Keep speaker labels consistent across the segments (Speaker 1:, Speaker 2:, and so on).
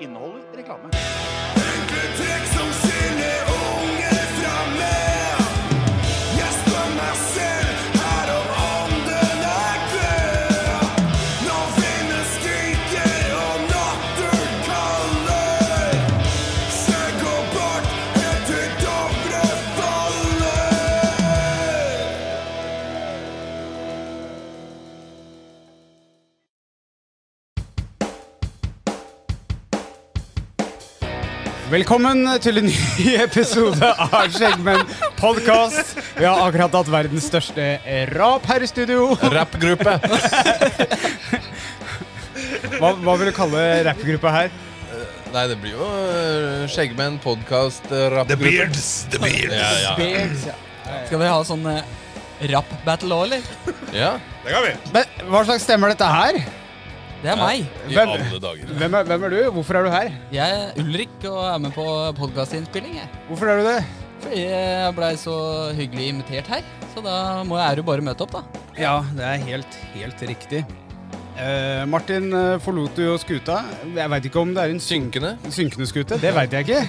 Speaker 1: Inneholder reklame.
Speaker 2: Trekk som skiller unge fra meg. Jeg står meg selv her om ånden er død. Nå vinden skriker og natten kaller. Skjegg og bart helt til Dovre faller.
Speaker 3: Velkommen til en ny episode av Skjeggmenn podkast. Vi har akkurat hatt verdens største rap her i studio.
Speaker 4: Rappgruppe.
Speaker 3: Hva, hva vil du kalle rappgruppa her?
Speaker 4: Nei, det blir jo øh, Skjeggmenn, podkast, rappgruppe.
Speaker 2: The Beards.
Speaker 4: Ja, ja.
Speaker 5: Skal vi ha sånn eh, rap-battle òg, eller?
Speaker 4: ja.
Speaker 2: Det kan vi.
Speaker 3: Men, hva slags stemme er dette her?
Speaker 5: Det er meg.
Speaker 4: I
Speaker 3: Hvem-
Speaker 4: alle dager.
Speaker 3: Hvem er, hvem er du? Hvorfor er du her?
Speaker 5: Jeg er Ulrik og er med på podkastinnspilling. jeg.
Speaker 3: Hvorfor er du det?
Speaker 5: Fordi jeg blei så hyggelig invitert her. Så da må jeg jo bare møte opp, da.
Speaker 3: Ja, det er helt, helt riktig. Eh, Martin eh, forlot jo skuta. Jeg veit ikke om det er en syn-
Speaker 4: Synkende.
Speaker 3: synkende skute. Det veit jeg ikke.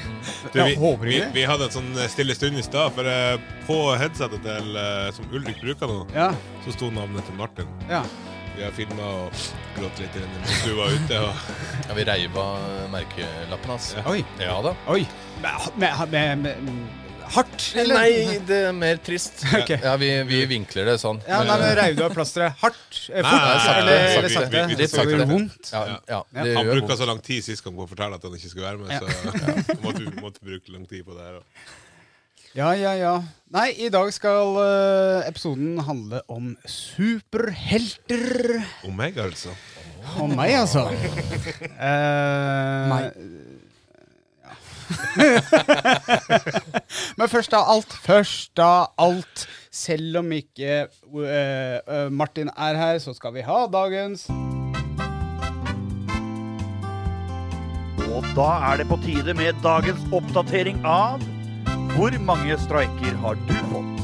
Speaker 6: Du, vi,
Speaker 3: Jeg håper
Speaker 6: vi,
Speaker 3: ikke det.
Speaker 6: vi hadde en sånn stille stund i stad, for eh, på headsetet til, eh, som Ulrik bruker nå,
Speaker 3: Ja,
Speaker 6: så sto navnet til Martin.
Speaker 3: ja.
Speaker 6: Vi har filma og grått litt i den mens du var ute. Og,
Speaker 4: Ja, vi reiv av merkelappen hans.
Speaker 3: Oi.
Speaker 4: Ja da.
Speaker 3: Oi. Med, med, med, med hardt, eller?
Speaker 4: Nei, det er mer trist.
Speaker 3: Ok.
Speaker 4: Ja, vi, vi vinkler det sånn.
Speaker 3: Ja, nei, men Reiv du av plasteret hardt? eh,
Speaker 6: Nei, nei,
Speaker 3: Fort?
Speaker 6: nei,
Speaker 3: Eller
Speaker 6: nei,
Speaker 3: eller
Speaker 6: vi-
Speaker 3: sakte?
Speaker 6: vi- vi-
Speaker 3: Det
Speaker 6: sakte.
Speaker 3: gjør vondt?
Speaker 4: Ja, ja, det
Speaker 6: han
Speaker 4: gjør
Speaker 6: bruka
Speaker 4: vondt.
Speaker 6: så lang tid sist gang på å fortelle at han ikke skulle være med, så måtte, vi- måtte bruke lang tid på det her. og-
Speaker 3: Ja, ja, ja. Nei, i dag skal eh, episoden handle om superhelter.
Speaker 6: Omega, altså.
Speaker 3: Om meg, altså. Eh,
Speaker 5: Meg.
Speaker 3: ja. Men først av alt, først av alt. Selv om ikke eh, eh, Martin er her, så skal vi ha dagens
Speaker 1: Og da er det på tide med dagens oppdatering av Hvor mange streiker har du fått?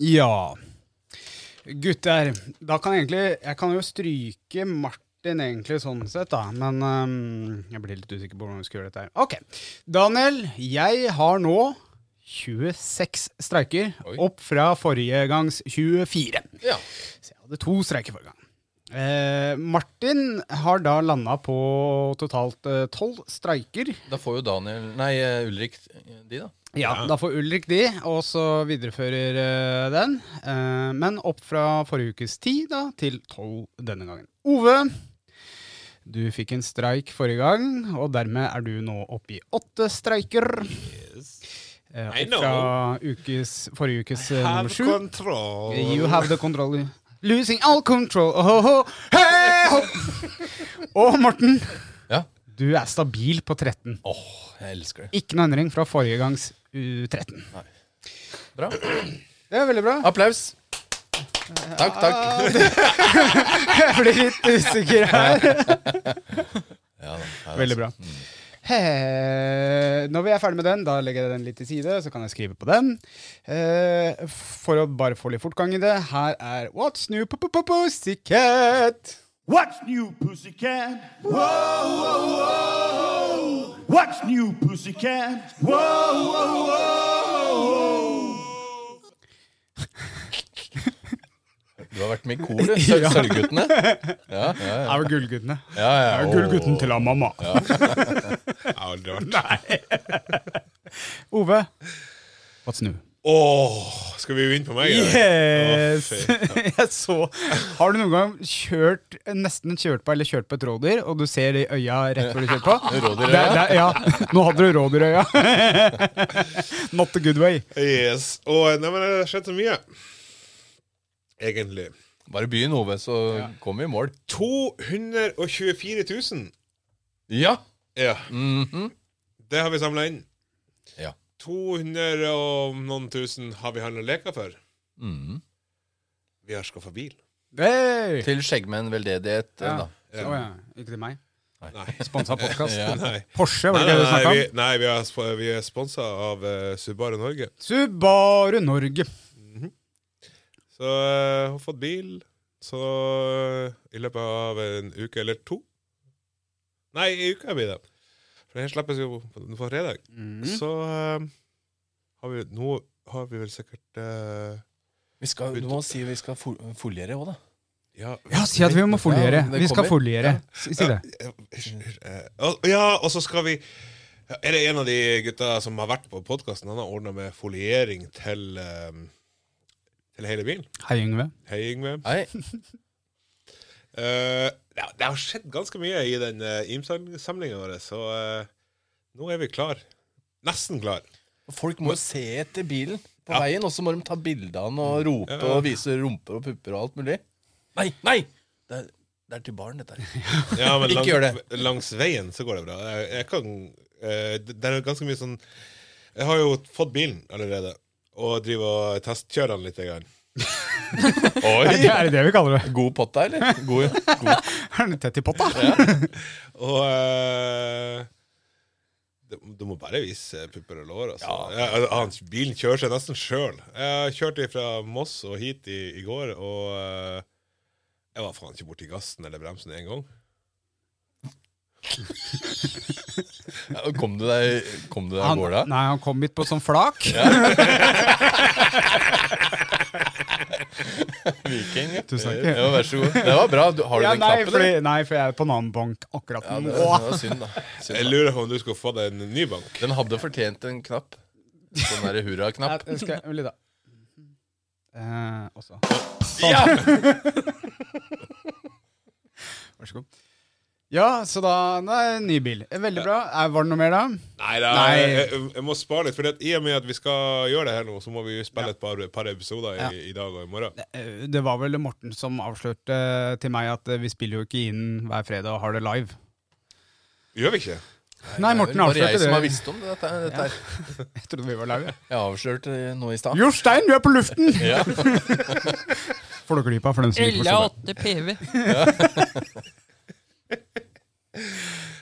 Speaker 3: Ja. Gutter, da kan jeg egentlig Jeg kan jo stryke Martin, egentlig, sånn sett, da. Men ehm, jeg blir litt usikker på hvordan vi skal gjøre dette her. Ok. Daniel, jeg har nå 26 streiker.
Speaker 4: Oi.
Speaker 3: Opp fra forrige gangs 24.
Speaker 4: Ja.
Speaker 3: Så jeg hadde to streiker forrige gang. Eh, Martin har da landa på totalt eh, tolv streiker.
Speaker 4: Da får jo Daniel Nei, eh, Ulrik de, da.
Speaker 3: Ja, da får Ulrik de, og så viderefører eh, den. Eh, men opp fra forrige ukes ti da, til tolv denne gangen. Ove, du fikk en streik forrige gang, og dermed er du nå oppe i åtte streiker. Eh,
Speaker 6: I
Speaker 3: opp fra ukes, forrige ukes eh,
Speaker 6: Have
Speaker 3: nummer sju.
Speaker 6: control.
Speaker 3: You have the control. Losing all control. Oh, oh, oh. Hey, ho! Og Morten,
Speaker 4: Ja.
Speaker 3: du er stabil på 13.
Speaker 4: Åh, jeg elsker det.
Speaker 3: Ikke noen endring fra forrige gangs U13.
Speaker 4: Bra.
Speaker 3: Det er veldig bra.
Speaker 4: Applaus. Takk, takk.
Speaker 3: Jeg blir litt usikker her.
Speaker 4: Ja, altså. Mm. da, ja, da.
Speaker 3: Veldig bra. He- Når vi er ferdig med den, da legger jeg den litt til side, så kan jeg skrive på den. Eh, For å bare få litt fortgang i det, her er What's New P -p -p Pussycat.
Speaker 1: What's new, pussycat? Whoa, whoa, whoa. What's new, pussycat? Whoa, whoa, whoa.
Speaker 4: Du har vært med i koret. Sølv- Sølvguttene. Ja, ja, ja.
Speaker 3: Er jo gullguttene.
Speaker 4: ja, ja.
Speaker 3: Er jo
Speaker 4: Åh.
Speaker 3: gullgutten til han mamma.
Speaker 6: Jeg har aldri vært der.
Speaker 3: Ove. What's new?
Speaker 6: Åh, skal vi vinne på meg? eller?
Speaker 3: Yes!
Speaker 6: Å, fy.
Speaker 3: Jeg så Har du noen gang kjørt nesten kjørt på eller kjørt på et rådyr, og du ser det i øya rett før du kjører på?
Speaker 4: Rådyr,
Speaker 3: Det, det, ja, nå hadde du rådyrøya. Not the good way.
Speaker 6: Yes. Og nei, men det har skjedd så mye. Egentlig.
Speaker 4: Bare begynn, Ove, så kommer vi i mål.
Speaker 6: 224 000.
Speaker 4: Ja.
Speaker 6: Ja.
Speaker 4: Mhm.
Speaker 6: Det har vi samla inn.
Speaker 4: Ja.
Speaker 6: 200 og noen tusen har vi handla leker for.
Speaker 4: Mm.
Speaker 6: Vi har skaffa bil.
Speaker 3: Hey!
Speaker 4: Til skjeggmenn veldedighet. eh,
Speaker 3: Ja.
Speaker 4: Da.
Speaker 3: Å ja. Ikke til meg.
Speaker 6: Nei.
Speaker 3: Sponsa podkast.
Speaker 6: Nei.
Speaker 3: Porsche, var
Speaker 6: Nei,
Speaker 3: det ikke
Speaker 6: nei,
Speaker 3: det du
Speaker 6: nei,
Speaker 3: snakka
Speaker 6: vi,
Speaker 3: om?
Speaker 6: nei vi, er, sp- vi er sponsa av eh, Subaru Norge.
Speaker 3: Subaru Norge.
Speaker 6: Så eh, har fått bil. Så eh, i løpet av en uke eller to Nei, i uka blir det. For det her slippes jo på på fredag.
Speaker 3: Mm. Mhm.
Speaker 6: Så eh, har vi Nå har vi vel sikkert eh,
Speaker 4: Vi skal, du må si vi skal fo foliere òg, da.
Speaker 6: Ja,
Speaker 3: Ja, si at vi må foliere.
Speaker 4: Ja, det
Speaker 3: vi skal
Speaker 4: kommer.
Speaker 3: foliere. Si, si det.
Speaker 6: Eh, og- Ja, og så skal vi Er det en av de gutta som har vært på podkasten, han har ordna med foliering til eh, Til hele bilen?
Speaker 3: Hei, Yngve.
Speaker 6: Hei, Yngve.
Speaker 4: Nei,
Speaker 6: Eh, ja, det har skjedd ganske mye i den uh, IMSAN-samlinga vår, så eh, nå er vi klar. Nesten klar.
Speaker 4: Folk må jo se etter bilen på
Speaker 6: Ja.
Speaker 4: veien, og så må de ta bilde av den og rope
Speaker 6: Ja.
Speaker 4: og vise rumper og pupper og alt mulig. Mm. Nei, nei! Det er, det er til barn, dette her.
Speaker 6: Ja, men
Speaker 4: Ikke
Speaker 6: lang,
Speaker 4: gjør det.
Speaker 6: langs veien så går det bra. Jeg, jeg kan eh, Det det er jo ganske mye sånn Jeg har jo fått bilen allerede, og driver og testkjører den litt. Grann.
Speaker 3: Er
Speaker 6: Oi!
Speaker 3: det er det det vi kaller det?
Speaker 4: God potta, eller? God, god.
Speaker 3: Er den tett i potta?
Speaker 6: Og eh, du, du må bare vise pupper og lår. Altså. Ja. han, bilen kjører seg nesten sjøl. Jeg kjørte fra Moss og hit i, i går, og eh, jeg var faen ikke borti gassen eller bremsen én gang.
Speaker 4: Ja, Kom du deg Kom du deg av
Speaker 3: Han,
Speaker 4: gårde?
Speaker 3: nei, han kom hit på sånn flak.
Speaker 4: Viking, ja.
Speaker 3: Tusen takk.
Speaker 4: Ja, vær så god. Det var bra. Du, har du
Speaker 3: Ja,
Speaker 4: den
Speaker 3: nei,
Speaker 4: knappen?
Speaker 3: fordi,
Speaker 4: eller?
Speaker 3: nei, for jeg er på en annen bank akkurat
Speaker 4: Ja, det,
Speaker 3: nå.
Speaker 4: det var synd, da.
Speaker 6: Jeg
Speaker 4: Synd, da.
Speaker 6: lurer på om du skulle få deg en ny bank.
Speaker 4: Den hadde fortjent en knapp. Sånn derre
Speaker 3: Nei,
Speaker 4: hurra-knapp.
Speaker 3: det skal jeg, Lida. Eh, også.
Speaker 4: Ja!
Speaker 3: Vær så god. Ja, så da Nei, ny bil. Eh, Veldig bra. Eh, Var det noe mer, da?
Speaker 6: Nei, da,
Speaker 3: Nei.
Speaker 6: Jeg, jeg, jeg må spare litt, for i og med at vi skal gjøre det her nå, så må vi spille et par, par episoder i,
Speaker 3: Ja.
Speaker 6: i dag og i morgen.
Speaker 3: Eh, Det var vel Morten som avslørte til meg at eh, vi spiller jo ikke inn hver fredag og har det live.
Speaker 6: Gjør vi ikke?
Speaker 3: Nei, Morten
Speaker 4: det er vel bare
Speaker 3: avslørte
Speaker 4: jeg som har
Speaker 3: det.
Speaker 4: visst om det, dette, her- dette her.
Speaker 3: Jeg trodde vi var live.
Speaker 4: Jeg avslørte det nå i stad.
Speaker 3: Jostein, du er på luften!
Speaker 4: Ja.
Speaker 3: Får du glipp av for dem som ikke forstår det.
Speaker 5: 8 PV.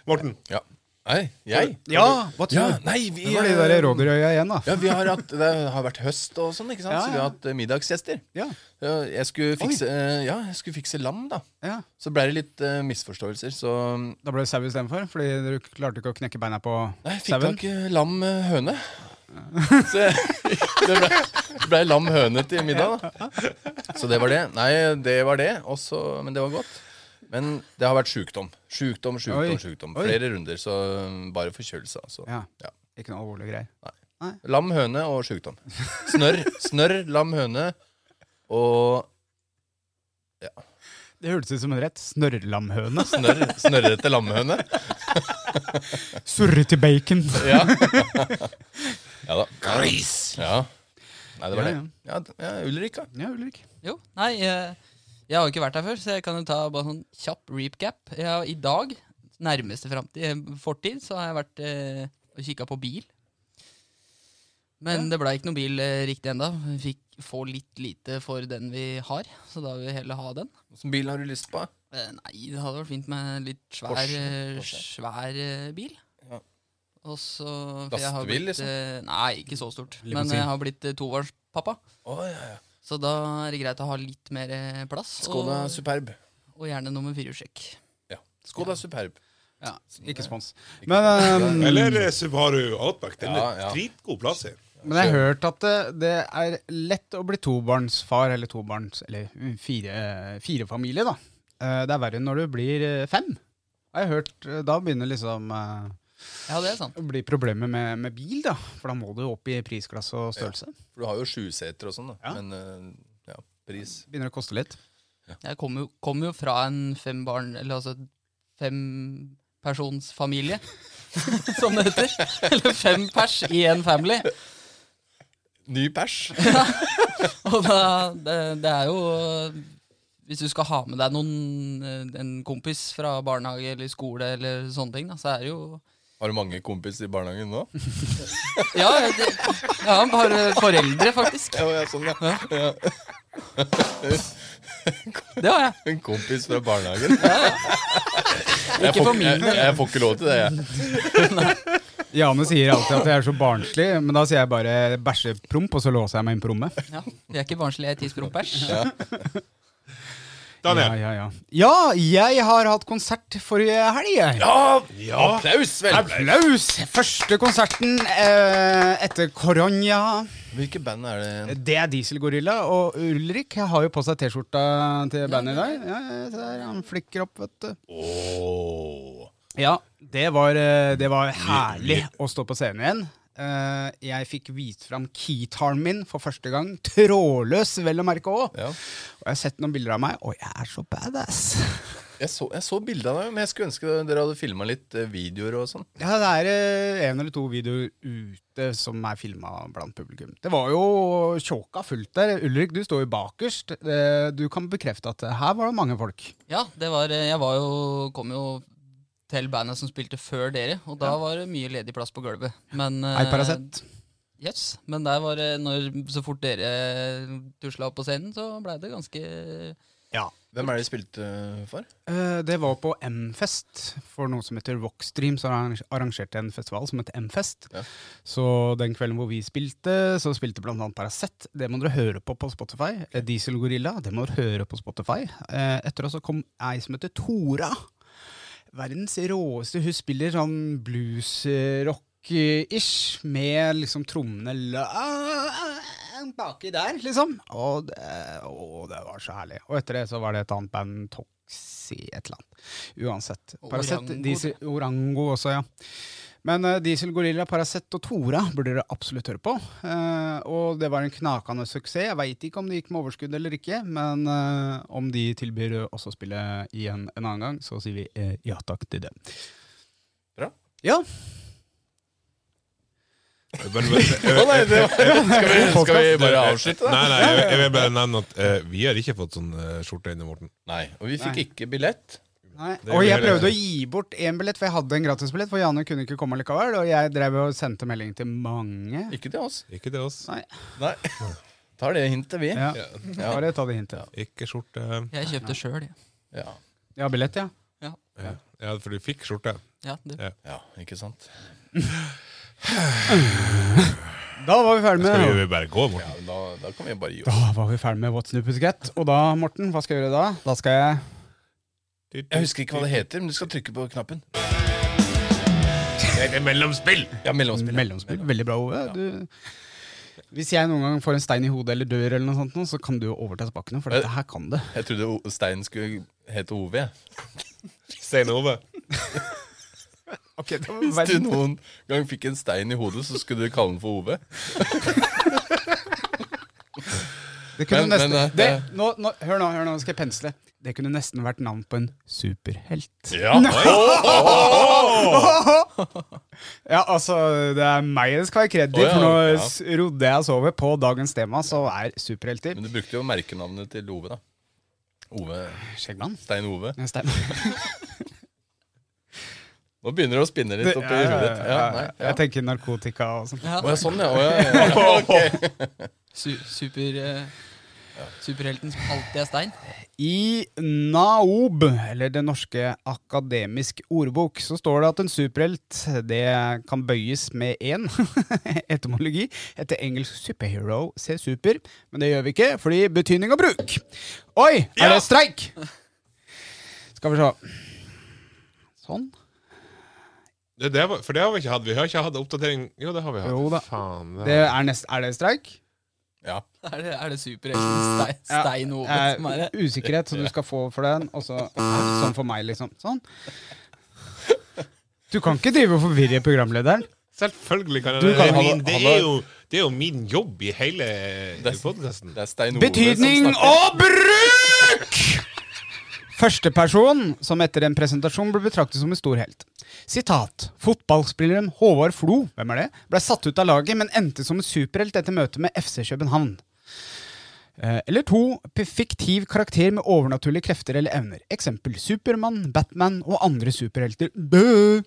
Speaker 6: Morten,
Speaker 4: ja. Nei, jeg?
Speaker 3: Ja, hva
Speaker 4: Ja,
Speaker 3: tror du?
Speaker 4: nei, vi
Speaker 3: Det var de der
Speaker 4: eh,
Speaker 3: rådyrøya igjen, da.
Speaker 4: Ja, vi har hatt, Det har vært høst og sånn, ikke sant?
Speaker 3: Ja,
Speaker 4: så vi
Speaker 3: ja.
Speaker 4: har hatt eh, middagsgjester.
Speaker 3: Ja,
Speaker 4: Ja, Jeg skulle fikse, eh, ja, jeg skulle fikse lam, da.
Speaker 3: ja.
Speaker 4: Så ble det litt eh, misforståelser. Så mm,
Speaker 3: Da ble det sau istedenfor, fordi du klarte ikke å knekke beina på
Speaker 4: nei, jeg fikk
Speaker 3: sauen.
Speaker 4: tak i lam eh, høne. Så det ble, det ble lam høne til middag, da. Så det var det. Nei, det var det. Også, men det var godt. Men det har vært sjukdom. Sjukdom,
Speaker 3: Oi.
Speaker 4: sjukdom, sjukdom.
Speaker 3: Oi.
Speaker 4: Flere runder, så mm, bare forkjølelse, altså.
Speaker 3: Ja.
Speaker 4: Ja.
Speaker 3: Ikke noe alvorlig greier.
Speaker 4: Lam høne og sjukdom. Snørr, snørr, lam høne og
Speaker 3: Det hørtes ut som en rett. Snørrlamhøne.
Speaker 4: snørr, snørrete lamhøne.
Speaker 3: Surrete bacon.
Speaker 4: Ja. ja da. Gris! Ja. Nei, det var det. Ja, d- ja Ulrik, da.
Speaker 3: Ja, Ulrik.
Speaker 5: Jo, nei, eh, jeg har jo ikke vært her før, så jeg kan jo ta bare sånn kjapp recap. Jeg har, I dag, nærmeste framtid, fortid, så har jeg vært eh, og kikka på bil. Men det blei ikke noen bil eh, riktig ennå. Vi fikk få litt lite for den vi har, så da vil vi heller ha den.
Speaker 4: Hvilken bil har du lyst på?
Speaker 5: Eh, nei, det hadde vært fint med en litt svær,
Speaker 4: Porsche,
Speaker 5: eh,
Speaker 4: Porsche.
Speaker 5: svær eh, bil.
Speaker 4: Ja.
Speaker 5: Og så for jeg har
Speaker 4: Lastebil,
Speaker 5: blitt,
Speaker 4: liksom?
Speaker 5: eh, Nei, ikke så stort.
Speaker 3: Limousin.
Speaker 5: Men jeg har blitt eh, tobarnspappa.
Speaker 4: Å, ja, ja.
Speaker 5: Så da er det greit å ha litt mer eh, plass.
Speaker 4: Skoda
Speaker 5: og,
Speaker 4: Superb.
Speaker 5: og gjerne nummer fire-sjekk.
Speaker 4: Ja. Skoda Superb.
Speaker 3: Ja, ikke spons.
Speaker 4: Ikke-
Speaker 3: Men, ehm,
Speaker 6: eller eh, Subaru Outback. Den
Speaker 4: Ja,
Speaker 6: er
Speaker 4: ja.
Speaker 6: dritgod plass i.
Speaker 3: men jeg har hørt at det, det er lett å bli tobarnsfar eller tobarns... Eller fire, fire familie, da. Eh, Det er verre når du blir eh, fem. Har jeg hørt. Eh, Da begynner liksom eh,
Speaker 5: Ja, det er sant.
Speaker 3: å bli problemer med, med bil, da. For da må du opp i prisklasse og størrelse.
Speaker 4: For du har jo sjuseter og sånn, da.
Speaker 3: Ja.
Speaker 4: Men eh, ja, pris
Speaker 3: Begynner å koste litt.
Speaker 5: Jeg kommer jo, kom jo fra en fem barn, eller altså fempersonsfamilie, som det heter. Eller fem pers i en family.
Speaker 4: Ny pers.
Speaker 5: Og da, det, det er jo Hvis du skal ha med deg noen, eh, en kompis fra barnehage eller skole, eller sånne ting, da, så er det jo
Speaker 4: Har du mange kompiser i barnehagen nå?
Speaker 5: Ja, det, ja, han har eh, foreldre, faktisk.
Speaker 4: Ja, ja, sånn, ja. ja.
Speaker 5: Det har jeg.
Speaker 4: En kompis fra barnehagen. Jeg
Speaker 5: Ikke
Speaker 4: får,
Speaker 5: for min
Speaker 4: jeg,
Speaker 5: del.
Speaker 4: jeg får ikke lov til det, jeg.
Speaker 3: Jane sier alltid at jeg er så barnslig, men da sier jeg bare bæsjepromp, og så låser jeg meg inn på rommet.
Speaker 5: Ja, vi er ikke barnslige tidsprompers.
Speaker 3: Ja, ja, ja. ja, jeg har hatt konsert forrige helg. jeg.
Speaker 4: Applaus, vel!
Speaker 3: Applaus! Første konserten eh, etter Koronia.
Speaker 4: Hvilke band er det?
Speaker 3: Det er Dieselgorilla. Og Ulrik har jo på seg T-skjorta til bandet i dag. Ja, ja, se der, han flikker opp, vet du. Ja, det var, eh, det var herlig å stå på scenen igjen. Eh, jeg fikk vist fram keytaren min for første gang. Trådløs, vel å merke òg.
Speaker 4: Ja.
Speaker 3: Og jeg har sett noen bilder av meg, og jeg er så badass.
Speaker 4: Jeg så, jeg så bildet av deg, men jeg skulle ønske dere hadde filma litt eh, videoer og sånn.
Speaker 3: Ja, det er eh, en eller to videoer ute som er filma blant publikum. Det var jo tjåka fullt der. Ulrik, du står jo bakerst. Eh, Du kan bekrefte at eh, her var det mange folk.
Speaker 5: Ja, det var, eh, jeg var jo, kom jo til bandet som spilte før dere, og da var det mye ledig plass på gulvet. Men, eh,
Speaker 3: Hei, Paracet.
Speaker 5: Yes, men der var det når, så fort dere tusla opp på scenen, så blei det ganske
Speaker 3: Ja.
Speaker 4: Hvem er det de spilte eh, for?
Speaker 3: Eh, Det var på M-fest. For noe som heter Rockstream, så arrange- arrangerte jeg en festival som het M-fest.
Speaker 4: Ja.
Speaker 3: Så den kvelden hvor vi spilte, så spilte blant annet Paracet. Det må dere høre på på Spotify. Eh, Diesel Gorilla, det må dere høre på Spotify. Eh, Etter oss så kom ei som heter Tora. Verdens råeste. Hun spiller sånn bluesrock-ish, med liksom trommene la baki der, liksom. Og det, å, det var så herlig. Og etter det så var det et annet band, Toxi, et eller annet. Uansett. Paracet,
Speaker 5: Orango,
Speaker 3: Diesel, Orango også, ja. Men eh, Diesel Gorilla, Paracet og Tora burde dere absolutt høre på. Eh, og det var en knakende suksess. Jeg veit ikke om det gikk med overskudd eller ikke, men eh, om de tilbyr også å spille igjen en annen gang, så sier vi eh, ja takk til det.
Speaker 4: Bra.
Speaker 3: Ja.
Speaker 2: Men, men,
Speaker 4: Å nei, det var, skal, vi, skal vi bare avslutte, da?
Speaker 2: Nei, nei, jeg, jeg vil bare nevne at eh, vi har ikke fått sånn eh, skjorte ennå, Morten.
Speaker 4: Nei. Og vi fikk ikke billett.
Speaker 3: Nei.
Speaker 2: Det
Speaker 3: Og
Speaker 2: gjør
Speaker 3: jeg
Speaker 2: det.
Speaker 3: prøvde å gi bort én billett, for jeg hadde en gratisbillett. For Jane kunne ikke komme likevel, og jeg drev og sendte melding til mange.
Speaker 4: Ikke til oss.
Speaker 2: Ikke til oss.
Speaker 3: Nei.
Speaker 4: Nei. Tar det hintet, vi.
Speaker 3: Ja.
Speaker 4: Ja.
Speaker 3: Bare ta det hintet.
Speaker 2: Ikke skjorte.
Speaker 5: Jeg kjøpte sjøl, jeg.
Speaker 4: Ja.
Speaker 3: Ja, billett, ja.
Speaker 2: Ja, ja for du fikk skjorte.
Speaker 5: Ja, det-
Speaker 4: ja, ikke sant.
Speaker 3: Da var vi ferdig
Speaker 2: Skal
Speaker 3: med
Speaker 2: vi bare gå, Morten?
Speaker 4: Ja, da, da kan vi bare gi oss.
Speaker 3: Da var vi ferdig med What's New Pussycat. Og da, Morten, hva skal jeg gjøre da? Da skal jeg
Speaker 4: Jeg husker ikke hva det heter, men du skal trykke på knappen.
Speaker 2: Det er mellomspill!
Speaker 4: Ja, mellomspill.
Speaker 3: Mellomspill. Veldig bra, Ove. Du... Hvis jeg noen gang får en stein i hodet eller dør, eller noe sånt, nå, så kan du jo overta spakene. For dette her kan det.
Speaker 4: Jeg trodde O- Stein skulle hete OV.
Speaker 2: Stein Ove.
Speaker 3: Okay, det
Speaker 4: Hvis du noen gang fikk en stein i hodet, så skulle du kalle den for OV.
Speaker 3: kunne
Speaker 4: Men-
Speaker 3: nesten...
Speaker 4: men, eh,
Speaker 3: det, nå, nå, hør nå, hør nå, skal jeg pensle. Det kunne nesten vært navn på en superhelt.
Speaker 4: Ja, Oi.
Speaker 3: Ja, altså, det er meg det skal være kredd i,
Speaker 4: Å, ja,
Speaker 3: for nå
Speaker 4: ja.
Speaker 3: s- rodde jeg oss over på dagens tema, så er superhelter
Speaker 4: Men du brukte jo merkenavnet til Ove, da. Ove,
Speaker 3: Skjeggmann.
Speaker 4: Stein Ove.
Speaker 3: Ja, Stemmer.
Speaker 4: Nå begynner det å spinne litt oppi
Speaker 3: Ja,
Speaker 4: hodet
Speaker 3: ja,
Speaker 4: ditt. Ja, nei, ja.
Speaker 3: Jeg tenker narkotika og sånn.
Speaker 5: Ja.
Speaker 4: Å, ja, sånn, ja. Å, ja, ja. Ok.
Speaker 5: Su super, eh, superhelten som alltid er stein.
Speaker 3: I NAOB, eller Den norske akademisk ordbok, så står det at en superhelt det kan bøyes med én etymologi etter engelsk superhero, se super, men det gjør vi ikke fordi betydning og bruk. Oi, er det streik? Skal vi se. Sånn.
Speaker 2: Det, det var, for det har vi ikke hatt. Vi har ikke hatt oppdatering Jo, det har vi hatt.
Speaker 3: Jo da.
Speaker 2: Faen, det
Speaker 3: Det er, nest, er det streik?
Speaker 4: ja.
Speaker 5: Er det, er det superhelten stein,
Speaker 3: Ja,
Speaker 5: stein Ove
Speaker 3: eh,
Speaker 5: som er det?
Speaker 3: Usikkerhet, så du skal få for den. Og så sånn for meg, liksom. Sånn. Du kan ikke drive og forvirre programlederen.
Speaker 2: Selvfølgelig kan jeg
Speaker 3: Du
Speaker 2: det.
Speaker 3: kan-
Speaker 2: Det er
Speaker 4: han-
Speaker 2: min- det.
Speaker 4: han har-
Speaker 2: Er jo, det er jo min jobb i hele eh, podkasten.
Speaker 4: Det er Stein Ove
Speaker 3: Betydning
Speaker 4: som snakker.
Speaker 3: og bruk! Førsteperson som etter en presentasjon ble betraktet som en stor helt. Sitat. Fotballspilleren Håvard Flo hvem er det, ble satt ut av laget, men endte som en superhelt etter møtet med FC København. Eh, Eller to, p- fiktiv karakter med overnaturlige krefter eller evner. Eksempel Supermann, Batman og andre superhelter. Bø!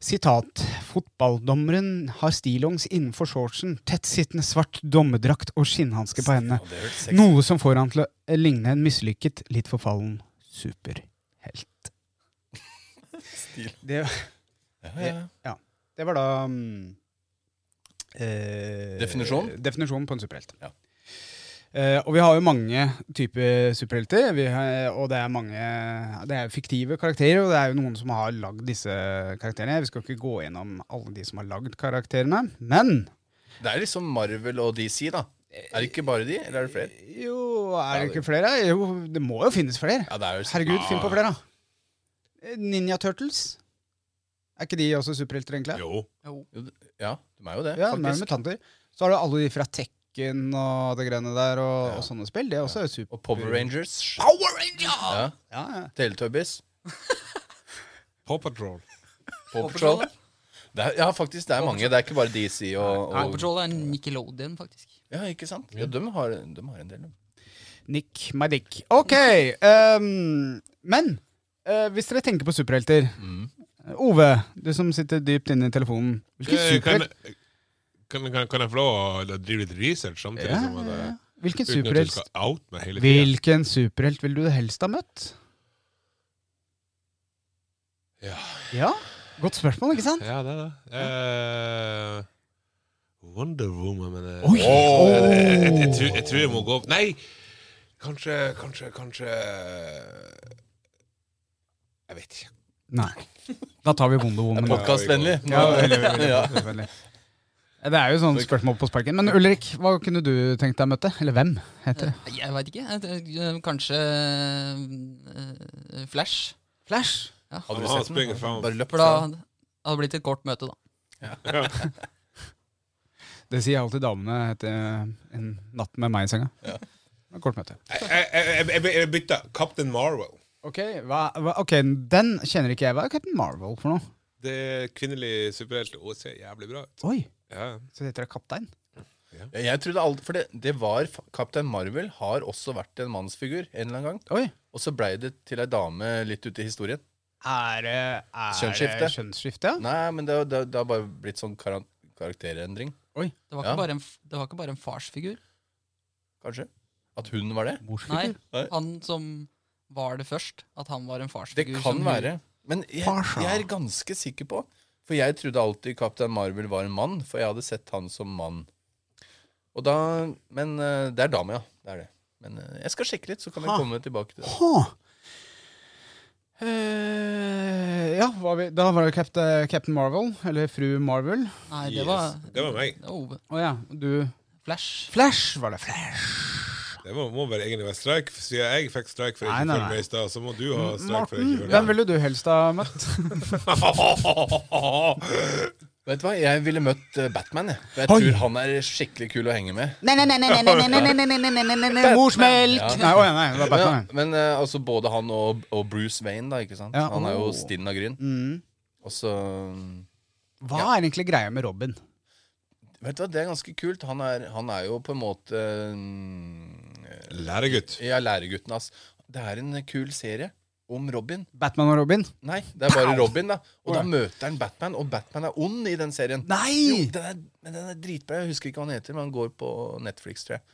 Speaker 3: Sitat. Fotballdommeren har stillongs innenfor shortsen, tettsittende svart dommedrakt og skinnhanske på hendene.
Speaker 4: Ja, det er vel sexy.
Speaker 3: Noe som får han til å eh, ligne en mislykket, litt forfallen superhelt.
Speaker 4: Stil.
Speaker 3: Det,
Speaker 4: Ja, ja, ja.
Speaker 3: det var da mm, eh,
Speaker 4: Definisjon?
Speaker 3: Definisjonen på en superhelt.
Speaker 4: Ja.
Speaker 3: Eh, og vi har jo mange typer superhelter, vi har, og det er mange Det er fiktive karakterer, og det er jo noen som har lagd disse karakterene. Vi skal ikke gå gjennom alle de som har lagd karakterene, men
Speaker 4: Det er liksom Marvel og DC, da. Er det ikke bare de, eller er det flere?
Speaker 3: Jo, er det ikke flere? Jo, det må jo finnes flere.
Speaker 4: Ja, det er jo
Speaker 3: Herregud, finn på flere, da. Eh, Ninja Turtles. Er ikke de også superhelter, egentlig?
Speaker 2: Jo.
Speaker 4: Jo, d- Ja, de er jo det,
Speaker 3: Ja, de er jo
Speaker 4: faktisk.
Speaker 3: mutanter. Så har du alle de fra Tekken og det greiene der, og, og sånne spill. Det er også super...
Speaker 4: Og Power Rangers.
Speaker 5: Power Ranger!
Speaker 4: Ja.
Speaker 3: Ja, ja.
Speaker 4: Teletubbies.
Speaker 2: Paw Patrol.
Speaker 4: Paw
Speaker 5: Paw Patrol,
Speaker 4: Patrol. Det er, ja, faktisk, det er mange. Det er ikke bare DC
Speaker 3: Eh,
Speaker 4: og,
Speaker 5: Paw
Speaker 4: og
Speaker 5: Patrol er en Nickelodeon, faktisk.
Speaker 4: Ja, ikke sant? Ja, de har, de har en del. de.
Speaker 3: Nick my dick. Ok, ehm, men eh, hvis dere tenker på superhelter
Speaker 2: Mm.
Speaker 3: Ove, du som sitter dypt inne i telefonen. Hvilken
Speaker 2: Eh, Kan,
Speaker 3: superhelt,
Speaker 2: kan, kan, kan jeg få lov å drive litt research samtidig?
Speaker 3: Ja,
Speaker 2: som at,
Speaker 3: ja,
Speaker 2: eh,
Speaker 3: hvilken
Speaker 2: Uten at du
Speaker 3: superhelt
Speaker 2: skal out meg hele tiden.
Speaker 3: Hvilken superhelt vil du helst ha møtt?
Speaker 2: Ja.
Speaker 3: Ja, Godt spørsmål, ikke sant?
Speaker 2: Ja, det er det. Eh, Wonder Woman, men eh,
Speaker 3: Oi!
Speaker 2: åh,
Speaker 3: Åh!
Speaker 2: Jeg, jeg, jeg, tror- jeg tror jeg må gå opp Nei! Kanskje, kanskje, kanskje Jeg vet ikke.
Speaker 3: Nei. Da tar vi Wonder
Speaker 4: Det er
Speaker 3: Woman.
Speaker 4: podkastvennlig.
Speaker 3: Ja, veldig, veldig,
Speaker 4: Ja.
Speaker 3: veldig, veldig. Det er jo sånne spørsmål på sparken. Men Ulrik, hva kunne du tenkt deg å møte? Eller hvem, heter det?
Speaker 5: Eh, Jeg veit ikke. Jeg tror, eh, Kanskje eh, Flash.
Speaker 3: Flash.
Speaker 4: Hadde du
Speaker 2: Han
Speaker 4: sett
Speaker 2: springer
Speaker 4: den?
Speaker 2: fram.
Speaker 4: Bare løpt
Speaker 5: For da
Speaker 4: fram.
Speaker 5: hadde det blitt et kort møte, da.
Speaker 3: Det sier alltid damene etter en natt med meg i senga.
Speaker 4: Ja.
Speaker 3: Det er Kort møte.
Speaker 2: Jeg, jeg, jeg, jeg bytta. Captain Marvel.
Speaker 3: Ok, hva, hva, ok, den kjenner ikke jeg. Hva er Captain Marvel for noe?
Speaker 2: Det er kvinnelig superhelt og ser jævlig bra ut.
Speaker 3: Oi,
Speaker 2: Ja.
Speaker 3: så heter det kaptein?
Speaker 4: Ja, Jeg trodde alt, for det, det var Kaptein Marvel har også vært en mannsfigur en eller annen gang.
Speaker 3: Oi.
Speaker 4: Og så blei det til ei dame litt ute i historien.
Speaker 3: Er det er
Speaker 4: Kjønnsskifte.
Speaker 3: det Kjønnsskifte, ja.
Speaker 4: Nei, men det, det, det har bare blitt sånn karan- karakterendring,
Speaker 5: Det
Speaker 4: Ja.
Speaker 5: var, ikke bare en, f- det var ikke bare en farsfigur.
Speaker 4: kanskje. At hun var det.
Speaker 5: Nei,
Speaker 3: Morsfigur.
Speaker 4: Nei.
Speaker 5: han som var det først. At han var en
Speaker 4: Det
Speaker 5: farsfigur.
Speaker 4: kan
Speaker 5: som-
Speaker 4: være. Men jeg,
Speaker 3: Farsa.
Speaker 4: jeg er ganske sikker på For jeg trodde alltid Kaptein Marvel var en mann, for jeg hadde sett han som mann. Og da, Men eh, det er dame, ja. Det er det. Men eh, jeg skal sjekke litt, så kan vi
Speaker 3: Ha.
Speaker 4: komme tilbake til det.
Speaker 3: Hå. Eh, ja, var vi, da var det Captain, Captain Marvel, eller fru Marvel.
Speaker 5: Nei, det var,
Speaker 2: Det var meg.
Speaker 5: det var Ove.
Speaker 3: Å ja, du
Speaker 5: Flash.
Speaker 3: Flash var det. Flash.
Speaker 2: Det må, må vel egentlig være streik. Siden jeg fikk streik for
Speaker 3: Nei,
Speaker 2: ikke
Speaker 3: nei,
Speaker 2: følge
Speaker 3: nei.
Speaker 2: med i stad, så må du ha streik for
Speaker 3: Morten,
Speaker 2: ikke
Speaker 3: hvem
Speaker 2: følge med.
Speaker 3: ville du helst ha møtt?
Speaker 4: Vet du hva, Jeg ville møtt eh, Batman. Jeg, for jeg
Speaker 3: Oi.
Speaker 4: tror han er skikkelig kul å henge med.
Speaker 3: Nei, nei, nei, nei, nei, nei, nei, nei, nei, nei, nei, nei, nei, nei, Morsmelk!
Speaker 4: Ja.
Speaker 3: Nei, å ja, nei, det var
Speaker 4: Men, ja,
Speaker 3: Batman.
Speaker 4: men eh, altså både han og, og Bruce Wayne, da. ikke sant?
Speaker 3: Ja,
Speaker 4: han er jo
Speaker 3: åh.
Speaker 4: stinn av gryn.
Speaker 3: Mm.
Speaker 4: Og så mm,
Speaker 3: Hva er egentlig greia med Robin?
Speaker 4: Vet du hva, det er ganske kult. Han er, han er jo på en måte mm,
Speaker 2: Læregutt.
Speaker 4: Ja, Læregutten, ass. Det er en kul serie om Robin.
Speaker 3: Batman og Robin?
Speaker 4: Nei, det er bare
Speaker 3: Pow!
Speaker 4: Robin, da. Og da møter han Batman, og Batman er ond i den serien. Jo,
Speaker 3: Nei!
Speaker 4: den er, men den er dritbra. Jeg husker ikke hva han heter, men han går på Netflix, tror jeg.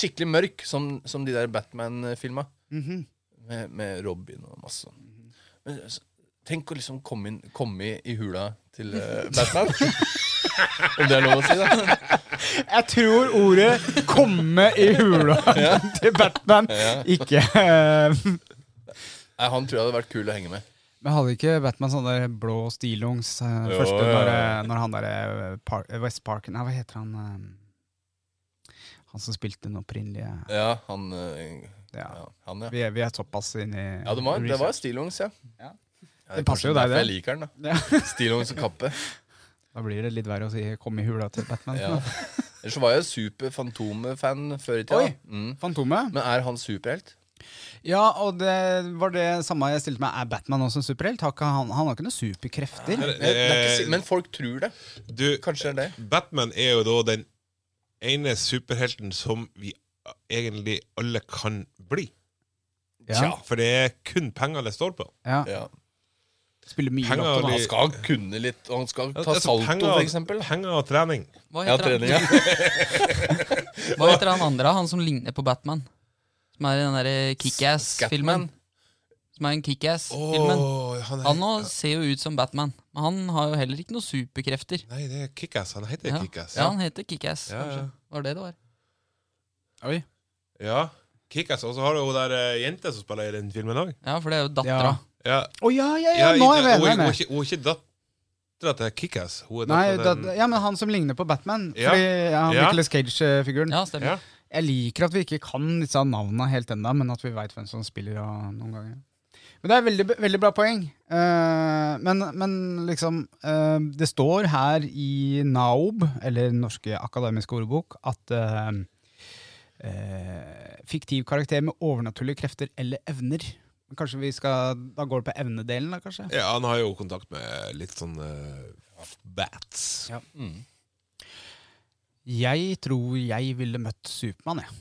Speaker 4: Skikkelig mørk, som, som de der Batman-filma.
Speaker 3: Mhm.
Speaker 4: Med, med Robin og masse sånn. Men, s- tenk å liksom komme, inn, komme i, i hula til eh, Batman. Om det er lov å si, da.
Speaker 3: Jeg tror ordet 'komme i hula' til Batman ikke eh,
Speaker 4: Nei, han tror jeg hadde vært kul å henge med.
Speaker 3: Men hadde ikke Batman sånn der blå stillongs eh,
Speaker 4: Jo,
Speaker 3: første
Speaker 4: ja,
Speaker 3: når,
Speaker 4: ja.
Speaker 3: eh, når han derre eh, Par- eh, West Park Nei, hva heter han eh, Han som spilte den opprinnelige
Speaker 4: Ja, han eh,
Speaker 3: ja.
Speaker 4: Ja, han, ja.
Speaker 3: Vi, er, vi er såpass inni
Speaker 4: Ja, det var, det var stillongs, ja.
Speaker 3: Ja.
Speaker 4: Ja,
Speaker 3: Det passer jo
Speaker 4: kanskje
Speaker 3: deg,
Speaker 4: derfor
Speaker 3: det.
Speaker 4: Jeg liker den,
Speaker 3: Ja.
Speaker 4: da. Stillongs og kappe.
Speaker 3: Da blir det litt verre å si 'kom i hula' til Batman.
Speaker 4: Ja. Ellers så var jeg super Fantomet-fan før i tida.
Speaker 3: Oi.
Speaker 4: Mm.
Speaker 3: Fantomet?
Speaker 4: Men er han superhelt?
Speaker 3: Ja, og det var det samme jeg stilte meg. Er Batman også en superhelt? Har ikke Han, han har ikke noen superkrefter.
Speaker 4: Det, det er ikke, si- men folk tror det.
Speaker 2: Du,
Speaker 4: Kanskje det er det.
Speaker 2: Batman er jo da den ene superhelten som vi
Speaker 6: egentlig alle kan bli.
Speaker 3: Ja,
Speaker 6: For det er kun penger det står på.
Speaker 3: ja.
Speaker 4: Ja.
Speaker 3: Spiller mye
Speaker 6: Penger
Speaker 3: lotto, da.
Speaker 6: og
Speaker 4: Han skal kunne litt. og Han skal ta
Speaker 6: Altså,
Speaker 4: salto,
Speaker 6: penger,
Speaker 4: for eksempel.
Speaker 6: Penger og trening.
Speaker 5: Hva
Speaker 4: Ja,
Speaker 5: heter,
Speaker 4: trening, ja.
Speaker 5: han, hva heter han andre, han som ligner på Batman? Som er i den derre
Speaker 4: Scatman.
Speaker 5: Kickass-filmen. Som er en Kickass-filmen.
Speaker 6: Åh, han,
Speaker 5: Han nå ser jo ut som Batman, men han har jo heller ikke noen superkrefter.
Speaker 6: Nei, det er Kickass. Han heter
Speaker 5: Ja.
Speaker 6: Kickass.
Speaker 5: Ja, han heter Kickass,
Speaker 6: Ja,
Speaker 5: kanskje.
Speaker 6: ja.
Speaker 5: Var det det var?
Speaker 3: Oi.
Speaker 6: Ja, Kickass. Og så har du hun der eh, jenta som spiller i den filmen òg.
Speaker 5: Ja, for det er jo dattera.
Speaker 3: Ja.
Speaker 6: Ja.
Speaker 3: Å ja, ja, ja, nå er jeg
Speaker 6: hun, hun,
Speaker 3: enig
Speaker 6: er
Speaker 3: med.
Speaker 6: ikke- hun er ikke dattera til Kickass. Hun er
Speaker 3: Nei,
Speaker 6: dattera
Speaker 3: da,
Speaker 6: til den-
Speaker 3: ja, men han som ligner på Batman.
Speaker 6: Ja.
Speaker 3: Fordi ja, han
Speaker 6: Ja.
Speaker 3: Nicolas Cage-figuren.
Speaker 5: Ja, stemmer.
Speaker 6: Ja.
Speaker 3: Jeg liker at vi ikke kan disse navnene helt ennå, men at vi veit hvem som spiller og noen ganger. Men det er veldig, veldig bra poeng. Eh, men, men liksom eh, Det står her i NAOB, eller Norske akademiske ordbok, at eh, eh, fiktiv karakter med overnaturlige krefter eller evner Men Kanskje vi skal Da går det på evnedelen, da, kanskje?
Speaker 6: Ja, han har jo kontakt med litt sånn eh, bats.
Speaker 3: Ja.
Speaker 4: Mm.
Speaker 3: Jeg tror jeg ville møtt Supermann, jeg.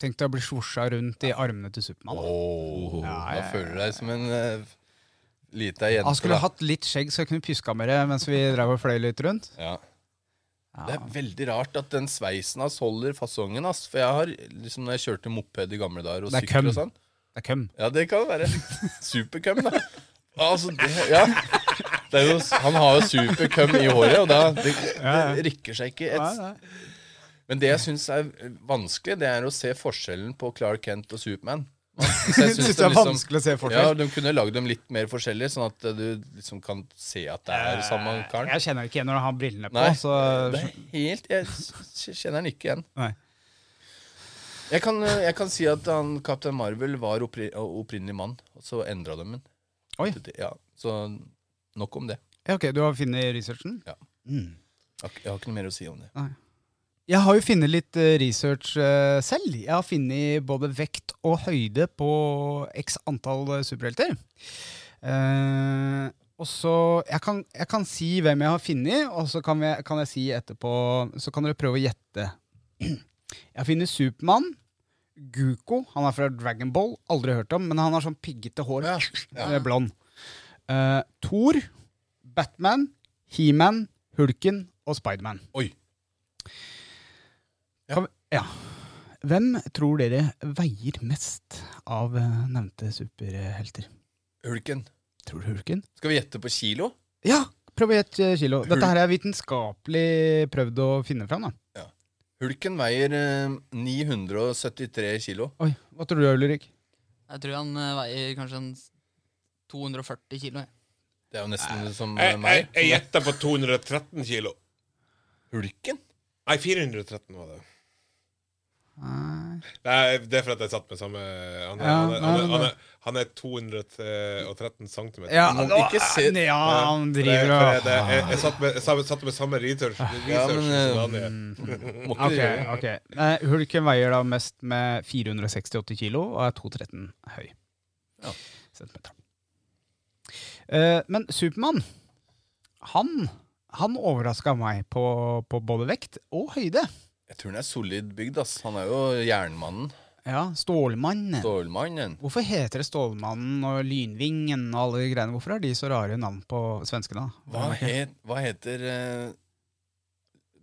Speaker 3: Tenk deg å bli svosja rundt i armene til Supermann. da.
Speaker 4: Åh,
Speaker 3: Ja, ja,
Speaker 4: Da
Speaker 3: ja.
Speaker 4: føler du deg som en uh, lita jente.
Speaker 3: Han skulle
Speaker 4: da.
Speaker 3: hatt litt skjegg, så jeg kunne pjuska med det mens vi drev og fløy litt rundt.
Speaker 4: Ja. Det er veldig rart at den sveisen hans holder fasongen. Ass. For jeg har, liksom når jeg kjørte moped i gamle dager og
Speaker 3: Det er
Speaker 4: sykkel og
Speaker 3: køm.
Speaker 4: sånn
Speaker 3: Det er køm.
Speaker 4: Ja, det kan være superkøm, da. Altså, det, ja. det er jo, han har jo superkøm i håret, og da det, det rykker seg ikke et Men det jeg syns er eh, vanskelig, det er å se forskjellen på Clark Kent og Superman. Så jeg
Speaker 3: Jeg
Speaker 4: synes
Speaker 3: syns det er
Speaker 4: liksom-
Speaker 3: vanskelig å se
Speaker 4: Ja,
Speaker 3: forskjell.
Speaker 4: De kunne lagd dem litt mer forskjellige, sånn at eh, du liksom kan se at det er samme karen.
Speaker 3: Eh, Jeg kjenner ikke igjen når han har brillene på.
Speaker 4: Nei,
Speaker 3: Så
Speaker 4: det er helt Jeg s- kjenner den ikke igjen.
Speaker 3: Nei.
Speaker 4: Jeg kan, eh, jeg kan si at han, Captain Marvel var oppri, opprinnelig mann, og så endra de den.
Speaker 3: Oi.
Speaker 4: Ja, så nok om det.
Speaker 3: ja, ok, du har funnet researchen?
Speaker 4: Ja.
Speaker 3: Mm.
Speaker 4: Jeg har ikke- jeg har ikke noe mer å si om det.
Speaker 3: Jeg har jo funnet litt eh, research eh, selv. Jeg har funnet både vekt og høyde på x antall eh, superhelter. Eh, og så jeg kan, jeg kan si hvem jeg har funnet, og så kan, vi, kan jeg si etterpå Så kan dere prøve å gjette. Jeg har funnet Supermann. Guko. Han er fra Dragon Ball. Aldri hørt om, men han har sånn piggete hår. Eh, Blond. Uh, Thor, Batman, He-Man, Hulken og Spiderman.
Speaker 4: Oi.
Speaker 3: Ja. ja. Hvem tror dere veier mest av eh, nevnte superhelter?
Speaker 4: Hulken.
Speaker 3: Tror du Hulken?
Speaker 4: Skal vi gjette på kilo?
Speaker 3: Ja! Prøv å gjette eh, kilo. Dette her er vitenskapelig prøvd å finne fram. da.
Speaker 4: Hulken veier eh, 973 kilo.
Speaker 3: Oi, Hva tror du, Ulrik?
Speaker 5: Jeg tror han eh, veier kanskje en s- 240 kilo. jeg.
Speaker 4: Det er jo nesten som eh,
Speaker 6: Jeg, jeg,
Speaker 4: meg.
Speaker 6: jeg gjetter på 213 kilo.
Speaker 4: Hulken?
Speaker 6: Nei, 413 var det.
Speaker 3: Nei.
Speaker 6: Nei, det er fordi jeg satt med samme Han er,
Speaker 3: Ja,
Speaker 6: han er, han er,
Speaker 3: nei,
Speaker 6: han
Speaker 3: men-
Speaker 6: er, han er 213 cm.
Speaker 3: Ja,
Speaker 4: Du må
Speaker 3: nå-
Speaker 4: ikke se-
Speaker 3: Nei, ja, han
Speaker 6: For jeg,
Speaker 3: driver
Speaker 6: for jeg,
Speaker 3: og
Speaker 6: det, jeg, jeg satt med, jeg satt- satt med samme research, research
Speaker 4: Ja, men,
Speaker 6: som
Speaker 4: eh,
Speaker 3: mm,
Speaker 6: Daniel.
Speaker 4: Må ikke
Speaker 3: Ok, ok. Nei, Hulken veier da mest med 468 kilo og er 2,13 høy.
Speaker 4: Ja.
Speaker 3: Centimeter. Eh, men Supermann, han, han overraska meg på, på både vekt og høyde.
Speaker 4: Jeg tror han er solid bygd, ass. Han er jo jernmannen.
Speaker 3: Ja, Stålmannen.
Speaker 4: Stålmannen.
Speaker 3: Hvorfor heter det Stålmannen og Lynvingen og alle de greiene? Hvorfor har de så rare navn på svenskene?
Speaker 4: Hva, het, hva heter eh,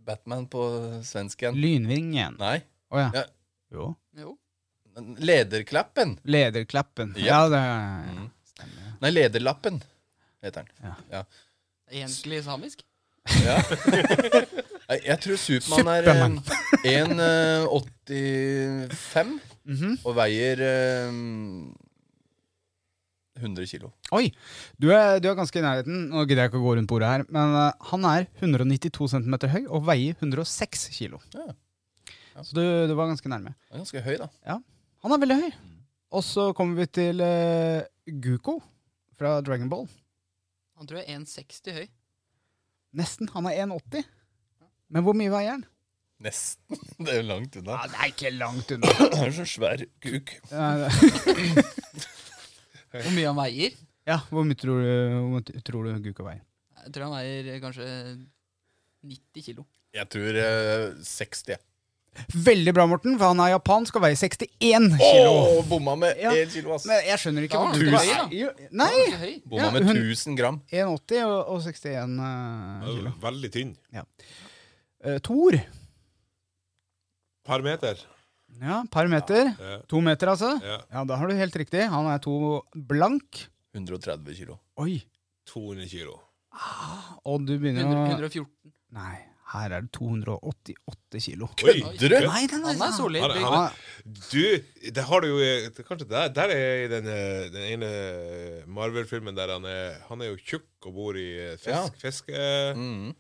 Speaker 4: Batman på svensk igjen?
Speaker 3: Lynvingen. Å
Speaker 4: Nei.
Speaker 3: ja.
Speaker 4: Ja.
Speaker 3: Jo.
Speaker 5: Jo.
Speaker 4: Lederklappen.
Speaker 3: Lederklappen.
Speaker 4: Ja.
Speaker 3: Ja, det
Speaker 4: Mm.
Speaker 3: stemmer.
Speaker 4: Nei, Lederlappen heter han.
Speaker 5: Egentlig samisk.
Speaker 4: Ja. Nei, Jeg tror Supermann er eh,
Speaker 3: Superman.
Speaker 4: 1,85
Speaker 3: Mhm.
Speaker 4: og veier eh, 100 kilo.
Speaker 3: Oi! Du er, du er ganske i nærheten. Nå gidder jeg ikke å gå rundt bordet her, men eh, han er 192 cm høy og veier 106 kg.
Speaker 4: Ja. Ja.
Speaker 3: Så du, du var ganske nærme.
Speaker 4: Han er ganske høy, da.
Speaker 3: Han er veldig høy. Og så kommer vi til eh, Guko fra Dragon Ball.
Speaker 5: Han tror jeg er 1,60 høy.
Speaker 3: Nesten. Han er 1,80. Men hvor mye veier han?
Speaker 4: Nesten. Det er jo langt unna.
Speaker 3: det er ikke langt unna.
Speaker 4: Han er så svær kuk.
Speaker 5: Hvor mye han veier?
Speaker 3: ja, hvor mye tror du, hvor mye tror du Guko veier?
Speaker 5: Jeg tror han veier eh, kanskje 90 kilo.
Speaker 4: Jeg tror eh, 60. jeg.
Speaker 3: Veldig bra, Morten, for han er japansk og veier 61 kilo.
Speaker 4: Åh, bomma med
Speaker 3: Ja.
Speaker 4: én kilo, ass.
Speaker 3: Men jeg skjønner ikke
Speaker 5: Da
Speaker 3: hva
Speaker 5: var
Speaker 3: du
Speaker 5: han høy, da.
Speaker 3: Jo, Nei!
Speaker 5: Han er ikke høy.
Speaker 4: Bomma
Speaker 3: Ja,
Speaker 4: med
Speaker 3: hun-
Speaker 4: 1000 gram.
Speaker 3: 1,80 og, og 61 eh, kilo.
Speaker 6: Veldig tynn.
Speaker 3: Eh, Tor.
Speaker 6: Par meter. eh,
Speaker 3: Ja, par meter.
Speaker 6: Ja.
Speaker 3: To meter, altså.
Speaker 6: Ja.
Speaker 3: Ja, da har du helt riktig. Han er to blank.
Speaker 4: 130 kilo.
Speaker 3: Oi.
Speaker 6: 200 kilo.
Speaker 3: Og du begynner
Speaker 5: 100,
Speaker 3: å
Speaker 5: 114.
Speaker 3: Nei, her er det 288 kilo.
Speaker 4: Kødder du?
Speaker 3: Nei, den
Speaker 5: Han er sånn. solid.
Speaker 6: Han er-
Speaker 5: bygd.
Speaker 6: han
Speaker 3: Ah,
Speaker 6: Du, det har du jo i- det- Kanskje der, der er i den, eh, den ene Marvel-filmen der han er Han er jo tjukk og bor i eh, fisk,
Speaker 4: Ja.
Speaker 6: fiske... Det
Speaker 4: Mhm.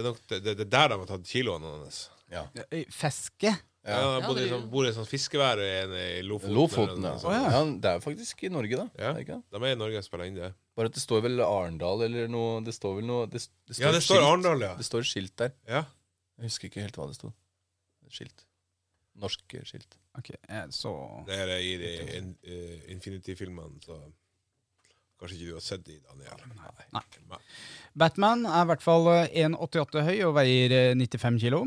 Speaker 6: er nok det, det, det er der de har tatt kiloene hans.
Speaker 4: Ja.
Speaker 3: eh, Feske.
Speaker 6: Ja.
Speaker 4: Ja.
Speaker 6: han
Speaker 5: Ja,
Speaker 6: bodde i
Speaker 5: det-
Speaker 6: sånn, bor i sånn fiskevær i en- i Lofoten.
Speaker 4: Lofoten, ja.
Speaker 6: eller noe sånt.
Speaker 3: Å, ja.
Speaker 4: ja. Det er jo faktisk i Norge, da.
Speaker 6: altså. Ja.
Speaker 4: Er det ikke det?
Speaker 6: De er i Norge og spiller inn det.
Speaker 4: Bare at det står vel Arendal eller noe Det står vel noe Det, det
Speaker 6: Ja, det
Speaker 4: et
Speaker 6: står
Speaker 4: skilt.
Speaker 6: Arendal, ja.
Speaker 4: Det står et skilt der.
Speaker 6: ja.
Speaker 4: Jeg husker ikke helt hva det sto. Et Skilt. Norsk eh, skilt.
Speaker 3: Ok, eh, så
Speaker 6: Det her er i de in, eh, Infinity-filmene, så Kanskje ikke du har sett de, Daniel.
Speaker 3: Nei.
Speaker 6: Nei.
Speaker 3: Batman er i hvert fall eh, 1,88 høy og veier eh, 95 kilo.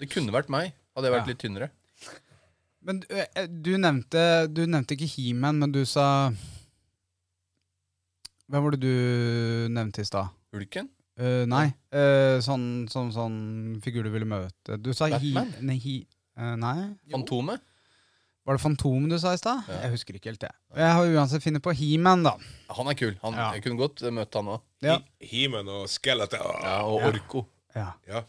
Speaker 4: Det kunne vært meg, hadde jeg vært
Speaker 3: Ja.
Speaker 4: litt tynnere.
Speaker 3: Men du, eh, du, nevnte, du nevnte ikke He-Man, men du sa Hvem var det du nevnte i stad?
Speaker 4: Hulken?
Speaker 3: Eh, nei, eh, sånn, sånn, sånn figur du ville møte. Du sa He...
Speaker 4: Batman?
Speaker 3: Nei, he eh, nei.
Speaker 4: Fantomet?
Speaker 3: Var det Fantomet du sa i stad?
Speaker 4: Ja.
Speaker 3: Jeg husker ikke helt det. Jeg har uansett funnet på He-Man, da.
Speaker 4: Han er kul. Han,
Speaker 3: Ja.
Speaker 4: Jeg kunne godt eh, møtt han òg.
Speaker 3: Ja.
Speaker 6: He- He-Man og Skeletor.
Speaker 4: Ja, og
Speaker 3: Ja.
Speaker 4: Orko.
Speaker 3: Ja.
Speaker 6: Ja.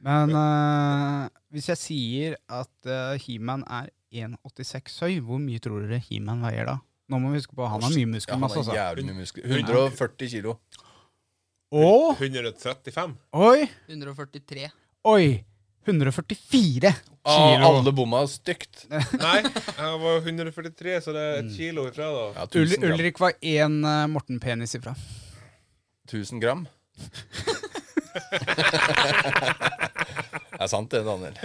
Speaker 3: Men eh, hvis jeg sier at eh, He-Man er 1,86 høy, hvor mye tror dere He-Man veier da? Nå må vi huske på, han har mye
Speaker 4: Ja, han
Speaker 3: muskelmasse,
Speaker 4: har
Speaker 3: altså.
Speaker 4: jævlig mye muskler. 140 kilo.
Speaker 3: Og
Speaker 6: 135.
Speaker 3: oi,
Speaker 5: 143.
Speaker 3: oi! 144!
Speaker 4: Ah,
Speaker 3: Kilo.
Speaker 4: alle bomma stygt.
Speaker 6: Nei, jeg var 143, så det er
Speaker 4: Mm.
Speaker 6: et kilo ifra, da.
Speaker 4: Ja,
Speaker 3: Ul
Speaker 4: 1000 gram.
Speaker 3: Ulrik var én eh, Morten Penis ifra.
Speaker 4: 1000 gram. det er sant det, Daniel.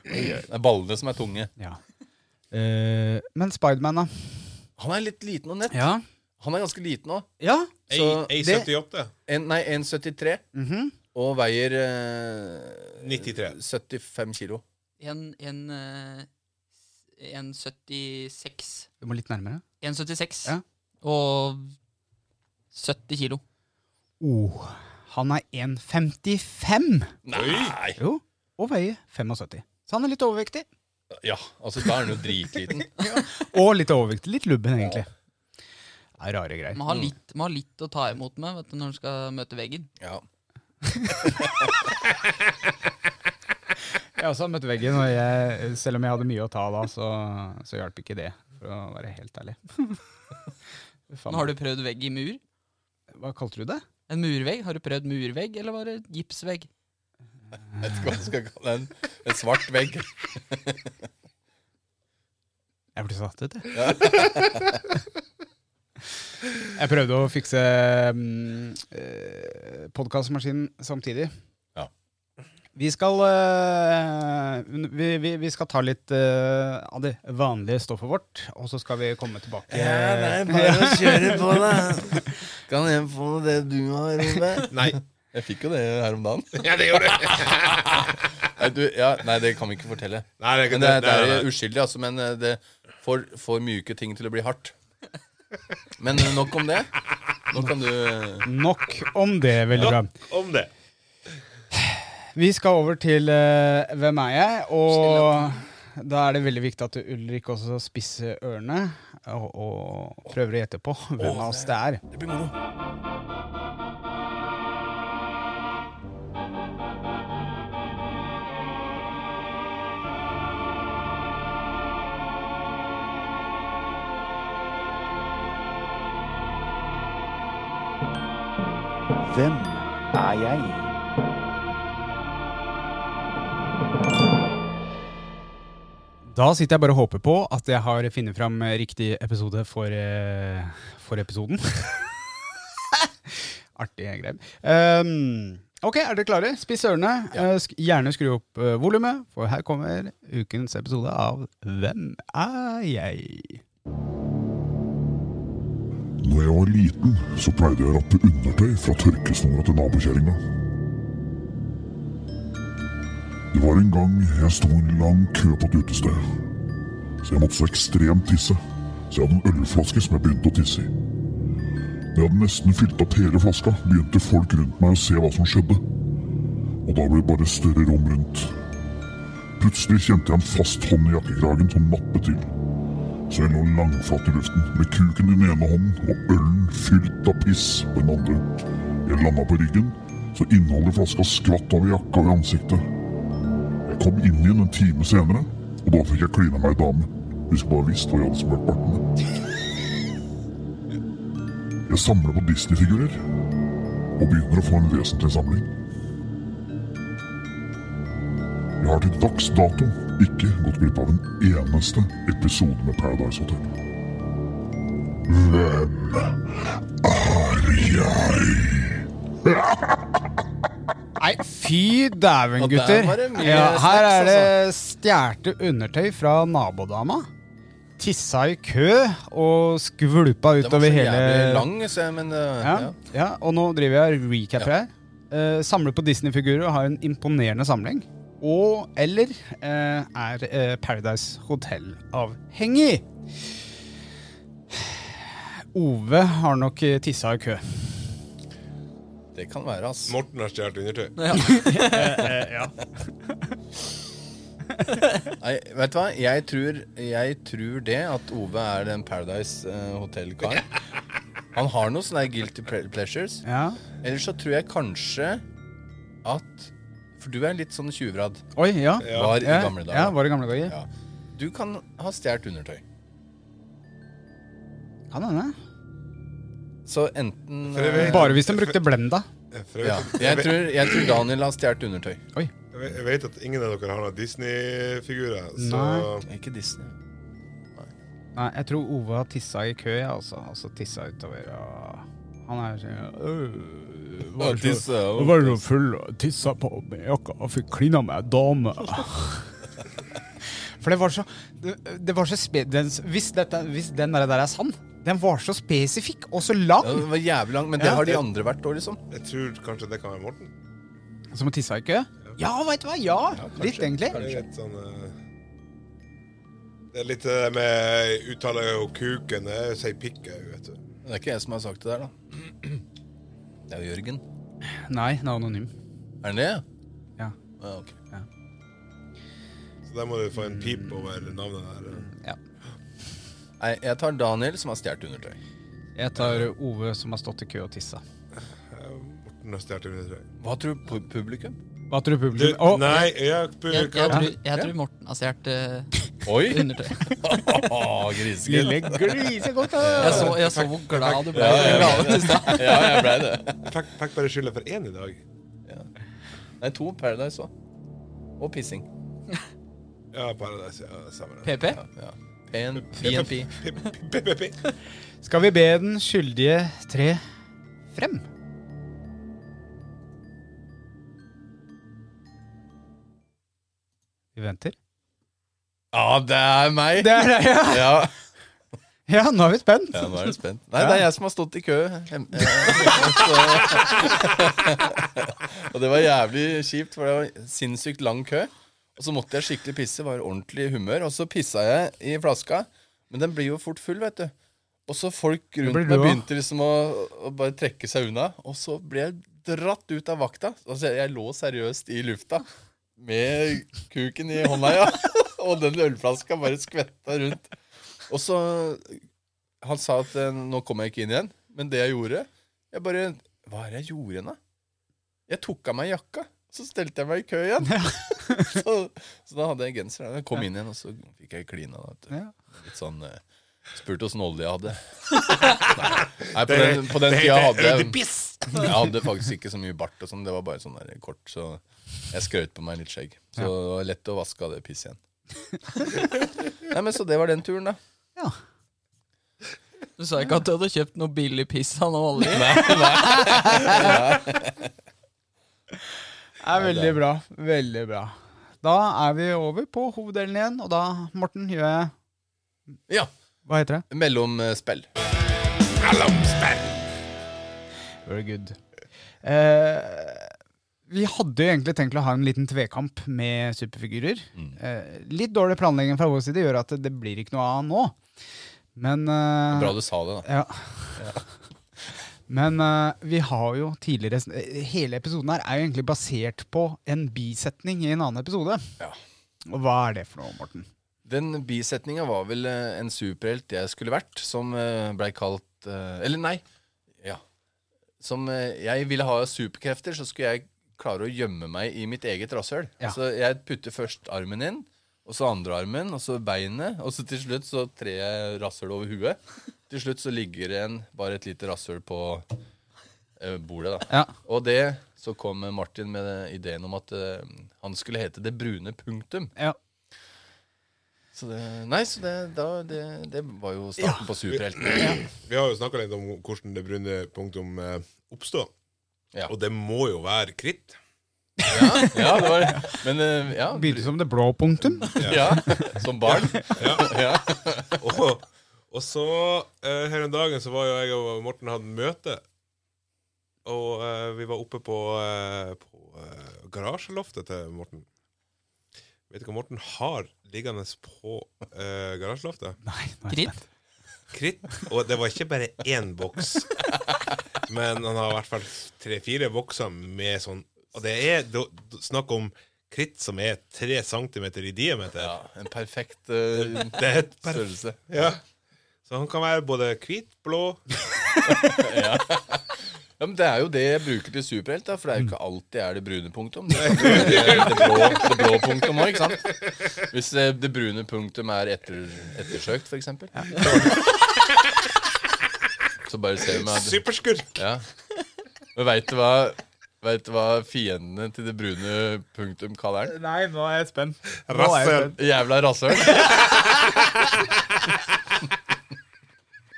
Speaker 4: Det er ballene som er tunge.
Speaker 3: Ja. Eh, men Spiderman, da?
Speaker 4: Han er litt liten og nett.
Speaker 3: Ja.
Speaker 4: Han er ganske liten òg.
Speaker 3: ja.
Speaker 4: Så
Speaker 3: det-
Speaker 6: A78.
Speaker 4: Nei, 1,73
Speaker 3: mhm.
Speaker 4: og veier eh,
Speaker 6: 93.
Speaker 4: 75 kilo.
Speaker 5: En, en, eh, en 76.
Speaker 3: Du må litt nærmere.
Speaker 5: 176
Speaker 3: Ja.
Speaker 5: og 70 kilo.
Speaker 3: Oh, han er 1,55
Speaker 4: Nei!
Speaker 3: Jo, og veier 75. Så han er litt overvektig.
Speaker 4: Ja, altså da er han jo dritliten.
Speaker 3: Og litt overvektig. Litt lubben, egentlig. Det er rare greier.
Speaker 5: Man
Speaker 6: Mm.
Speaker 5: har litt, man har litt å ta imot med vet du, når man skal møte veggen.
Speaker 4: Ja.
Speaker 3: Jeg har også møtt veggen, og jeg, selv om jeg hadde mye å ta da, så, så hjalp ikke det. For å være helt ærlig. Faen,
Speaker 5: Men har du prøvd vegg i mur?
Speaker 3: Hva kalte du det?
Speaker 5: En murvegg? Har du prøvd murvegg, eller var det gipsvegg?
Speaker 4: Jeg vet ikke hva du skal kalle den. En svart vegg.
Speaker 3: Jeg ble satt ut, jeg. jeg prøvde å fikse mm, eh, podkastmaskinen samtidig.
Speaker 4: Ja.
Speaker 3: Vi skal, eh, vi, vi, vi skal ta litt eh, av det vanlige stoffet vårt, og så skal vi komme tilbake.
Speaker 4: Eh, bare å kjøre på, da. Kan jeg få det du har, Rune? Nei. Jeg fikk jo det her om dagen.
Speaker 6: Ja, det gjorde jeg.
Speaker 4: Nei, du, ja, nei det kan vi ikke fortelle.
Speaker 6: Nei, det,
Speaker 4: Men det, det er uskyldig, altså. Men eh, det får, får myke ting til å bli hardt. Men eh, nok om det. Nå kan du eh,
Speaker 3: Nok om det, veldig bra.
Speaker 6: Om det.
Speaker 3: Vi skal over til eh, Hvem er jeg? Og da er det veldig viktig at Ulrik også spisser ørene og, og prøver å gjette på hvem av oss det er.
Speaker 4: Det blir moro.
Speaker 7: Hvem er jeg?
Speaker 3: Da sitter jeg bare og håper på at jeg har funnet fram eh, riktig episode for, eh, for episoden. Artig greie. Um, ok, er dere klare? Spiss ørene. Eh, sk gjerne skru opp uh, volumet, for her kommer ukens episode av Hvem er jeg?
Speaker 8: Når jeg var liten, så pleide jeg å rappe undertøy fra tørkesnora til nabokjerringa. Det var en gang jeg sto i en lang kø på et utested. Så jeg måtte så ekstremt tisse. Så jeg hadde en ølflaske som jeg begynte å tisse i. Når jeg hadde nesten fylt opp hele flaska, begynte folk rundt meg å se hva som skjedde. Og da ble det bare større rom rundt. Plutselig kjente jeg en fast hånd i jakkekragen som nappet til. Så jeg lå langflat i luften, med kuken i den ene hånden og ølen fylt av piss på den andre. Jeg landa på ryggen, så innholdet i flaska skvatt over jakka og i ansiktet. Jeg kom inn igjen en time senere, og da fikk jeg klina meg ei dame. Hvis jeg bare visste hva jeg hadde smurt barten med. Jeg samler på Disney-figurer, og begynner å få en vesentlig samling. Jeg har til dags dato ikke gått glipp av en eneste episode med Paradise Hotel. Hvem er jeg?
Speaker 3: Nei, fy dæven,
Speaker 4: Og der
Speaker 3: gutter.
Speaker 4: var det mye
Speaker 3: Ja, her
Speaker 4: snacks, altså.
Speaker 3: er det stjerte undertøy fra nabodama. Tissa i kø og skvulpa
Speaker 4: Den var
Speaker 3: utover
Speaker 4: så
Speaker 3: hele
Speaker 4: jævlig lang, så jeg, men eh,
Speaker 3: ja,
Speaker 4: ja.
Speaker 3: ja, og nå driver jeg og recaper her. Eh, samler på Disney-figurer og har en imponerende samling. Og eller eh, er eh, Paradise Hotel-avhengig. Ove har nok eh, tissa i kø.
Speaker 4: Det kan være, ass.
Speaker 6: Morten har stjålet undertøy.
Speaker 5: Ja.
Speaker 4: Nei, vet du hva? Jeg tror, jeg tror det at Ove er den Paradise eh, Hotel-karen. Han har noen sånne guilty ple- pleasures.
Speaker 3: Ja.
Speaker 4: Ellers så tror jeg kanskje at For du er litt sånn tjuvradd.
Speaker 3: Oi, ja.
Speaker 4: Var i
Speaker 3: Ja,
Speaker 4: gamle dager.
Speaker 3: Ja, var i gamle dager.
Speaker 4: Ja. Du kan ha stjålet undertøy.
Speaker 3: Kan hende.
Speaker 4: Så enten eh,
Speaker 6: For jeg vet-
Speaker 3: Bare hvis de brukte Blenda.
Speaker 6: For jeg
Speaker 4: ja.
Speaker 6: vet,
Speaker 4: jeg, tror, jeg tror Daniel har stjålet undertøy.
Speaker 6: jeg vet- jeg vet at ingen av dere har noen Disney-figurer, så
Speaker 4: Ikke Disney.
Speaker 3: Nei, jeg tror Ove har tissa i kø, jeg, altså. Altså tissa utover og Han er sånn øh, var så- Jeg var jo full og tissa på meg jakka og fikk klina med ei dame. For det var så, det, det var så spe, den, hvis, dette, hvis den der, der er sann, den var så spesifikk og så
Speaker 4: Ja,
Speaker 3: lang
Speaker 4: det var jævlig lang, men det
Speaker 3: Ja.
Speaker 4: har de andre vært år, liksom.
Speaker 6: jeg tror kanskje det kan være Morten.
Speaker 3: som å tisse i kø. Ja, veit du hva! Ja, litt, egentlig.
Speaker 6: Det er litt sånn eh, Det er litt det der med uttale og kuken. Jeg sier pikke, vet du.
Speaker 4: Det er ikke jeg som har sagt det der, da. Det er jo Jørgen.
Speaker 3: Nei, den er anonym.
Speaker 4: Er han det?
Speaker 3: Ja.
Speaker 4: ja ok.
Speaker 6: Så der må du få en pip over navnet der. eh,
Speaker 4: Nei, jeg tar Daniel, som har stjålet undertøy.
Speaker 3: Jeg tar Ove som har stått i kø og tissa.
Speaker 6: Eh, Morten har stjålet undertøy.
Speaker 4: Hva tror du pu- publikum?
Speaker 3: Hva tror du
Speaker 6: Du,
Speaker 3: publikum Å,
Speaker 6: nei, jeg,
Speaker 5: Jeg, jeg, tror,
Speaker 4: Ja.
Speaker 5: jeg tror Morten har stjålet eh,
Speaker 4: Oi!
Speaker 5: undertøy.
Speaker 4: Grisegull.
Speaker 3: lille grisegodt!
Speaker 5: Jeg så, jeg så hvor glad du ble.
Speaker 4: Ja, ja, ja.
Speaker 5: i stad.
Speaker 4: Ja, jeg blei det.
Speaker 6: fikk, fikk bare skylda for én i dag.
Speaker 4: Nei, to Paradise òg. Og pissing.
Speaker 6: Ja, Paradise. Ja, stemmer det.
Speaker 5: PP?
Speaker 4: Ja. PN, PNP.
Speaker 6: Pip, pip, pip.
Speaker 3: Skal vi be den skyldige tre frem? Vi venter.
Speaker 4: Ja, det er meg!
Speaker 3: Det er det, ja!
Speaker 4: Ja.
Speaker 3: Ja, nå er vi spent.
Speaker 4: ja, nå er jeg spent. Nei, det er jeg som har stått i kø. eh, Hem- Så- Og det var jævlig kjipt, for det var sinnssykt lang kø. Og så måtte jeg skikkelig pisse, var i ordentlig humør. Og så pissa jeg i flaska, men den blir jo fort full, vet du. Og så folk rundt
Speaker 3: blir
Speaker 4: meg
Speaker 3: du også.
Speaker 4: begynte liksom å, å bare trekke seg unna. Og så ble jeg dratt ut av vakta. Altså, jeg, jeg lå seriøst i lufta med kuken i hånda, ja. Og den ølflaska bare skvetta rundt. Og så Han sa at eh, nå kommer jeg ikke inn igjen. Men det jeg gjorde Jeg bare Hva er det jeg gjorde igjen, da? Jeg tok av meg jakka, så stelte jeg meg i kø igjen. så, så da hadde jeg genser. Jeg kom inn igjen, og så fikk jeg klina. Da, vet du.
Speaker 3: Ja.
Speaker 4: Litt sånn eh, Spurte åssen olje jeg hadde. Nei, på den, på den
Speaker 6: det
Speaker 4: tida
Speaker 6: heter
Speaker 4: hadde jeg
Speaker 6: Ødepiss!
Speaker 4: Jeg hadde faktisk ikke så mye bart og sånn, det var bare sånn der kort, så jeg skrøt på meg litt skjegg. Så det var lett å vaske av det pisset igjen. Nei, men Så det var den turen, da.
Speaker 5: Du sa ikke at du hadde kjøpt noe billig piss av noe olje?
Speaker 3: Det er veldig bra. Veldig bra. Da er vi over på hoveddelen igjen, og da, Morten, gjør jeg
Speaker 4: Ja.
Speaker 3: Hva heter det?
Speaker 4: Mellomspill.
Speaker 3: Very good. Eh, vi hadde jo egentlig tenkt å ha en liten tvekamp med superfigurer.
Speaker 4: Mm.
Speaker 3: Eh, litt dårlig planlegging fra vår side gjør at det blir ikke noe av nå. Men eh,
Speaker 4: Bra du sa det, da.
Speaker 3: Ja. Men eh, vi har jo tidligere sn- eh, Hele episoden her er jo egentlig basert på en bisetning i en annen episode.
Speaker 4: Ja.
Speaker 3: Og hva er det for noe, Morten?
Speaker 4: Den bisetninga var vel eh, en superhelt jeg skulle vært, som eh, blei kalt eh, Eller nei. Ja. Som eh, jeg ville ha superkrefter, så skulle jeg klare å gjemme meg i mitt eget rasshøl.
Speaker 3: Ja.
Speaker 4: Så jeg putter først armen inn, og så andre armen, og så beinet, og så til slutt så trer jeg rasshøl over huet. Til slutt så ligger det igjen bare et lite rasshøl på eh, bordet, da.
Speaker 3: Ja.
Speaker 4: Og det så kom eh, Martin med eh, ideen om at eh, han skulle hete Det brune punktum.
Speaker 3: Ja.
Speaker 4: Så det, nei, så det, da, det, det var jo starten på superhelten.
Speaker 6: Vi har jo snakka litt om hvordan det brune punktum eh, oppstår.
Speaker 4: Ja.
Speaker 6: Og det må jo være kritt.
Speaker 4: Ja, det var, men eh, ja,
Speaker 3: Begynte som det blå punktum.
Speaker 4: ja, som barn. Ja.
Speaker 6: Og, og så, eh, her om dagen, så var jo jeg og Morten hadde møte. Og eh, vi var oppe på, eh, på eh, garasjeloftet til Morten. Vet du hva Morten har liggende på eh, garasjeloftet?
Speaker 3: Nei, nei.
Speaker 5: Kritt?
Speaker 6: kritt. Og det var ikke bare én boks, men han har i hvert fall tre-fire bokser med sånn Og det er da- da- snakk om kritt som er tre centimeter i diameter.
Speaker 4: ja, en perfekt eh,
Speaker 6: Det er et per-
Speaker 4: størrelse.
Speaker 6: ja. Så han kan være både hvit, blå
Speaker 4: Ja, men Det er jo det jeg bruker til superhelt, da, for det er jo ikke alltid er det brune punktum. Det, kan være det, det, blå, det blå punktum òg, ikke sant? Hvis det, det brune punktum er etter, ettersøkt, for eksempel. Så bare ser vi meg
Speaker 6: superskurk.
Speaker 4: Ja. Men veit du hva Vet du hva fiendene til det brune punktum kaller den?
Speaker 3: Nei, nå er jeg spent.
Speaker 6: Rasshøl.
Speaker 4: Jævla rasshøl.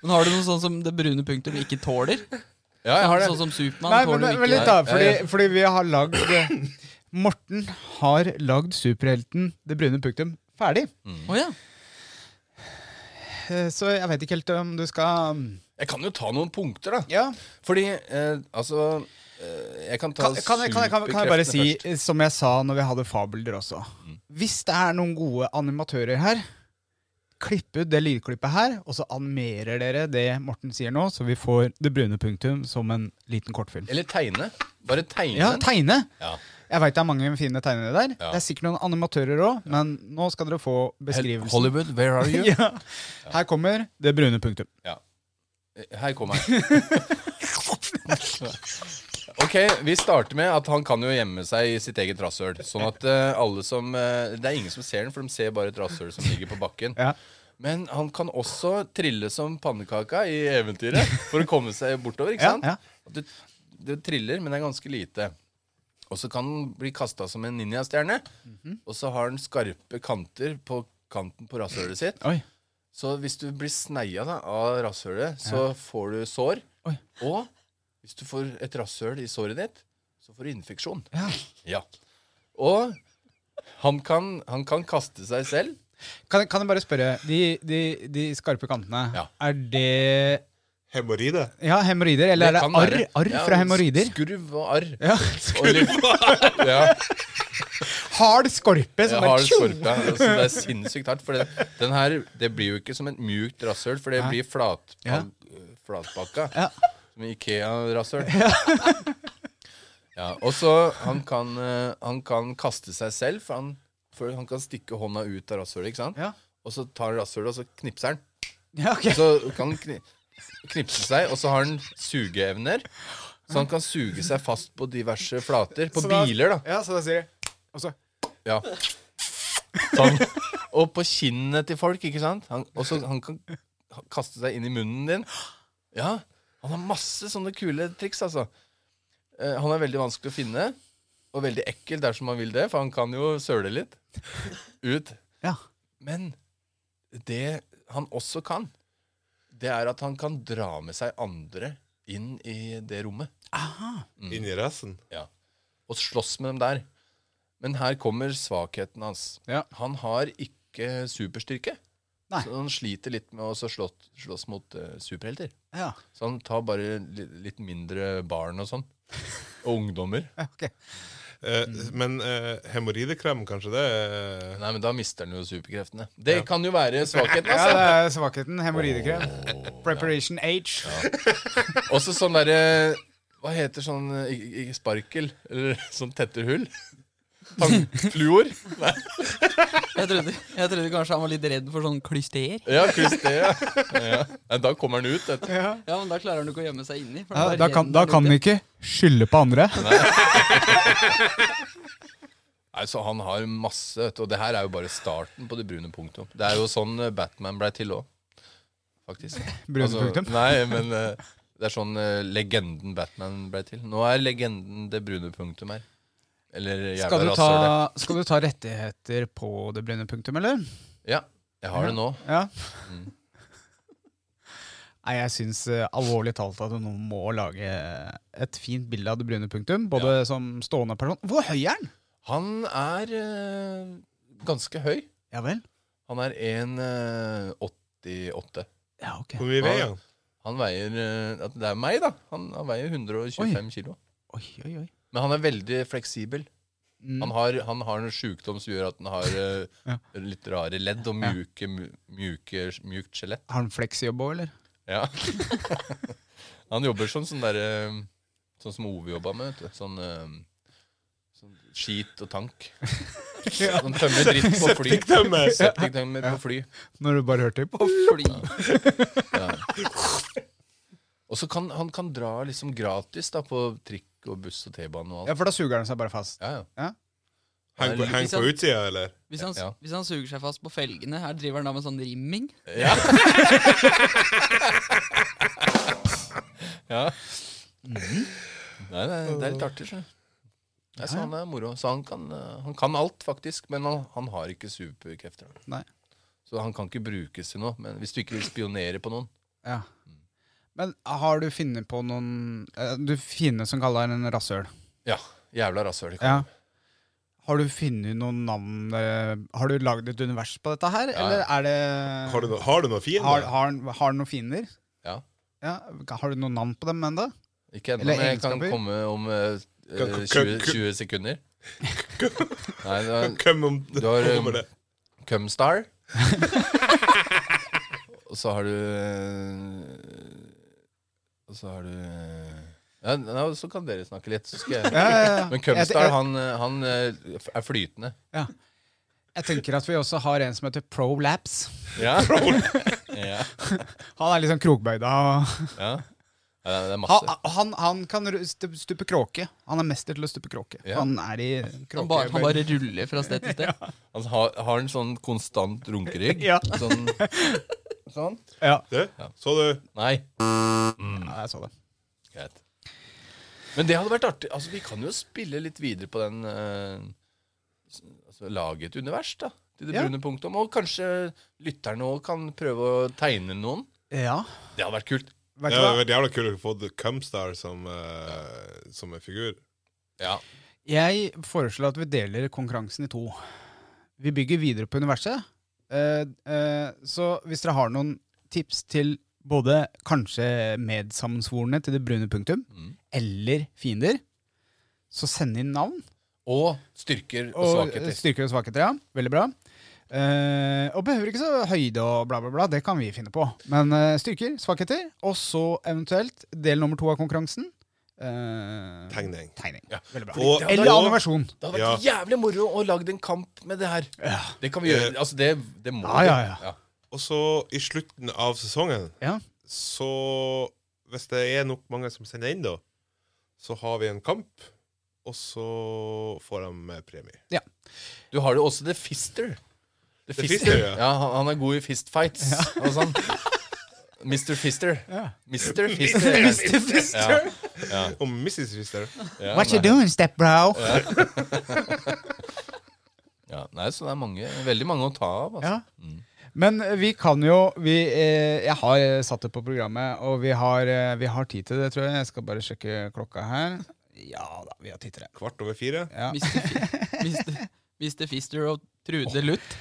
Speaker 5: Men har du noe sånn som det brune punktum ikke tåler?
Speaker 4: Ja, jeg har det.
Speaker 5: Sånn som Supermann
Speaker 3: Nei, men,
Speaker 5: tåler
Speaker 3: men,
Speaker 5: jo
Speaker 3: litt
Speaker 5: ikke
Speaker 3: da,
Speaker 5: det.
Speaker 3: fordi,
Speaker 4: Ja, ja.
Speaker 3: fordi vi har lagd eh, Morten har lagd superhelten Det brune punktum ferdig.
Speaker 5: Å ja.
Speaker 3: Eh, Så jeg vet ikke helt om du skal mm,
Speaker 4: Jeg kan jo ta noen punkter, da.
Speaker 3: Ja,
Speaker 4: Fordi, eh, altså eh, Jeg kan
Speaker 3: kan,
Speaker 4: ta
Speaker 3: kan, jeg- kan, jeg- kan, jeg- kan jeg bare si,
Speaker 4: superkreftene først. Mm.
Speaker 3: eh, som jeg sa når vi hadde fabeldyr også Hvis det er noen gode animatører her, klipp ut det lydklippet her, og så animerer dere det Morten sier nå, så vi får det brune punktum som en liten kortfilm.
Speaker 4: Eller tegne. Bare tegne.
Speaker 3: Ja, tegne!
Speaker 4: Ja.
Speaker 3: Jeg veit det er mange fine tegnere der.
Speaker 4: Ja.
Speaker 3: Det er sikkert noen animatører òg, men nå skal dere få beskrivelsen.
Speaker 4: Hollywood, where are you?
Speaker 3: Ja. Her kommer det brune punktum.
Speaker 4: Her kommer han. Ok, Vi starter med at han kan jo gjemme seg i sitt eget rasshøl. Sånn at eh, alle som eh, Det er ingen som ser den, for de ser bare et rasshøl som ligger på bakken.
Speaker 3: Ja.
Speaker 4: Men han kan også trille som pannekaka i eventyret for å komme seg bortover. ikke
Speaker 3: Ja,
Speaker 4: sant?
Speaker 3: ja.
Speaker 4: At Du, du triller, men det er ganske lite. Og så kan den bli kasta som en ninjastjerne.
Speaker 3: Mhm.
Speaker 4: Og så har den skarpe kanter på kanten på rasshølet sitt.
Speaker 3: Oi.
Speaker 4: Så hvis du blir sneia da, av rasshølet, så får du sår.
Speaker 3: Oi.
Speaker 4: Og hvis du får et rasshøl i såret ditt, så får du infeksjon.
Speaker 3: Ja.
Speaker 4: Ja. Og han kan, han kan kaste seg selv.
Speaker 3: Kan, jeg- kan jeg bare spørre, de, de, de skarpe kantene,
Speaker 4: Ja.
Speaker 3: er det
Speaker 6: Hemoroide.
Speaker 3: Ja, hemoroider? Eller er det
Speaker 4: kan
Speaker 3: arr,
Speaker 4: være-
Speaker 3: arr
Speaker 4: Ja,
Speaker 3: fra hemoroider?
Speaker 4: Skurv og arr.
Speaker 3: Ja.
Speaker 4: Og litt- ja,
Speaker 3: Hard skorpe
Speaker 4: jeg
Speaker 3: som
Speaker 4: har
Speaker 3: bare
Speaker 4: det skorpe. Altså, det er sinnssykt hardt. For det, den her, det blir jo ikke som et mjukt rasshøl, for det blir flat,
Speaker 3: Ja.
Speaker 4: flatpakka.
Speaker 3: Ja.
Speaker 4: Som Ikea-rasshøl. Ja, og så han, kan, eh, han kan kaste seg selv, for han, for han kan stikke hånda ut av rasshølet. ikke sant?
Speaker 3: Ja.
Speaker 4: Og så tar han rasshølet, og så knipser han.
Speaker 3: Ja, ok.
Speaker 4: Så kan han kni knipse seg, og så har han sugeevner. Så han kan suge seg fast på diverse flater. På
Speaker 3: Så da-
Speaker 4: biler, da.
Speaker 3: Ja, så da sier jeg Og så
Speaker 4: Ja. Sånn. Og på kinnet til folk, ikke sant? Han, og så han kan kaste seg inn i munnen din. Ja, han har masse sånne kule triks, altså. Eh, han er veldig vanskelig å finne, og veldig ekkel dersom han vil det, for han kan jo søle litt ut.
Speaker 3: Ja.
Speaker 4: Men det han også kan, det er at han kan dra med seg andre inn i det rommet
Speaker 6: Inn i rassen.
Speaker 4: og slåss med dem der. Men her kommer svakheten hans.
Speaker 3: Ja.
Speaker 4: Han har ikke superstyrke.
Speaker 3: Nei.
Speaker 4: Så han sliter litt med å så slå, slåss mot eh, superhelter.
Speaker 3: Ja.
Speaker 4: Så han tar bare li, litt mindre barn og sånn. Og ungdommer.
Speaker 6: Eh, Men eh, hemoroidekrem, kanskje det? eh,
Speaker 4: Nei, men da mister han jo superkreftene. Det kan jo være svakheten,
Speaker 3: Ja,
Speaker 4: altså.
Speaker 3: det er svakheten. Hemoroidekrem. Preparation H.
Speaker 4: Også sånn derre Hva heter sånn eh, ikke- ikke Sparkel? Eller sånn tetter hull? Tang- Fluor? Nei.
Speaker 5: Jeg trodde, jeg trodde kanskje han var litt redd for sånn klyster.
Speaker 4: Ja, kryss det, ja. ja. Nei, Da kommer han ut. Vet du.
Speaker 3: Ja.
Speaker 5: Ja, men da klarer han ikke å gjemme seg inni. for
Speaker 3: Ja,
Speaker 5: han er
Speaker 3: da
Speaker 5: redd
Speaker 3: kan, da
Speaker 5: der
Speaker 3: kan
Speaker 5: ute.
Speaker 3: vi ikke skylde på andre.
Speaker 4: Nei, så han har masse, vet du. Og det her er jo bare starten på det brune punktum. Det er jo sånn eh, Batman blei til òg, faktisk.
Speaker 3: Brune
Speaker 4: altså,
Speaker 3: punktum.
Speaker 4: Nei, men eh, det er sånn eh, legenden Batman blei til. Nå er legenden det brune punktum her. Eller jævla
Speaker 3: Skal du,
Speaker 4: rasshølet.
Speaker 3: ta, skal du ta rettigheter på det brennende punktum, eller?
Speaker 4: Ja, jeg har det nå.
Speaker 3: Ja.
Speaker 4: Mm.
Speaker 3: Nei, jeg syns eh, alvorlig talt at du nå må lage et fint bilde av det brune punktum. Både som stående person Hvor høy er den?
Speaker 4: Han er eh, ganske høy.
Speaker 3: Ja vel?
Speaker 4: Han er eh, 1,88.
Speaker 3: Ja, ok.
Speaker 6: Hvor mye veier han?
Speaker 4: Han veier eh, at Det er meg, da. Han, han veier 125 kilo.
Speaker 3: Oi, oi, oi.
Speaker 4: Men han er veldig fleksibel.
Speaker 3: Mm.
Speaker 4: Han har, han har en sjukdom som gjør at han har eh,
Speaker 3: Ja.
Speaker 4: litt rare ledd og mjuke, mu- mjuke, mjukt skjelett.
Speaker 3: Har han fleksjobb òg, eller?
Speaker 4: Ja. han jobber som sånn derre Sånn som Ove jobba med. Vet du. Sånn, eh, sånn skit og tank. Han tømmer dritt på fly.
Speaker 6: Septiktømmer.
Speaker 4: Septiktømmer på fly.
Speaker 3: Når du bare hørte på?
Speaker 4: Og så kan han kan dra liksom gratis da på trikk og buss og T-bane og alt.
Speaker 3: Ja, for da suger den seg bare fast.
Speaker 4: Ja, ja.
Speaker 6: Heng på, heng
Speaker 3: sånn.
Speaker 6: på utsida, eller?
Speaker 5: Hvis han,
Speaker 4: Ja.
Speaker 5: hvis han suger seg fast på felgene, her driver han da med sånn rimming.
Speaker 4: Ja. ja. Mm-hmm. Nei, det, er- det er litt artig, skjønner du. Nei, Så han er moro. Så han kan, eh, han kan alt, faktisk, men han, han har ikke superkrefter.
Speaker 3: Nei.
Speaker 4: Så han kan ikke brukes til noe. Men hvis du ikke vil spionere på noen
Speaker 3: Ja.
Speaker 4: Mm.
Speaker 3: Men har du funnet på noen eh, Du finner som kaller den en rasshøl.
Speaker 4: Ja, jævla rasshøl.
Speaker 3: Ja. Har du funnet noen navn eh, Har du lagd et univers på dette her,
Speaker 4: Ja,
Speaker 3: eller
Speaker 4: ja.
Speaker 3: er det
Speaker 6: Har du, no, har du noen
Speaker 3: har,
Speaker 6: fiender?
Speaker 3: har, har du noen fiender?
Speaker 4: Ja.
Speaker 3: Ja, Har du noen navn på dem ennå?
Speaker 4: Ikke ennå,
Speaker 3: Eller
Speaker 4: men jeg kan
Speaker 3: egenskaper.
Speaker 4: komme om eh,
Speaker 6: Kan-
Speaker 4: eh,
Speaker 6: kan-
Speaker 4: 20,
Speaker 6: kan-
Speaker 4: 20 sekunder. Nei, det var
Speaker 6: Hvem om
Speaker 4: Du har,
Speaker 3: eh,
Speaker 6: om
Speaker 4: um,
Speaker 6: det?
Speaker 4: Cumstar. og så har du eh, Og så har du eh, ja, nei, Så kan dere snakke litt. Så skal jeg.
Speaker 3: Ja, ja, ja.
Speaker 4: Men
Speaker 3: Jeg- jeg-
Speaker 4: Cumstar han, eh, han eh, er flytende.
Speaker 3: Jeg tenker at vi også har en som heter Prolapse.
Speaker 4: Ja. ja.
Speaker 3: Han er litt sånn krokbøyda. og-
Speaker 4: ja. Ja, Det er masse.
Speaker 3: Han, han, han kan ru- stu- stupe kråke. Han er mester til å stupe kråke.
Speaker 4: Ja.
Speaker 3: Han er i
Speaker 5: Han bare, han
Speaker 3: kråkebøyda.
Speaker 5: bare ruller fra sted til sted.
Speaker 4: Han har, har en sånn konstant runkerygg.
Speaker 3: Ja.
Speaker 4: Sånn. sånn.
Speaker 3: Ja,
Speaker 6: Du? Så du?
Speaker 4: Nei.
Speaker 3: ja, jeg så det.
Speaker 4: Greit. Men det hadde vært artig. Altså, Vi kan jo spille litt videre på den eh, s- altså, Lage et univers da, til det
Speaker 3: Ja.
Speaker 4: brune punktum. Og kanskje lytterne òg kan prøve å tegne noen.
Speaker 3: Ja,
Speaker 4: Det hadde vært kult.
Speaker 3: vet
Speaker 6: Det
Speaker 3: du
Speaker 6: hadde
Speaker 3: hva?
Speaker 6: vært jævla kult å få The Cumstar som, eh, som en figur.
Speaker 4: Ja,
Speaker 3: Jeg foreslår at vi deler konkurransen i to. Vi bygger videre på universet. Eh, eh, så hvis dere har noen tips til både kanskje medsammensvorne til det brune punktum,
Speaker 4: Mm.
Speaker 3: eller fiender, så send inn navn.
Speaker 4: Og styrker og,
Speaker 3: Og eh,
Speaker 4: svakheter.
Speaker 3: styrker og svakheter, ja. Veldig bra. Eh, og behøver ikke så høyde og bla, bla, bla. Det kan vi finne på. Men eh, styrker, svakheter, og så eventuelt del nummer to av konkurransen. eh,
Speaker 6: Tegning.
Speaker 3: tegning.
Speaker 4: Ja.
Speaker 3: Veldig bra.
Speaker 6: Og,
Speaker 3: Eller
Speaker 6: og-
Speaker 3: animasjon.
Speaker 4: Det hadde vært jævlig moro å lage en kamp med det her. Det kan vi gjøre.
Speaker 6: Eh.
Speaker 4: Altså, det, det må
Speaker 3: Ja,
Speaker 4: vi.
Speaker 3: ja, ja.
Speaker 6: Og så i slutten av sesongen
Speaker 3: Ja.
Speaker 6: Så hvis det er nok mange som sender inn da Så har vi en kamp Og så får de eh, premie
Speaker 4: Du har jo også The Fister. The
Speaker 6: The Fister, ja.
Speaker 4: han, han er god i fistfights og sånn. Mr. Fister.
Speaker 3: Ja.
Speaker 4: Mr. Fister. Mr. Fister.
Speaker 6: Og Mrs. Fister
Speaker 4: Ja,
Speaker 3: What you
Speaker 4: nei.
Speaker 3: doing, stepbro?
Speaker 4: Ja, nei, så det er mange, veldig mange å ta av. Altså.
Speaker 3: Ja. Men eh, vi kan jo vi, eh, Jeg har eh, satt det på programmet, og vi har, eh, vi har tid til det, tror jeg. Jeg skal bare sjekke klokka her. Ja da, vi har tid til det.
Speaker 6: Kvart over fire
Speaker 3: Ja.
Speaker 5: Mr. Fi- Mr. Mr. Fister og Trude Luth.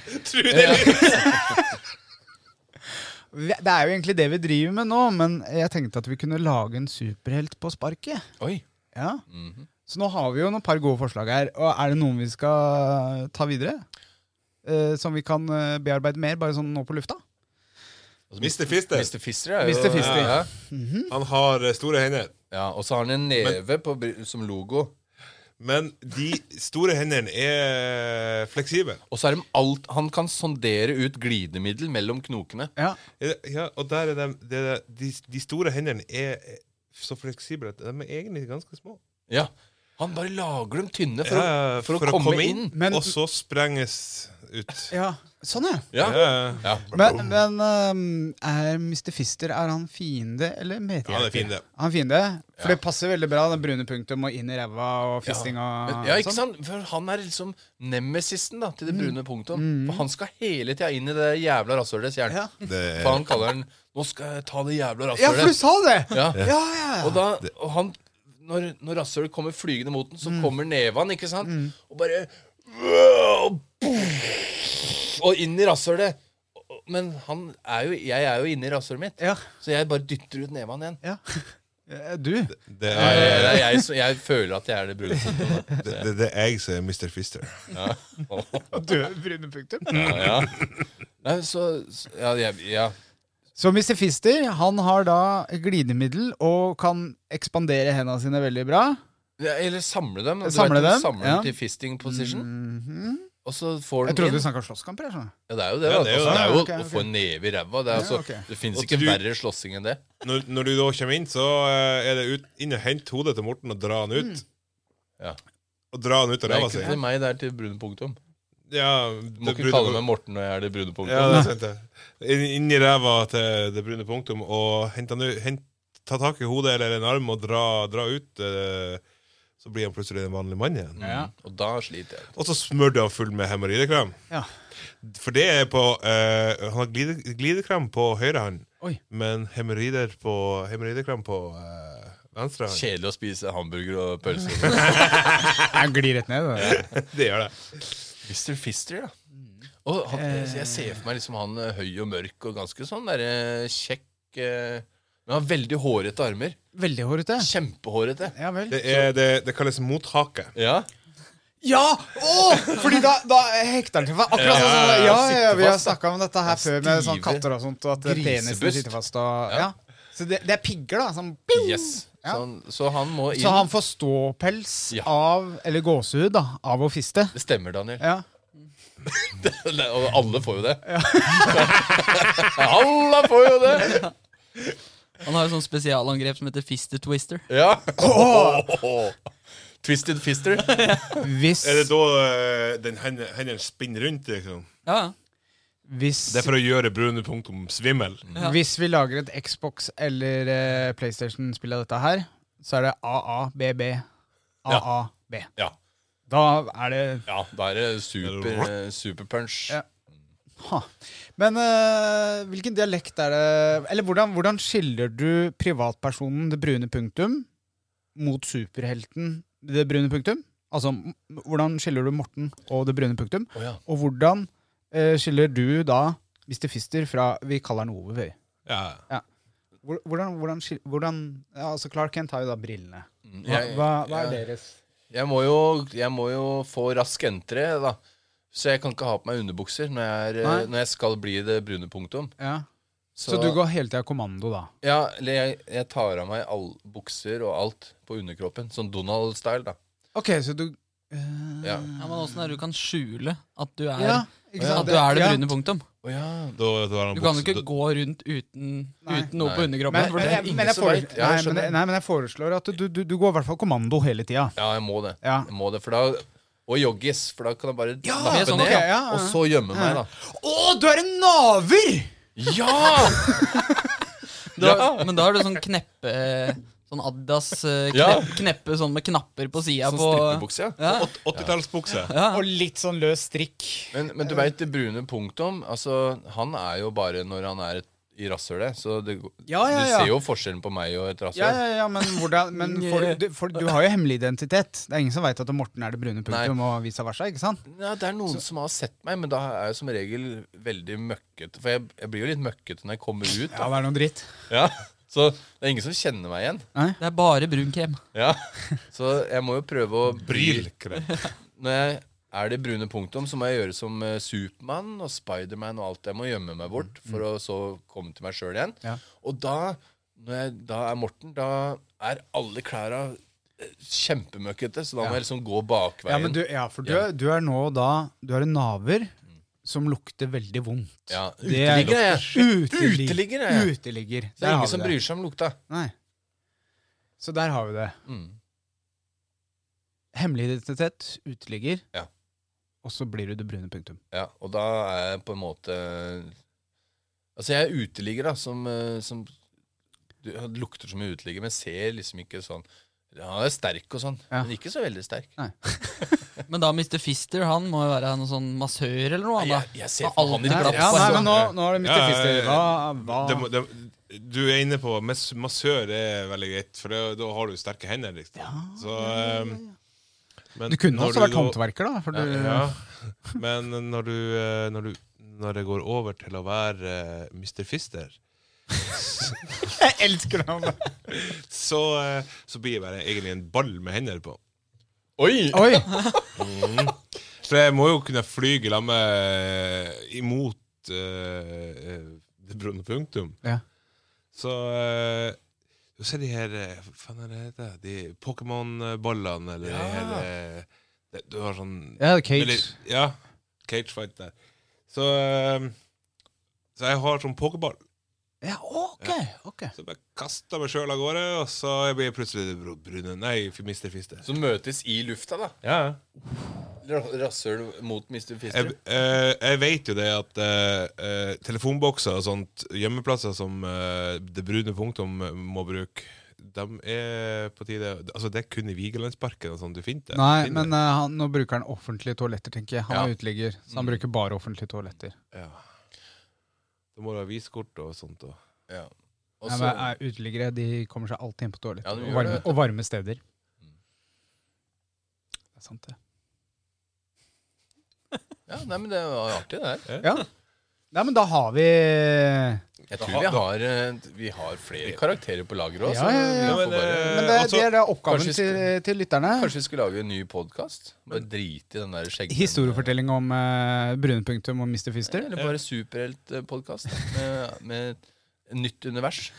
Speaker 3: Vi- Det er jo egentlig det vi driver med nå, men jeg tenkte at vi kunne lage en superhelt på sparket.
Speaker 4: Oi.
Speaker 3: Ja. Så nå har vi jo noen par gode forslag her. Og er det noen vi skal ta videre? Eh, som vi kan eh, bearbeide mer, bare sånn nå på lufta?
Speaker 4: Altså,
Speaker 6: Mr. Fister.
Speaker 4: Mr. Fister er jo
Speaker 3: Mr. Fister.
Speaker 4: Ja,
Speaker 6: Han har eh, store hender.
Speaker 4: ja. Og så har han en neve på, bry- som logo.
Speaker 6: Men de store hendene er eh, fleksible.
Speaker 4: Og så er de alt Han kan sondere ut glidemiddel mellom knokene.
Speaker 3: Ja.
Speaker 6: Ja, og der er de, det er de, de store hendene er er så fleksible at de er egentlig ganske små.
Speaker 4: Ja Han bare lager dem tynne for,
Speaker 6: Ja,
Speaker 4: å, for, å, komme, inn.
Speaker 3: Men-
Speaker 6: og så sprenges ut.
Speaker 3: ja. Sånn, ja.
Speaker 4: Ja.
Speaker 6: Ja, ja.
Speaker 4: Ja.
Speaker 3: Men, men ehm, er Mr. Fister er han fiende eller medhjelper?
Speaker 6: Han er fiende.
Speaker 3: Han er fiende? For
Speaker 4: Ja.
Speaker 3: det passer veldig bra, den brune punktum og inn i ræva og fisting og
Speaker 4: Men- ja, ikke
Speaker 3: sånn. Mm.
Speaker 4: sant? For han er liksom nemesisten da, til det brune punktet. For han skal hele tida inn i det jævla rasshølets hjerne.
Speaker 3: Ja.
Speaker 6: Det-
Speaker 4: For han kaller den 'Nå skal jeg ta det jævla
Speaker 3: Ja, for du
Speaker 4: rasshølet'.
Speaker 3: sa det!
Speaker 4: Ja.
Speaker 3: Ja, ja, ja.
Speaker 4: Og da, og han, når, når rasshølet kommer flygende mot den, så kommer neven, ikke sant?
Speaker 3: Mm.
Speaker 4: Og bare og, og inn i rasshølet. Og- Men han er jo, jeg er jo inne i rasshølet mitt,
Speaker 3: Ja.
Speaker 4: så jeg bare dytter ut neven igjen.
Speaker 3: ja. Eh, Du?
Speaker 6: Det
Speaker 4: Det
Speaker 6: er,
Speaker 4: er jeg, som- jeg føler at jeg er det brune punktet. da.
Speaker 6: det, det, det er jeg som er Mr. Fister.
Speaker 3: Død brune punktum?
Speaker 4: Ja, ja. Nei, så så- Ja. Jeg, ja.
Speaker 3: Så Mr. Fister han har da glidemiddel og kan ekspandere hendene sine veldig bra.
Speaker 4: Ja, Eller samle dem. Du
Speaker 3: Samle
Speaker 4: vet, du
Speaker 3: dem,
Speaker 4: Samle
Speaker 3: ja. Mm.
Speaker 4: dem til fisting position. Og så får
Speaker 3: Mhm. Jeg
Speaker 4: den
Speaker 3: trodde du
Speaker 4: inn.
Speaker 3: snakka slåsskamper. jeg skjønner.
Speaker 4: Ja, det er jo det.
Speaker 6: Ja,
Speaker 4: da.
Speaker 6: det er jo
Speaker 4: Altså, det er jo
Speaker 3: det. Ok,
Speaker 4: å
Speaker 3: ok.
Speaker 4: få en neve i ræva. Det, er altså,
Speaker 3: ok.
Speaker 4: det fins
Speaker 6: Og
Speaker 4: ikke
Speaker 6: du-
Speaker 4: verre slåssing enn det.
Speaker 6: Når, når du da kommer inn, så eh, er det ut, inn og hente hodet til Morten og dra han ut.
Speaker 4: Ja.
Speaker 6: Og dra han ut av
Speaker 4: Det er
Speaker 6: ræva
Speaker 4: ikke
Speaker 6: si.
Speaker 4: til meg, det er til brune punktum.
Speaker 6: Ja,
Speaker 4: Du må
Speaker 6: det
Speaker 4: ikke
Speaker 6: brune
Speaker 4: kalle
Speaker 6: punk-
Speaker 4: meg Morten når jeg er det brune punktum.
Speaker 6: Ja, det er sant det. Inn, inn i ræva til det brune punktum og hente han ut, hent, ta tak i hodet eller en arm og dra, dra ut. eh, så blir han plutselig en vanlig mann igjen.
Speaker 3: Ja.
Speaker 4: Og da sliter jeg.
Speaker 6: Og så smør du han full med hemoroidekrem.
Speaker 3: Ja.
Speaker 6: For det er på eh, Han har glide, glidekrem på høyre hånd,
Speaker 3: Oi.
Speaker 6: men hemoroider på- hemoroidekrem på eh, venstre hånd.
Speaker 4: Kjedelig å spise hamburger og pølser.
Speaker 3: Jeg glir rett ned. Det.
Speaker 6: Det gjør det.
Speaker 4: Mr. Fister, ja. Og han, jeg ser for meg liksom han eh, høy og mørk og ganske sånn der, eh, kjekk eh, Men han har veldig hårete armer.
Speaker 3: Veldig hårete.
Speaker 4: Kjempehårete.
Speaker 3: Ja vel.
Speaker 6: Det, er, det, det kalles mothake.
Speaker 4: Ja.
Speaker 3: Ja! Åh! Fordi da, da hekter den til fast. Akkurat sånn. Ja, ja, ja, vi har snakka om dette her før med sånn
Speaker 4: Stive
Speaker 3: katter og sånt. Og at penisen
Speaker 4: grisebust.
Speaker 3: sitter fast og Ja. Så det, det er pigger, da. Som,
Speaker 4: Yes. Så han, så han må inn.
Speaker 3: så han får ståpels
Speaker 4: Ja.
Speaker 3: av Eller gåsehud, da. Av å fiste.
Speaker 4: Det stemmer, Daniel.
Speaker 3: Ja.
Speaker 4: Det- Og alle får jo det. alle får jo det!
Speaker 5: Han har jo sånn spesialangrep som heter Fister Twister.
Speaker 4: Ja. Twisted Fister.
Speaker 3: Hvis,
Speaker 6: Er det da eh, den hende- hendene spinner rundt? Liksom?
Speaker 5: Ja, ja.
Speaker 3: hvis,
Speaker 6: Det er for å gjøre brune punktum svimmel.
Speaker 5: Ja.
Speaker 3: hvis vi lager et Xbox eller eh, PlayStation-spill av dette her, så er det AABB. AAB.
Speaker 4: Ja.
Speaker 3: Da er det
Speaker 4: ja, da er det super, eh, superpunch.
Speaker 3: Ja. Ha. Men eh, hvilken dialekt er det Eller hvordan, hvordan skiller du privatpersonen det brune punktum mot superhelten det brune punktum? Altså, m- hvordan skiller du Morten og det brune punktum?
Speaker 4: Å, ja.
Speaker 3: Og hvordan eh, skiller du da Mr. Fister fra Vi kaller han Ove, vi.
Speaker 6: Ja.
Speaker 3: Hvor- Hvordan, hvordan, skil- hvordan ja, altså Clark Kent har jo da brillene. Hva,
Speaker 4: Mm. Jeg,
Speaker 3: hva, hva er
Speaker 4: jeg,
Speaker 3: deres?
Speaker 4: jeg, må jo, jeg må jo få rask entre, da. Så jeg kan ikke ha på meg underbukser når jeg, er, eh,
Speaker 3: Nei.
Speaker 4: når jeg skal bli det brune punktum.
Speaker 3: Ja. Så, du går hele tida kommando, da?
Speaker 4: Ja, eller jeg, jeg tar av meg all, bukser og alt på underkroppen. Sånn Donald-style, da.
Speaker 3: Ok, så du eh,
Speaker 4: Ja.
Speaker 5: ja Men åssen er det du kan skjule at du er,
Speaker 3: ja, ikke sant?
Speaker 5: at du er det
Speaker 3: Ja.
Speaker 5: brune punktum?
Speaker 4: Å ja.
Speaker 6: Da, da har han
Speaker 5: Du kan jo
Speaker 6: bukse-
Speaker 5: ikke gå rundt uten, uten noe
Speaker 4: Nei.
Speaker 5: på underkroppen.
Speaker 3: Men,
Speaker 5: for
Speaker 3: men,
Speaker 5: det-
Speaker 3: jeg, men, jeg
Speaker 4: som
Speaker 3: foreslår,
Speaker 4: vet. Ja,
Speaker 3: nei,
Speaker 4: jeg
Speaker 3: men,
Speaker 4: skjønner.
Speaker 3: nei, men jeg foreslår at du, du, du går i hvert fall kommando hele tida.
Speaker 4: ja, jeg må det.
Speaker 3: Ja.
Speaker 4: Jeg må det, for da Og joggis, for da kan jeg bare
Speaker 3: Ja,
Speaker 4: lappe
Speaker 5: sånn,
Speaker 4: ned,
Speaker 3: ok, ja, ja.
Speaker 4: og så gjemme meg, da.
Speaker 3: Å, du er en naver!
Speaker 4: Ja!
Speaker 5: Da, Men da er det sånn kneppe Sånn Adidas eh, knepp,
Speaker 4: Ja.
Speaker 5: kneppe sånn med knapper på sida
Speaker 4: Sånn
Speaker 5: på
Speaker 4: strippebukse. Ja.
Speaker 5: Ja.
Speaker 6: 80-tallsbukse.
Speaker 3: Og litt sånn løs strikk.
Speaker 4: Men, men
Speaker 3: Eh.
Speaker 4: du veit det brune punktum. Altså, han er jo bare når han er et, i rasshølet. Så det,
Speaker 3: Ja, ja, ja.
Speaker 4: du ser jo forskjellen på meg og et
Speaker 3: Ja,
Speaker 4: rasshøl.
Speaker 3: ja, ja, men, hvordan, men får, du, du- for, du har jo hemmelig identitet. Det er ingen som veit at Morten er det brune punktum, og vice versa. ikke sant?
Speaker 4: Ja, det er noen som har sett meg, men da er jeg som regel veldig møkkete. For jeg, jeg blir jo litt møkkete når jeg kommer ut.
Speaker 3: Ja,
Speaker 4: Da.
Speaker 3: det er noe dritt.
Speaker 4: Ja. Så det er ingen som kjenner meg igjen.
Speaker 5: Det er bare brun krem.
Speaker 4: Ja. Så jeg må jo prøve å
Speaker 6: Bryl. krem.
Speaker 4: Når jeg er det brune punktum, så må jeg gjøre som eh, Supermann og Spiderman og alt. Jeg må gjemme meg bort for å så komme til meg sjøl igjen.
Speaker 3: Mm. Ja.
Speaker 4: Og da, når jeg da er Morten, da er alle klæra eh, kjempemøkkete, så da må jeg liksom gå bakveien.
Speaker 3: Ja, men du, ja, for du,
Speaker 4: Ja.
Speaker 3: er- du er nå da Du er en naver som lukter veldig vondt.
Speaker 4: Ja,
Speaker 3: Det er-
Speaker 4: uteligger er jeg.
Speaker 3: Utelig-
Speaker 4: Uteligger er jeg.
Speaker 3: Uteligger.
Speaker 4: Så det er ingen som bryr seg om lukta.
Speaker 3: Nei. Så der har vi det.
Speaker 4: Mm.
Speaker 3: Hemmelig identitet, uteligger,
Speaker 4: Ja.
Speaker 3: og så blir du det brune punktum.
Speaker 4: Ja, og da er jeg på en måte Altså, jeg er uteligger, da, som, eh, som du, han lukter som en uteligger, men ser liksom ikke sånn ja, Han er sterk og sånn,
Speaker 3: Ja.
Speaker 4: men ikke så veldig sterk.
Speaker 5: Men da Mr. Fister han må jo være noen sånn massør eller noe.
Speaker 4: Nei,
Speaker 5: Han,
Speaker 4: jeg, jeg ser
Speaker 5: Han
Speaker 4: på han i
Speaker 5: alltid
Speaker 3: Nei,
Speaker 5: glapp
Speaker 4: glapp.
Speaker 3: ja, nei,
Speaker 5: altså.
Speaker 3: men nå, nå er det Mr.
Speaker 6: Ja, ja, ja,
Speaker 3: Fister.
Speaker 6: ja.
Speaker 3: Hva,
Speaker 6: Det,
Speaker 3: hva?
Speaker 6: må- det, du er inne på mas- massør er veldig greit, for det, da har du sterke hender. Liksom. Så, ehm, men
Speaker 3: Du kunne
Speaker 6: når
Speaker 3: også vært
Speaker 6: da-
Speaker 3: håndverker, da. For du,
Speaker 6: Ja, men når du, eh, når du når det går over til å være eh, Mr. Fister,
Speaker 3: Jeg elsker ham!
Speaker 6: så, eh, så blir jeg bare egentlig en ball med hender på.
Speaker 4: Oi!
Speaker 3: Oi!
Speaker 6: Så jeg må jo kunne fly i lag med imot eh, eh, det brune punktum.
Speaker 3: Ja.
Speaker 6: Så eh, du ser de her eh, Hva faen er det heter? De Pokémon-ballene eller de her eh, det- Du har sånn
Speaker 3: Ja, Cage.
Speaker 6: eller- Ja. Cage fight der. Så eh, Så jeg har sånn pokerball.
Speaker 3: Ja, ok, ok.
Speaker 6: Så jeg bare kaster meg sjøl av gårde, og så blir jeg plutselig br- brune. Nei, Mr. Fister.
Speaker 4: Som møtes i lufta, da.
Speaker 6: Ja, ja.
Speaker 4: Ra- Rasshøl mot Mr. Fister.
Speaker 6: Jeg, eh, jeg vet jo det at eh, eh, telefonbokser og sånt, gjemmeplasser som eh, det brune punktum må bruke, de er på tide Altså, det er kun i Vigelandsparken og sånn du finner det.
Speaker 3: Nei,
Speaker 6: finner
Speaker 3: men
Speaker 6: det.
Speaker 3: eh, han, nå bruker han offentlige toaletter, tenker jeg. Han
Speaker 6: Ja.
Speaker 3: er uteligger, så han bruker bare offentlige toaletter.
Speaker 6: ja.
Speaker 3: eh,
Speaker 6: Da må du ha viskort og sånt. Og.
Speaker 4: Ja. Og
Speaker 3: Nei,
Speaker 4: så-
Speaker 3: men eh, Uteliggere de kommer seg alltid inn på toaletter
Speaker 4: Ja, de
Speaker 3: og,
Speaker 4: gjør
Speaker 3: varme,
Speaker 4: det.
Speaker 3: og varme steder. Det er sant, det.
Speaker 4: ja, nei, men det var artig, det her.
Speaker 3: Ja. Nei, men da har vi
Speaker 4: Jeg tror vi har, eh, vi har flere karakterer på lager òg.
Speaker 3: Ja, ja, ja.
Speaker 6: Ja, men, eh,
Speaker 3: Men det,
Speaker 6: også-
Speaker 3: det er da oppgaven
Speaker 4: altså, Kanskje vi
Speaker 3: til,
Speaker 4: skal-
Speaker 3: til lytterne.
Speaker 4: Kanskje vi skulle lage en ny podkast? Bare drite i den der skjeggen.
Speaker 3: Historiefortelling om uh, Brunepunktum og Mr. Fister.
Speaker 4: Eller bare superheltpodkast med, med nytt univers.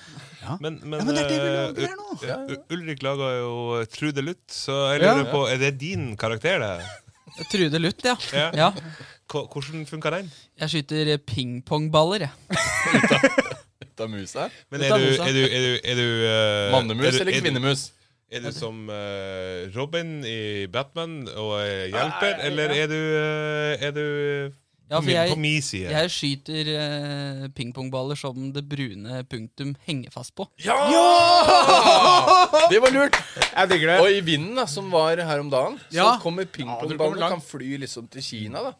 Speaker 6: Men, men,
Speaker 3: Ja, men det er det vi
Speaker 6: eh,
Speaker 3: lager her nå.
Speaker 6: U- U- Ulrik laga jo Trude Luth, så jeg
Speaker 3: Ja.
Speaker 6: lurer på, er det din karakter, det?
Speaker 5: Trude Luth, ja.
Speaker 6: Ja.
Speaker 5: ja.
Speaker 6: Ko- Hvordan funka den?
Speaker 5: Jeg skyter eh, pingpongballer, jeg.
Speaker 4: Ut av musa.
Speaker 6: Men
Speaker 5: Ut
Speaker 6: er
Speaker 5: av
Speaker 6: du,
Speaker 5: mosa.
Speaker 6: er du, er du, er du eh, er
Speaker 4: Mannemus
Speaker 6: du-
Speaker 4: eller
Speaker 6: er du-
Speaker 4: kvinnemus?
Speaker 6: Er du som eh, Robin i Batman og eh, hjelper, eller er du, eh, er du eh,
Speaker 5: Ja,
Speaker 6: på
Speaker 5: for
Speaker 6: min-
Speaker 5: jeg-
Speaker 6: på min side?
Speaker 5: Jeg skyter eh, pingpongballer som det brune punktum henger fast på.
Speaker 4: Ja! Det var lurt!
Speaker 3: Jeg digger
Speaker 4: Og i vinden, da, som var her om dagen, så
Speaker 3: Ja. Ja,
Speaker 4: kommer
Speaker 3: du kommer
Speaker 4: pingpongballen og
Speaker 3: langt.
Speaker 4: kan fly liksom til Kina, da.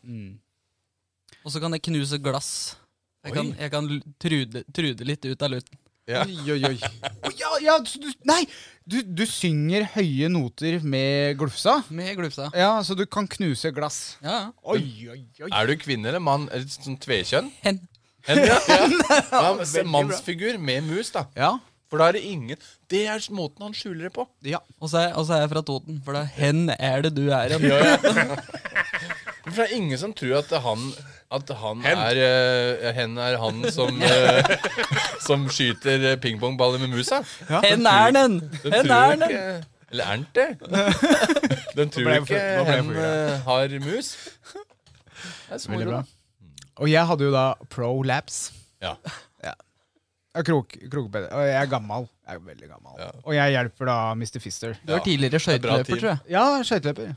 Speaker 5: Og så kan jeg knuse glass. Jeg kan, jeg kan l- trude, trude litt ut av luten.
Speaker 3: Oi, oi, oi. Å, ja, ja, så du, nei, du, du synger høye noter med glufsa.
Speaker 5: Med glufsa.
Speaker 3: Ja, så du kan knuse glass.
Speaker 5: Ja, ja.
Speaker 3: Oi, oi, oi.
Speaker 4: Er du kvinne eller mann? Eller sånn tvekjønn?
Speaker 5: Hen.
Speaker 4: Hen, ja. Ja, men se, Mannsfigur med mus, da.
Speaker 3: Ja,
Speaker 4: For da er det ingen Det er måten han skjuler det på.
Speaker 3: ja.
Speaker 5: Og så er, og så er jeg fra Toten, for det er hen er det du er hen.
Speaker 4: For det er ingen som tror at han, at han er eh, Hen er han som eh, Som skyter eh, pingpongballer med musa.
Speaker 5: Hen er den!
Speaker 4: Den
Speaker 5: Hen
Speaker 4: tror
Speaker 5: er den!
Speaker 4: ikke Eller er han det? Den tror
Speaker 3: ble jeg
Speaker 4: ikke
Speaker 3: full- nå ble jeg
Speaker 4: hen
Speaker 3: full,
Speaker 4: eh, har mus. Det er så
Speaker 3: Veldig
Speaker 4: moro,
Speaker 3: bra.
Speaker 4: da.
Speaker 3: Og jeg hadde jo da prolapse.
Speaker 4: Ja.
Speaker 3: Ja, Krok, krokbedre. Og jeg er gammel. Jeg er veldig gammel.
Speaker 4: Ja.
Speaker 3: Og jeg hjelper da Mr. Fister.
Speaker 5: Du var tidligere
Speaker 4: er bra
Speaker 5: skøyteløper,
Speaker 4: team.
Speaker 5: tror jeg.
Speaker 3: Ja, skøyteløper.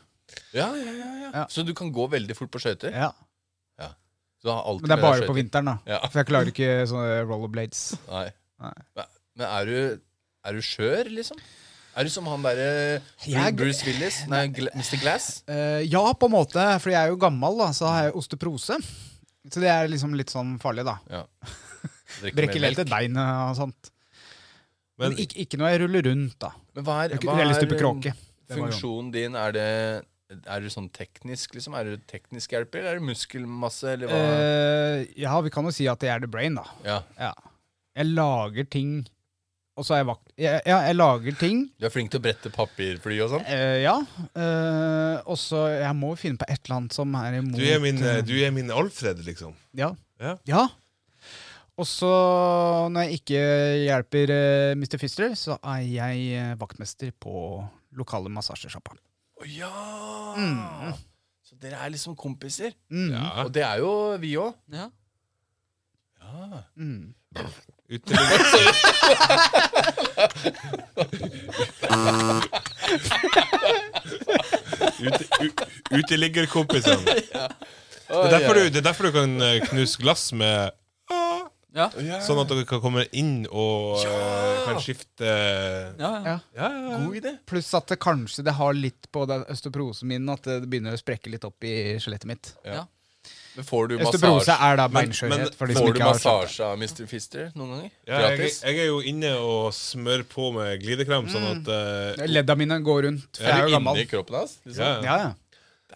Speaker 4: Ja, ja, ja, ja.
Speaker 3: Ja.
Speaker 4: Så du kan gå veldig fort på skøyter?
Speaker 3: Ja.
Speaker 4: Du har alltid
Speaker 3: Men det er
Speaker 4: med deg
Speaker 3: bare på
Speaker 4: skøyter.
Speaker 3: vinteren, da.
Speaker 4: Ja.
Speaker 3: For jeg klarer ikke sånne rollerblades.
Speaker 4: Nei.
Speaker 3: Nei.
Speaker 4: Men- Men er du, er du skjør, liksom? Er du som han derre
Speaker 3: Jeg-
Speaker 4: Bruce Willis? Nei, Gla Mr. Glass?
Speaker 3: Eh, ja, på en måte, for jeg er jo gammel, da, så har jeg osteoporose. Så det er liksom litt sånn farlig, da.
Speaker 4: Drikker
Speaker 3: Brekker
Speaker 4: mer melk.
Speaker 3: lite bein og sånt. Men,
Speaker 6: Men-
Speaker 3: ikke, ikke når jeg ruller rundt, da.
Speaker 4: Men hva er,
Speaker 3: Jeg
Speaker 4: hva
Speaker 3: har lyst til å bli
Speaker 4: er
Speaker 3: kråke. Det var jo-
Speaker 4: funksjonen din? Er det er du sånn teknisk liksom? Er du teknisk hjelper, eller er du muskelmasse? Eller hva?
Speaker 3: Eh, ja, vi kan jo si at jeg er the brain, da.
Speaker 4: ja.
Speaker 3: Ja. Jeg lager ting Og så er jeg vakt... Jeg, ja, jeg lager ting.
Speaker 4: Du er flink til å brette papirfly og sånn.
Speaker 3: eh, ja. eh, og så Jeg må jo finne på et eller annet som er imot
Speaker 6: Du er min,
Speaker 3: eh,
Speaker 6: du er min Alfred, liksom.
Speaker 3: Ja.
Speaker 6: Ja.
Speaker 3: Og så, når jeg ikke hjelper eh, Mr. Fister, så er jeg eh, vaktmester på lokale massasjesjappa.
Speaker 4: Å ja! Så dere er liksom kompiser?
Speaker 3: Mm.
Speaker 6: Ja.
Speaker 4: Og det er jo vi òg.
Speaker 5: Ja.
Speaker 3: Mm.
Speaker 6: Uteligger. Ute, u- Uteliggerkompisene.
Speaker 4: Det
Speaker 6: Det er derfor du- det er derfor du kan eh, knuse glass med
Speaker 5: Ja.
Speaker 6: Sånn at dere kan komme inn og eh, kan skifte eh,
Speaker 5: Ja, ja.
Speaker 6: Ja, ja, ja.
Speaker 4: God idé.
Speaker 3: Pluss at det kanskje det har litt på den østoprosen min at det begynner å sprekke litt opp i skjelettet mitt.
Speaker 4: Men får du
Speaker 3: Østoprose
Speaker 4: massasje,
Speaker 3: er da
Speaker 6: Men- men
Speaker 3: beinskjørhet. for de som
Speaker 4: får du
Speaker 3: ikke har skjønt det.
Speaker 4: massasje av Mr. Fister noen ganger?
Speaker 6: Ja, jeg,
Speaker 4: Gratis? Mm.
Speaker 6: jeg er jo inne og smør på med glidekrem, sånn at eh,
Speaker 3: Ledda mine går rundt, for jeg
Speaker 4: Er
Speaker 3: er
Speaker 4: du
Speaker 3: jo
Speaker 4: inne
Speaker 3: gammel.
Speaker 4: i kroppen hans?
Speaker 6: ja,
Speaker 4: Liksom?
Speaker 6: ja.
Speaker 3: Ja, ja.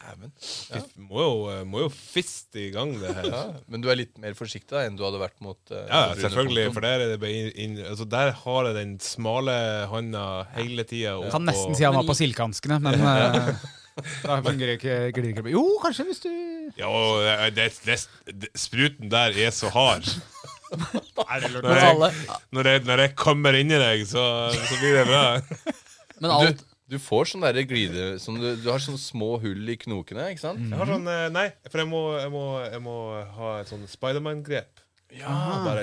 Speaker 4: Dæven.
Speaker 6: Vi Må, jo, eh, må jo fiste i gang det her.
Speaker 4: Ja, men du er litt mer forsiktig da enn du hadde vært mot eh,
Speaker 6: Ja,
Speaker 4: Brune
Speaker 6: selvfølgelig.
Speaker 4: Punktum.
Speaker 6: For der, er det bare inn, inn, altså der har jeg den smale handa hele tida.
Speaker 3: Jeg Kan nesten si han var på silkehanskene, men eh, da fungerer ikke glidekroppen. Jo, kanskje hvis du
Speaker 6: Ja, og det, det, det, det, spruten der er så hard. Når
Speaker 5: Men, alle,
Speaker 6: jeg, når, jeg, når jeg kommer inni deg, så, så blir det bra.
Speaker 5: men alt
Speaker 4: Du, du får sånn derre glide som du, du har sånne små hull i knokene, ikke sant?
Speaker 6: Jeg har sånn eh, Nei, for jeg må, jeg må, jeg må ha et sånn Spiderman-grep. Ja. Bare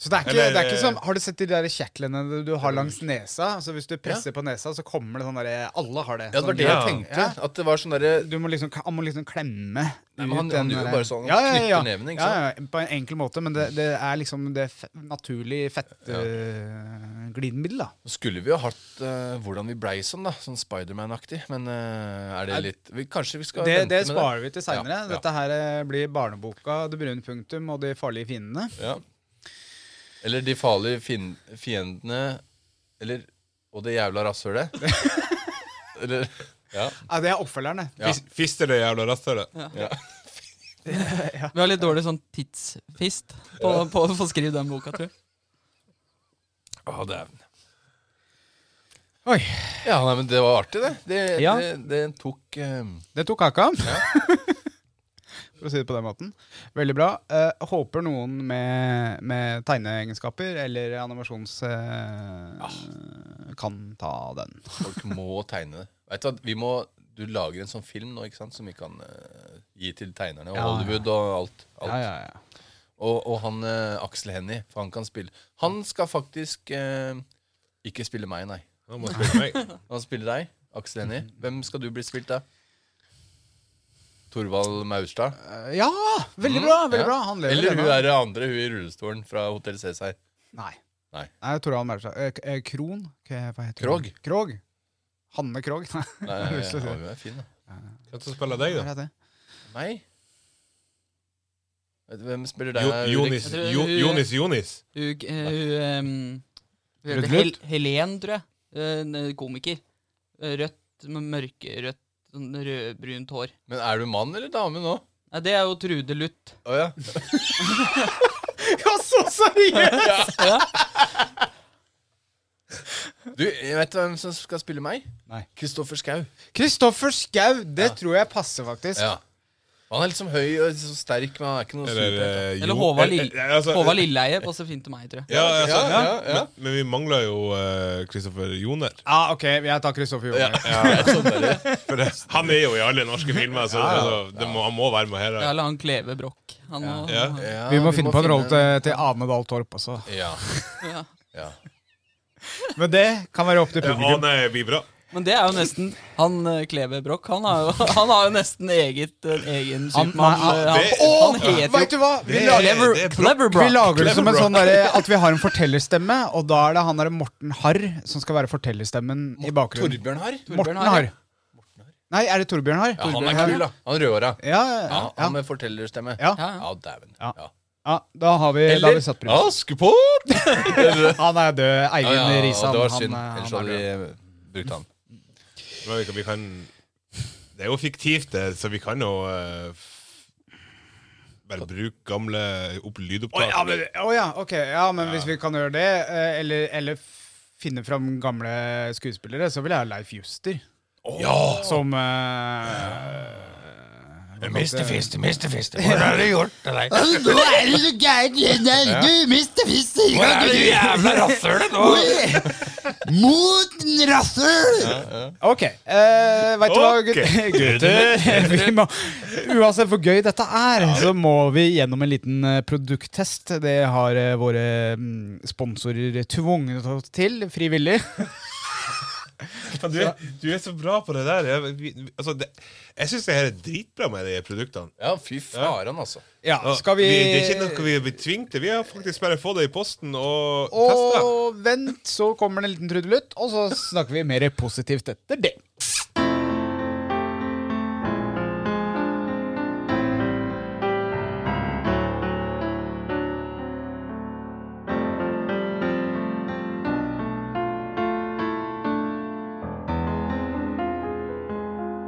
Speaker 3: Så det er ikke,
Speaker 6: Eller-
Speaker 3: det er ikke som,
Speaker 4: eh,
Speaker 3: Har du sett de der kjeklene du- du har langs nesa? Så Hvis du presser på nesa, så kommer det sånn derre Alle har det.
Speaker 4: Ja, det var
Speaker 3: Sånn-
Speaker 4: det jeg
Speaker 6: Ja.
Speaker 4: tenkte. At det var sånn derre
Speaker 3: Du må liksom, han må liksom klemme
Speaker 4: Nei, men han-
Speaker 3: ut
Speaker 4: han
Speaker 3: den
Speaker 4: gjør jo
Speaker 3: derre-
Speaker 4: bare sånn, han knytter neven, ikke
Speaker 3: ja, ja, På en enkel måte, men det, det er liksom det fe naturlig fettglidemiddel, da.
Speaker 4: Nå skulle vi jo hatt eh, hvordan vi blei sånn, da. Sånn Spiderman-aktig. Men eh, er det litt vi, Kanskje vi skal
Speaker 3: Det,
Speaker 4: vente
Speaker 3: det
Speaker 4: med
Speaker 3: sparer vi til seinere.
Speaker 4: Ja, ja.
Speaker 3: Dette her eh, blir barneboka 'Det brune punktum' og 'De farlige fiendene'.
Speaker 4: Ja. Eller de farlige fin fiendene Eller Og det jævla rasshølet. Eller Ja.
Speaker 3: Ja, det er oppfølgerne.
Speaker 4: ja.
Speaker 6: Fis- Fister det jævla rasshølet?
Speaker 5: Vi har litt dårlig sånn tidsfist på, på å få skrive den boka, tror jeg.
Speaker 4: Å, dæven.
Speaker 3: Oi.
Speaker 4: Ja, nei, men det var artig, det. Det,
Speaker 3: Ja.
Speaker 4: det, det tok eh,
Speaker 3: Det tok kaka. For å si det på den måten. Veldig bra. Eh, håper noen med, med tegneegenskaper eller animasjons... eh,
Speaker 4: Ah.
Speaker 3: Kan ta den.
Speaker 4: Folk må tegne det. Vet du hva, vi må Du lager en sånn film nå, ikke sant, som vi kan eh, gi til tegnerne. Og
Speaker 3: Ja, ja.
Speaker 4: Hollywood og alt. alt.
Speaker 3: Ja, ja, ja.
Speaker 4: Og, og han eh, Aksel Hennie, for han kan spille. Han skal faktisk eh, ikke spille meg, nei.
Speaker 6: Han må spille meg.
Speaker 4: Han spiller deg, Aksel Hennie.
Speaker 3: Mhm.
Speaker 4: Hvem skal du bli spilt av? Torvald Maurstad?
Speaker 3: Eh, ja! Veldig bra! veldig
Speaker 4: Mm, Ja.
Speaker 3: bra. Han lever
Speaker 4: Eller hun
Speaker 3: ennå.
Speaker 4: er det andre, hun i rullestolen fra Hotell Cæsar.
Speaker 3: Nei.
Speaker 4: Nei.
Speaker 3: Torald Merstad. Eh, K- eh, Kron? K- Hva heter
Speaker 4: Krog.
Speaker 3: hun? Krog. Hanne Krog. Nei,
Speaker 4: Nei,
Speaker 3: har
Speaker 4: ja,
Speaker 3: lyst til å si.
Speaker 4: hun er fin, da.
Speaker 6: Hvem som spiller deg,
Speaker 3: hva
Speaker 6: da?
Speaker 3: er det?
Speaker 4: Meg? Vet du Hvem spiller deg?
Speaker 6: Jo,
Speaker 4: Ulrik?
Speaker 6: Jonis
Speaker 5: Jeg tror-
Speaker 6: jo, Jonis Jonis?
Speaker 5: Hun, eh, hun, ehm, hun heter Hel
Speaker 3: Rødlut?
Speaker 5: Helen, tror jeg. En eh, komiker. Eh, Rødt, med mørkerødt, sånn rødbrunt hår.
Speaker 4: Men er du mann eller dame nå?
Speaker 5: Nei, det er jo Trude Luth.
Speaker 4: Å ja.
Speaker 3: Ja, så seriøst!
Speaker 4: Du, jeg vet hvem som skal spille meg?
Speaker 3: Nei.
Speaker 4: Kristoffer Schau.
Speaker 3: Kristoffer Skau! Det tror jeg passer, faktisk.
Speaker 4: Ja. Han er liksom høy og så sterk, men han er ikke noe
Speaker 6: Eller,
Speaker 4: super.
Speaker 6: eh,
Speaker 5: Eller
Speaker 6: Jo-
Speaker 5: Håvard Lill-
Speaker 6: eh, altså-
Speaker 5: Håvard Lilleheie passer fint til meg, tror jeg.
Speaker 6: Ja, altså,
Speaker 4: Ja, ja, ja.
Speaker 6: Men, men vi mangler jo eh, Kristoffer Joner.
Speaker 3: Ah, ok, jeg tar Kristoffer Joner.
Speaker 6: For det, han er jo i alle norske filmer, så altså, det må, han må være med her.
Speaker 5: Ja, Eller han Kleve Broch. Han må
Speaker 6: Ja.
Speaker 4: eh, Ja,
Speaker 3: Vi må finne på en rolle
Speaker 4: finne-
Speaker 3: til, til Ane Dahl Torp også.
Speaker 4: Ja.
Speaker 5: Ja.
Speaker 4: ja.
Speaker 3: Men det kan være opp til
Speaker 6: Ja,
Speaker 3: publikum.
Speaker 6: Ane blir bra.
Speaker 5: Men det er jo nesten Han eh, Kleve Broch, han, har jo- han har jo nesten eget, eh, en egen
Speaker 3: Han-
Speaker 5: Supermann.
Speaker 3: han-
Speaker 5: eh, Han,
Speaker 6: det-
Speaker 5: han,
Speaker 3: Vet
Speaker 5: heter
Speaker 3: du hva? Vi
Speaker 6: Det-
Speaker 3: lager,
Speaker 5: jo
Speaker 6: det er Broch.
Speaker 5: Clever
Speaker 3: vi
Speaker 5: Broch.
Speaker 3: lager det som en
Speaker 6: Clever
Speaker 3: sånn derre at vi har en fortellerstemme, og da er det han derre Morten Harr som skal være fortellerstemmen i bakgrunnen.
Speaker 4: Torbjørn Harr.
Speaker 3: Morten
Speaker 5: Harr,
Speaker 3: Harr. Nei, er det Torbjørn Harr?
Speaker 4: Ja, han er kul, da. Han rødhåra.
Speaker 3: Ja,
Speaker 4: Ja,
Speaker 3: ja,
Speaker 4: han
Speaker 3: ja.
Speaker 4: med fortellerstemme.
Speaker 3: Ja.
Speaker 5: Ja, ja.
Speaker 4: ja dæven.
Speaker 3: Ja.
Speaker 4: Ja.
Speaker 3: ja da, har vi, da har vi satt pris.
Speaker 4: Askepott!
Speaker 3: Han er død. Eivind
Speaker 4: Ja, ja,
Speaker 3: Risan.
Speaker 4: det var
Speaker 3: han,
Speaker 4: synd.
Speaker 3: eh,
Speaker 4: Ellers
Speaker 3: han er
Speaker 4: hadde
Speaker 3: død.
Speaker 4: vi brukt han.
Speaker 6: Men vi kan, vi kan Det er jo fiktivt, det, så vi kan jo eh, f- Bare bruk gamle
Speaker 3: Å
Speaker 6: opp lydopptak.
Speaker 3: ja, men, å ja, ok. Ja, men hvis vi kan gjøre det, eh, eller, eller f- finne fram gamle skuespillere, så vil jeg ha Leif Juster.
Speaker 4: Ja!
Speaker 3: Som eh, uh,
Speaker 4: Mistefiste, mistefiste, hva har du gjort til deg? Nå er du så gæren! Du mistefiste! Hvor er det jævla rasshølet nå? Mot rasshøl!
Speaker 3: Ok. eh, vet du hva,
Speaker 6: Ok.
Speaker 3: gut- gutter? Vi må, uansett hvor gøy dette er, så må vi gjennom en liten eh, produkttest. Det har eh, våre mm, sponsorer tvunget oss til frivillig.
Speaker 6: Du, er- du er så bra på det der. Jeg, vi- vi- altså, det, jeg syns det her er dritbra med de produktene.
Speaker 4: Ja, fy faren, altså.
Speaker 3: Ja,
Speaker 6: Og
Speaker 3: skal vi,
Speaker 6: Det er ikke noe vi er blitt tvunget til. Vi har faktisk bare fått det i posten og, testa.
Speaker 3: Og vent, så kommer det en liten trudelutt, og så snakker vi mer positivt etter det.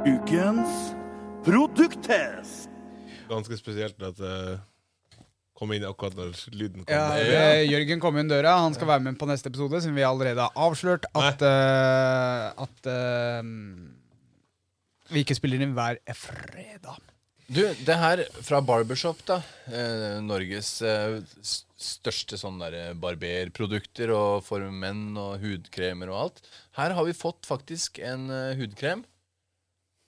Speaker 1: Ukens produkttest.
Speaker 6: Ganske spesielt at det kom inn akkurat når lyden kom.
Speaker 3: Ja, eh, Jørgen kom inn døra. Han skal være med på neste episode, siden vi allerede har avslørt at eh, At eh, vi ikke spiller inn hver fredag.
Speaker 4: Du, det her fra Barbershop, da. Eh, Norges eh, s- største sånn der barberprodukter og for menn og hudkremer og alt. Her har vi fått faktisk en eh, hudkrem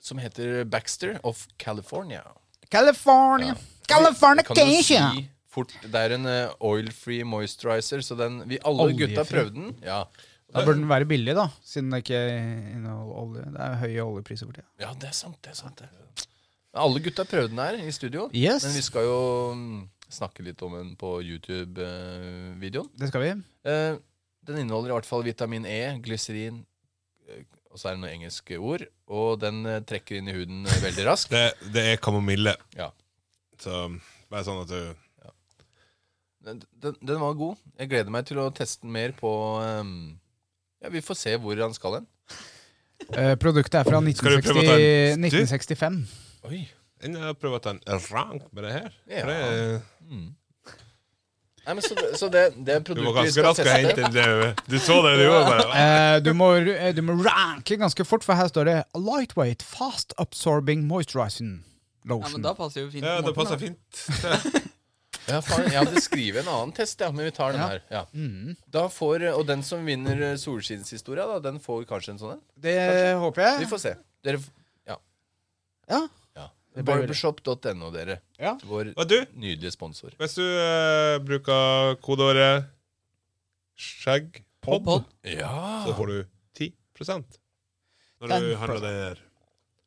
Speaker 4: som heter Baxter of California.
Speaker 3: California. Californication.
Speaker 4: Kan du si fort, det er en eh, oil-free moisturizer, så den vi alle
Speaker 3: Oljefri.
Speaker 4: gutta prøvde den. Ja.
Speaker 3: Da bør den være billig, da, siden det ikke inneholder olje. Det er høye oljepriser for tida.
Speaker 4: ja, det er sant, det er sant. Det. Alle gutta prøvde den her i studio,
Speaker 3: Yes.
Speaker 4: men vi skal jo mm, snakke litt om den på YouTube-videoen.
Speaker 3: Det skal vi.
Speaker 4: Eh, den inneholder i hvert fall vitamin E, glyserin, eh, og så er det noen engelske ord. Og den eh, trekker inn i huden eh, veldig raskt.
Speaker 6: Det, det er kamomille.
Speaker 4: Ja.
Speaker 6: Så bare sånn at du
Speaker 4: Den, den, den var god. Jeg gleder meg til å teste den mer på eh, Ja, Vi får se hvor han skal hen.
Speaker 3: Eh, produktet er fra
Speaker 6: Skal du prøve å ta
Speaker 3: 1960,
Speaker 6: en
Speaker 3: 1965.
Speaker 4: Oi.
Speaker 6: Enn jeg prøver å ta en rank med det her.
Speaker 4: Ja.
Speaker 6: For det,
Speaker 4: Nei, men Så, så det, det
Speaker 6: du var
Speaker 4: produktet vi
Speaker 6: ganske
Speaker 4: skal
Speaker 6: rask til å hente
Speaker 4: teste
Speaker 6: inn det. Du så det du gjorde. bare
Speaker 3: Eh, du, må, eh, du må ranke ganske fort, for her står det Lightweight Fast Absorbing Moisturizing
Speaker 5: Ja,
Speaker 3: Lotion.
Speaker 5: men da passer jo fint.
Speaker 6: Ja,
Speaker 5: på
Speaker 6: det
Speaker 5: måten,
Speaker 6: passer
Speaker 5: da.
Speaker 6: fint.
Speaker 4: ja, faen, Jeg hadde skrevet en annen test, ja, men vi tar den her. Ja.
Speaker 3: Mm.
Speaker 4: Da får, Og den som vinner eh, solskinnshistoria, da, den får kanskje en sånn en.
Speaker 3: det håper
Speaker 4: Vi
Speaker 3: jeg.
Speaker 4: får se. Dere f- Ja.
Speaker 3: Ja.
Speaker 4: ja.
Speaker 3: Det bør vi gjøre.
Speaker 4: Barbershop.no, dere.
Speaker 3: Ja.
Speaker 4: Vår
Speaker 6: Og du,
Speaker 4: nydelige sponsor.
Speaker 6: hvis du eh, bruker kodeåret skjeggpod,
Speaker 5: Pod.
Speaker 4: Ja!
Speaker 6: så får du 10
Speaker 3: Ah.
Speaker 6: når du
Speaker 3: Den-
Speaker 6: handler den her.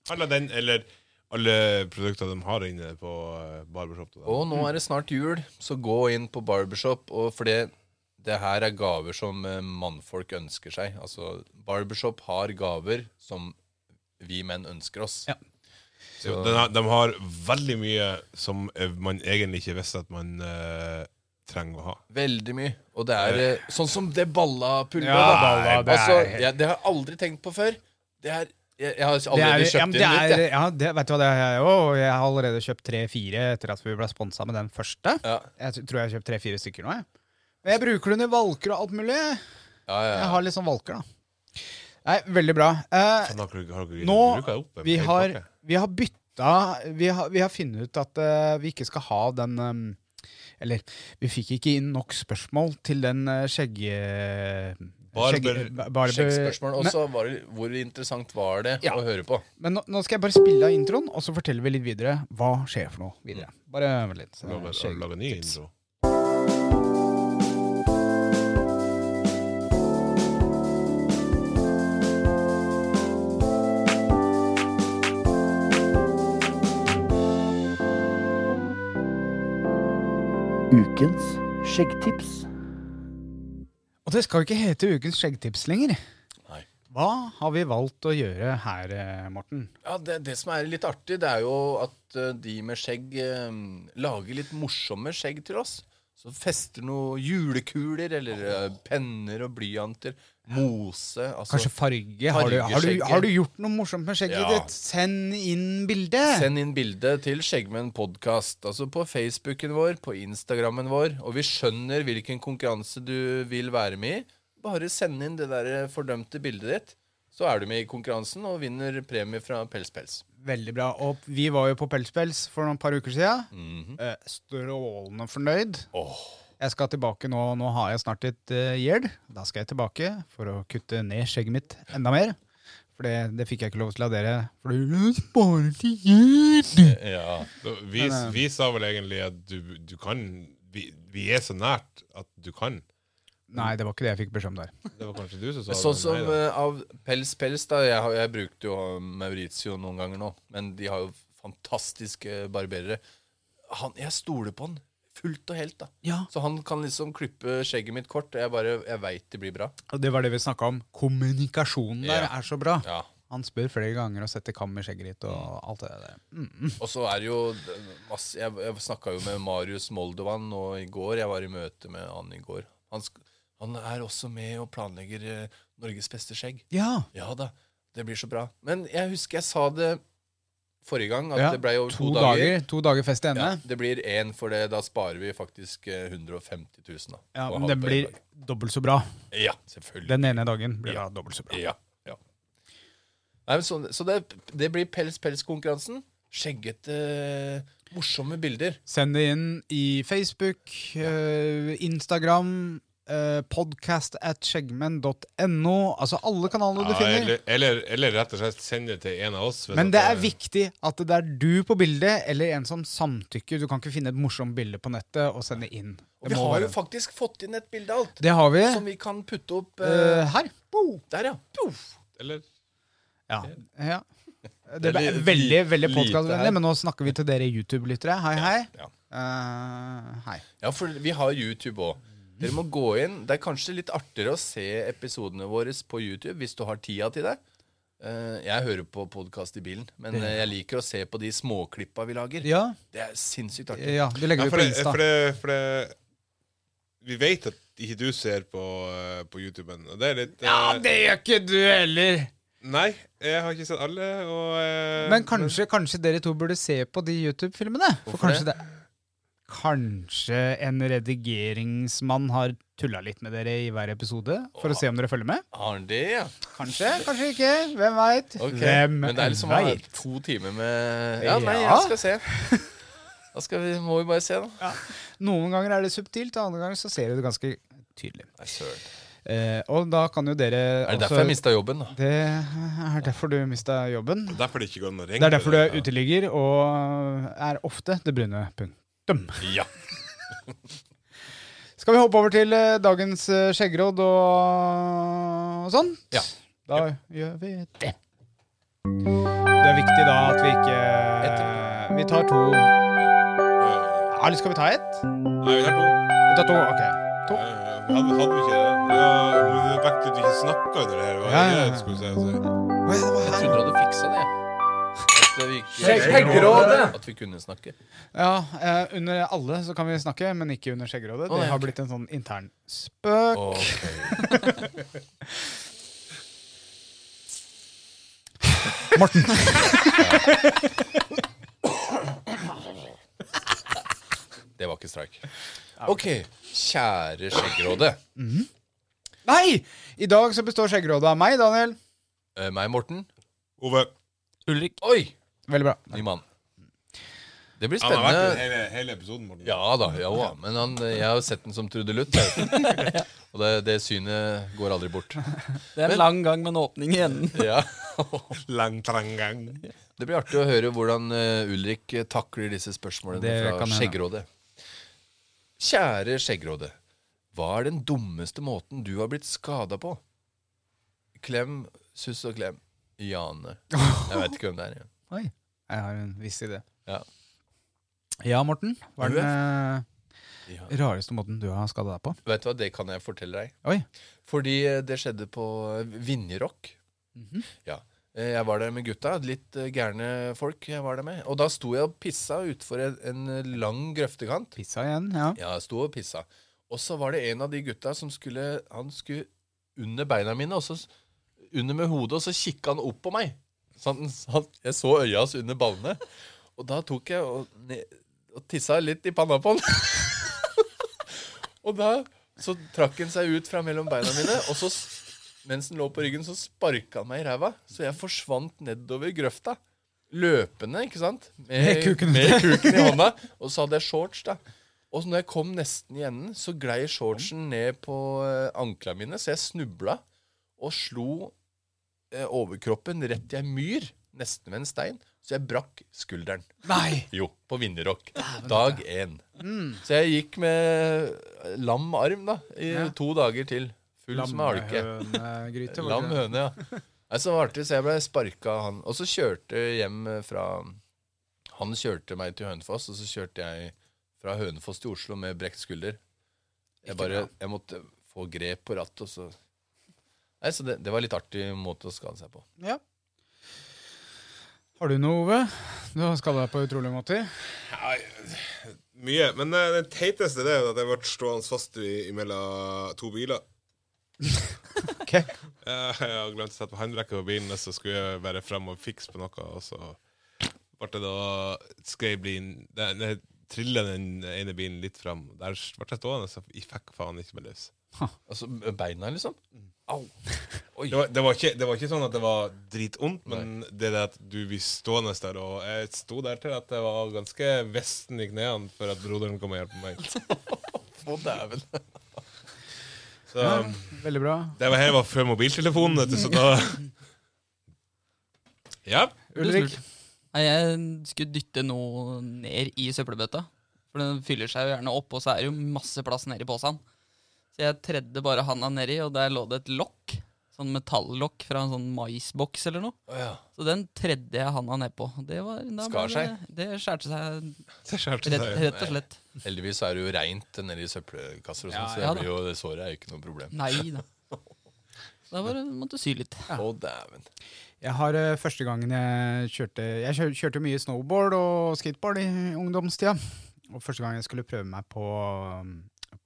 Speaker 6: Handler den eller alle produkter de har inne på eh, Barbershop. da.
Speaker 4: Og nå er det snart jul, så gå inn på Barbershop. Og for det, det her er gaver som eh, mannfolk ønsker seg. Altså, Barbershop har gaver som vi menn ønsker oss.
Speaker 3: Ja.
Speaker 6: Så den har, de har veldig mye som eh, man egentlig ikke visste at man eh, trenger å ha.
Speaker 4: Veldig mye. Og det er eh, sånn som det ballapulveret.
Speaker 3: Ja,
Speaker 4: da.
Speaker 3: balla, det er
Speaker 4: altså,
Speaker 3: helt-
Speaker 4: jeg, det har jeg aldri tenkt på før. Det er Jeg, jeg har
Speaker 3: Det er,
Speaker 4: allerede
Speaker 3: ja,
Speaker 4: kjøpt
Speaker 3: men det
Speaker 4: inn litt,
Speaker 3: er,
Speaker 4: jeg.
Speaker 3: ja, det, vet du hva det er jeg òg? Jeg har allerede kjøpt tre-fire etter at vi ble sponsa med den første.
Speaker 4: Ja.
Speaker 3: Jeg t- tror jeg har kjøpt tre-fire stykker nå. Jeg. Men jeg bruker den i valker og alt mulig.
Speaker 4: Ja, ja,
Speaker 3: Jeg
Speaker 4: ja.
Speaker 3: har litt sånn valker, da. Nei, veldig bra. Eh,
Speaker 6: Har dere- har dere-
Speaker 3: Nå,
Speaker 6: bruker jeg opp en
Speaker 3: vi
Speaker 6: hel
Speaker 3: har,
Speaker 6: pakke?
Speaker 3: vi har bytta Vi har, vi har funnet ut at eh, vi ikke skal ha den em, Eller, vi fikk ikke inn nok spørsmål til den uh, skjegg...
Speaker 6: Barber-
Speaker 3: skjegg- ba- barber-
Speaker 4: Sjekkspørsmål. Og
Speaker 3: Men-
Speaker 4: så var det hvor interessant var det
Speaker 3: Ja.
Speaker 4: å høre på?
Speaker 3: Men nå, nå skal jeg bare spille av introen, og så forteller vi litt videre. Hva skjer for noe videre? Bare vent litt.
Speaker 6: Har dere- har dere
Speaker 3: Skjegg.
Speaker 6: laget ny intro.
Speaker 7: Ukens skjeggtips.
Speaker 3: Og det skal jo ikke hete Ukens skjeggtips lenger.
Speaker 4: Nei.
Speaker 3: Hva har vi valgt å gjøre her, eh, Morten?
Speaker 4: Ja, det, det som er litt artig, det er jo at eh, de med skjegg eh, lager litt morsomme skjegg til oss. Så fester noen julekuler eller eh, penner og blyanter Mose altså,
Speaker 3: Kanskje farge? Har du, har, du,
Speaker 4: fargeskjegget.
Speaker 3: har du gjort noe morsomt med skjegget
Speaker 4: Ja.
Speaker 3: ditt? Send inn bilde!
Speaker 4: Send inn bilde til Skjeggmenn podkast. Altså på Facebooken vår, på Instagrammen vår. Og vi skjønner hvilken konkurranse du vil være med i. Bare send inn det der fordømte bildet ditt, så er du med i konkurransen og vinner premie fra Pels Pels.
Speaker 3: Veldig bra. Og vi var jo på Pelspels for noen par uker siden.
Speaker 4: Mhm.
Speaker 3: Eh, Strålende fornøyd. Jeg skal tilbake nå. Nå har jeg snart et eh, gjeld. Da skal jeg tilbake for å kutte ned skjegget mitt enda mer. For det, det fikk jeg ikke lov til av dere. For du sparer til gjeld!
Speaker 4: Ja.
Speaker 6: Så Vi, vi sa vel egentlig at du, du kan vi, vi er så nært at du kan.
Speaker 3: Nei, det var ikke det jeg fikk beskjed om der.
Speaker 6: Det var kanskje du som sa
Speaker 4: Sånn
Speaker 6: det,
Speaker 4: som
Speaker 6: men nei da.
Speaker 4: eh, av Pels Pels, da. Jeg, har- jeg brukte jo Maurizio noen ganger nå, men de har jo fantastiske barberere. Han, jeg stoler på han fullt og helt, da.
Speaker 3: Ja.
Speaker 4: Så han kan liksom klippe skjegget mitt kort, og jeg bare, jeg veit det blir bra.
Speaker 3: Og det var det vi snakka om. Kommunikasjonen der
Speaker 4: Ja.
Speaker 3: er så bra.
Speaker 4: Ja. Mm.
Speaker 3: Han spør flere ganger og setter kam i skjegget ditt og alt det der.
Speaker 4: Og så er det jo masse, Jeg, jeg snakka jo med Marius Moldovan nå i går. Jeg var i møte med han i går. Han, sk- han er også med og planlegger eh, Norges beste skjegg.
Speaker 3: Ja.
Speaker 4: Ja da, det blir så bra. Men jeg husker jeg sa det forrige gang, at
Speaker 3: Ja,
Speaker 4: det blei over
Speaker 3: To, dager. To dager fest til ende.
Speaker 4: Ja, det blir én, for det, da sparer vi faktisk eh, 150 000. Da,
Speaker 3: Ja,
Speaker 4: på
Speaker 3: men
Speaker 4: halv-
Speaker 3: den
Speaker 4: på en
Speaker 3: blir
Speaker 4: dag.
Speaker 3: dobbelt så bra.
Speaker 4: Ja, selvfølgelig.
Speaker 3: Den ene dagen blir da dobbelt så bra.
Speaker 4: Ja. ja. Nei, men så så det, det blir pels-pels-konkurransen. Skjeggete, morsomme bilder.
Speaker 3: Send det inn i Facebook, eh, Instagram, eh, podcast at skjeggmenn.no. Altså alle kanalene du
Speaker 6: Ja,
Speaker 3: finner.
Speaker 6: eller, eller, eller rett og slett send det til en av oss. hvis
Speaker 3: Men
Speaker 6: at
Speaker 3: det er viktig at det er du på bildet, eller en som samtykker. Du kan ikke finne et morsomt bilde på nettet og sende inn.
Speaker 4: Og vi
Speaker 3: må
Speaker 4: har jo
Speaker 3: være-
Speaker 4: faktisk fått inn et bilde av alt.
Speaker 3: det har vi.
Speaker 4: Som vi kan putte opp
Speaker 3: Eh,
Speaker 4: eh,
Speaker 3: her. Bo.
Speaker 4: der, ja. Puff.
Speaker 6: Eller
Speaker 3: Ja. ja. Det ble
Speaker 4: Det er li-
Speaker 3: veldig veldig
Speaker 4: lite her.
Speaker 3: podkastvennlig, men nå snakker vi til dere YouTube-lyttere. Hei, hei.
Speaker 4: Ja.
Speaker 3: Eh, hei.
Speaker 4: ja, for vi har YouTube òg. Dere må gå inn. Det er kanskje litt artigere å se episodene våre på YouTube hvis du har tida til det. Eh, jeg hører på podkast i bilen, men eh, jeg liker å se på de småklippa vi lager.
Speaker 3: Ja,
Speaker 4: Det er sinnssykt artig.
Speaker 3: ja, det legger
Speaker 6: Nei,
Speaker 3: vi
Speaker 6: for
Speaker 3: på
Speaker 6: det,
Speaker 3: Insta.
Speaker 6: for det, for det Vi vet at ikke du ser på, eh, på YouTuben, og det er litt eh,
Speaker 3: gjør ikke du heller!
Speaker 6: Nei, jeg har ikke sett alle, og eh,
Speaker 3: Men kanskje, kanskje dere to burde se på de YouTube-filmene? For
Speaker 4: Hvorfor
Speaker 3: kanskje det? Kanskje en redigeringsmann har tulla litt med dere i hver episode? For å se om dere følger med?
Speaker 4: Har han det, ja?
Speaker 3: Kanskje, kanskje ikke. Hvem veit?
Speaker 4: Ok.
Speaker 3: Hvem
Speaker 4: men det er liksom
Speaker 3: vet?
Speaker 4: eh, to timer med Ja, nei,
Speaker 3: Ja.
Speaker 4: jeg skal se. Da skal vi, må vi bare se, da.
Speaker 3: Noen ganger er det subtilt, og andre ganger så ser du det ganske tydelig.
Speaker 4: Nei, søren.
Speaker 3: Eh, og da kan jo dere
Speaker 4: Er
Speaker 3: også-
Speaker 4: det derfor jeg mista jobben, da?
Speaker 3: Det er derfor du mista jobben.
Speaker 6: Derfor det ikke går an å ringe
Speaker 3: Det er derfor du er uteligger og er ofte det brune punktum.
Speaker 4: Ja.
Speaker 3: Skal vi hoppe over til eh, dagens eh, skjeggråd og, og sånt?
Speaker 4: Ja.
Speaker 3: Da gjør vi det. Det er viktig da at vi ikke Vi tar to Eller skal vi ta ett?
Speaker 6: Nei, vi tar to.
Speaker 3: Vi tar to, ok.
Speaker 6: Eh, vi hadde, hadde vi ikke det? Ja, men det vekket du ikke snakka under det her. Hva
Speaker 3: Ja,
Speaker 6: er
Speaker 3: ja, ja.
Speaker 6: det, skulle jeg si? altså.
Speaker 4: Jeg trodde du hadde fiksa det. At vi, ikke-
Speaker 3: Skjeggrådet!
Speaker 4: At vi kunne snakke.
Speaker 3: Ja, eh, Under alle så kan vi snakke, men ikke under skjeggrådet.
Speaker 4: Å, ja,
Speaker 3: Det har
Speaker 4: ok.
Speaker 3: blitt en sånn intern spøk. Morten!
Speaker 4: Det var ikke streik. Ok, kjære Skjeggrådet.
Speaker 3: Nei! I dag så består skjeggrådet av meg, Daniel.
Speaker 4: Eh, meg, Morten.
Speaker 6: Ove.
Speaker 4: Ulrik. Oi!
Speaker 3: Veldig bra.
Speaker 4: Ny mann. Det blir
Speaker 6: Han har vært i
Speaker 4: spennende.
Speaker 6: hele, hele episoden, Morten.
Speaker 4: Ja da, ja da. Men han, jeg har jo sett den som trudelutt. jeg vet. Og det, det synet går aldri bort.
Speaker 5: Det er en lang gang med en åpning i enden.
Speaker 4: Ja.
Speaker 6: Lang, trang gang.
Speaker 4: Det blir artig å høre hvordan eh, Ulrik eh, takler disse spørsmålene
Speaker 3: Det
Speaker 4: fra
Speaker 3: kan hende.
Speaker 4: Skjeggrådet. Kjære Skjeggrådet. Hva er den dummeste måten du har blitt skada på? Klem, suss og klem. Jane. Jeg vet ikke hvem det er. Ja.
Speaker 3: Oi, jeg har en viss idé.
Speaker 4: Ja.
Speaker 3: Ja, Morten. Hva er
Speaker 4: Du er
Speaker 3: den eh,
Speaker 4: Ja.
Speaker 3: rareste måten du har skada deg på?
Speaker 4: Vet du hva, det kan jeg fortelle deg.
Speaker 3: Oi.
Speaker 4: Fordi eh, det skjedde på eh, Vinjerock.
Speaker 3: Mhm.
Speaker 4: Ja. Eh, Jeg var der med gutta, litt eh, gærne folk jeg var der med. Og da sto jeg og pissa utfor en, en eh, lang grøftekant.
Speaker 3: Pizza igjen, ja.
Speaker 4: Ja, jeg sto og pissa. Og så var det en av de gutta som skulle Han skulle under beina mine, og så s- under med hodet, og så kikka han opp på meg. Så han, så han, jeg så øya hans under ballene. Og da tok jeg og, ne- og tissa litt i panna på han. og da så trakk han seg ut fra mellom beina mine, og så, s- mens han lå på ryggen, så sparka han meg i ræva. Så jeg forsvant nedover grøfta. Løpende, ikke sant? Med,
Speaker 3: kuken.
Speaker 4: med kuken i hånda. Og så hadde jeg shorts, da. Og så når jeg kom nesten i enden, så glei shortsen ned på eh, anklene mine, så jeg snubla og slo eh, overkroppen rett i ei myr, nesten ved en stein, så jeg brakk skulderen.
Speaker 3: Nei!
Speaker 4: Jo, på Vinjerock. Dag én. Så jeg gikk med eh, lam arm da, i
Speaker 3: Ja.
Speaker 4: to dager til. Full som ei alke.
Speaker 3: Lammehønegryte. var
Speaker 4: Lam
Speaker 3: det det?
Speaker 4: høne, ja. Nei, så var det artig, så jeg ble sparka av han. Og så kjørte jeg hjem fra Han kjørte meg til Hønefoss, og så kjørte jeg fra Hønefoss til Oslo med brekt skulder. Jeg bare, jeg måtte få grep på rattet, og så Nei, så det, det var litt artig måte å skade seg på.
Speaker 3: Ja. Har du noe, Ove? Du har skada deg på utrolige måter.
Speaker 2: Mye. Men eh, det teiteste det er jo at jeg ble stående fast i, mellom to biler.
Speaker 3: Ok.
Speaker 6: Eh, Jeg har glemt å sette på håndbrekket på bilen, og så skulle jeg bare frem og fikse på noe, og så ble det da Skal jeg bli den- den- Trille den ene bilen litt frem. Der ble jeg stående, så jeg fikk faen ikke meg løs.
Speaker 4: Altså beina, liksom.
Speaker 3: Mm.
Speaker 4: Au. Oi.
Speaker 6: Det var, det, var ikke, det var ikke sånn at det var dritvondt, men det der at du blir stående der Og jeg sto der til at jeg var ganske vesten i knærne for at broderen kom og hjalp meg.
Speaker 4: Å, dæven.
Speaker 6: Så um,
Speaker 3: Veldig bra.
Speaker 6: det var, her var før mobiltelefonen, vet du, så da Ja.
Speaker 3: Ulrik?
Speaker 5: Nei, jeg skulle dytte noe ned i søppelbøtta. For den fyller seg jo gjerne opp, og så er det jo masse plass nedi posen. Så jeg tredde bare handa nedi, og der lå det et lokk. Sånn metallokk fra en sånn maisboks eller noe.
Speaker 4: Å, ja.
Speaker 5: Så den tredde jeg handa nedpå. Det var da
Speaker 4: Skar
Speaker 5: ble
Speaker 4: seg?
Speaker 5: Det, det skjærte seg
Speaker 6: Det skjærte
Speaker 5: rett,
Speaker 6: seg.
Speaker 5: rett og slett.
Speaker 4: Heldigvis er det jo reint nedi søppelkasser, og sånn,
Speaker 3: Ja,
Speaker 4: så det,
Speaker 5: ja da.
Speaker 4: blir jo, det såret er jo ikke noe problem.
Speaker 5: Nei da. Så Da var det, måtte du sy litt.
Speaker 4: Å, dæven.
Speaker 3: Jeg har eh, første gangen jeg kjørte Jeg kjør, kjørte mye snowboard og skateboard i ungdomstida. Og første gang jeg skulle prøve meg på, um,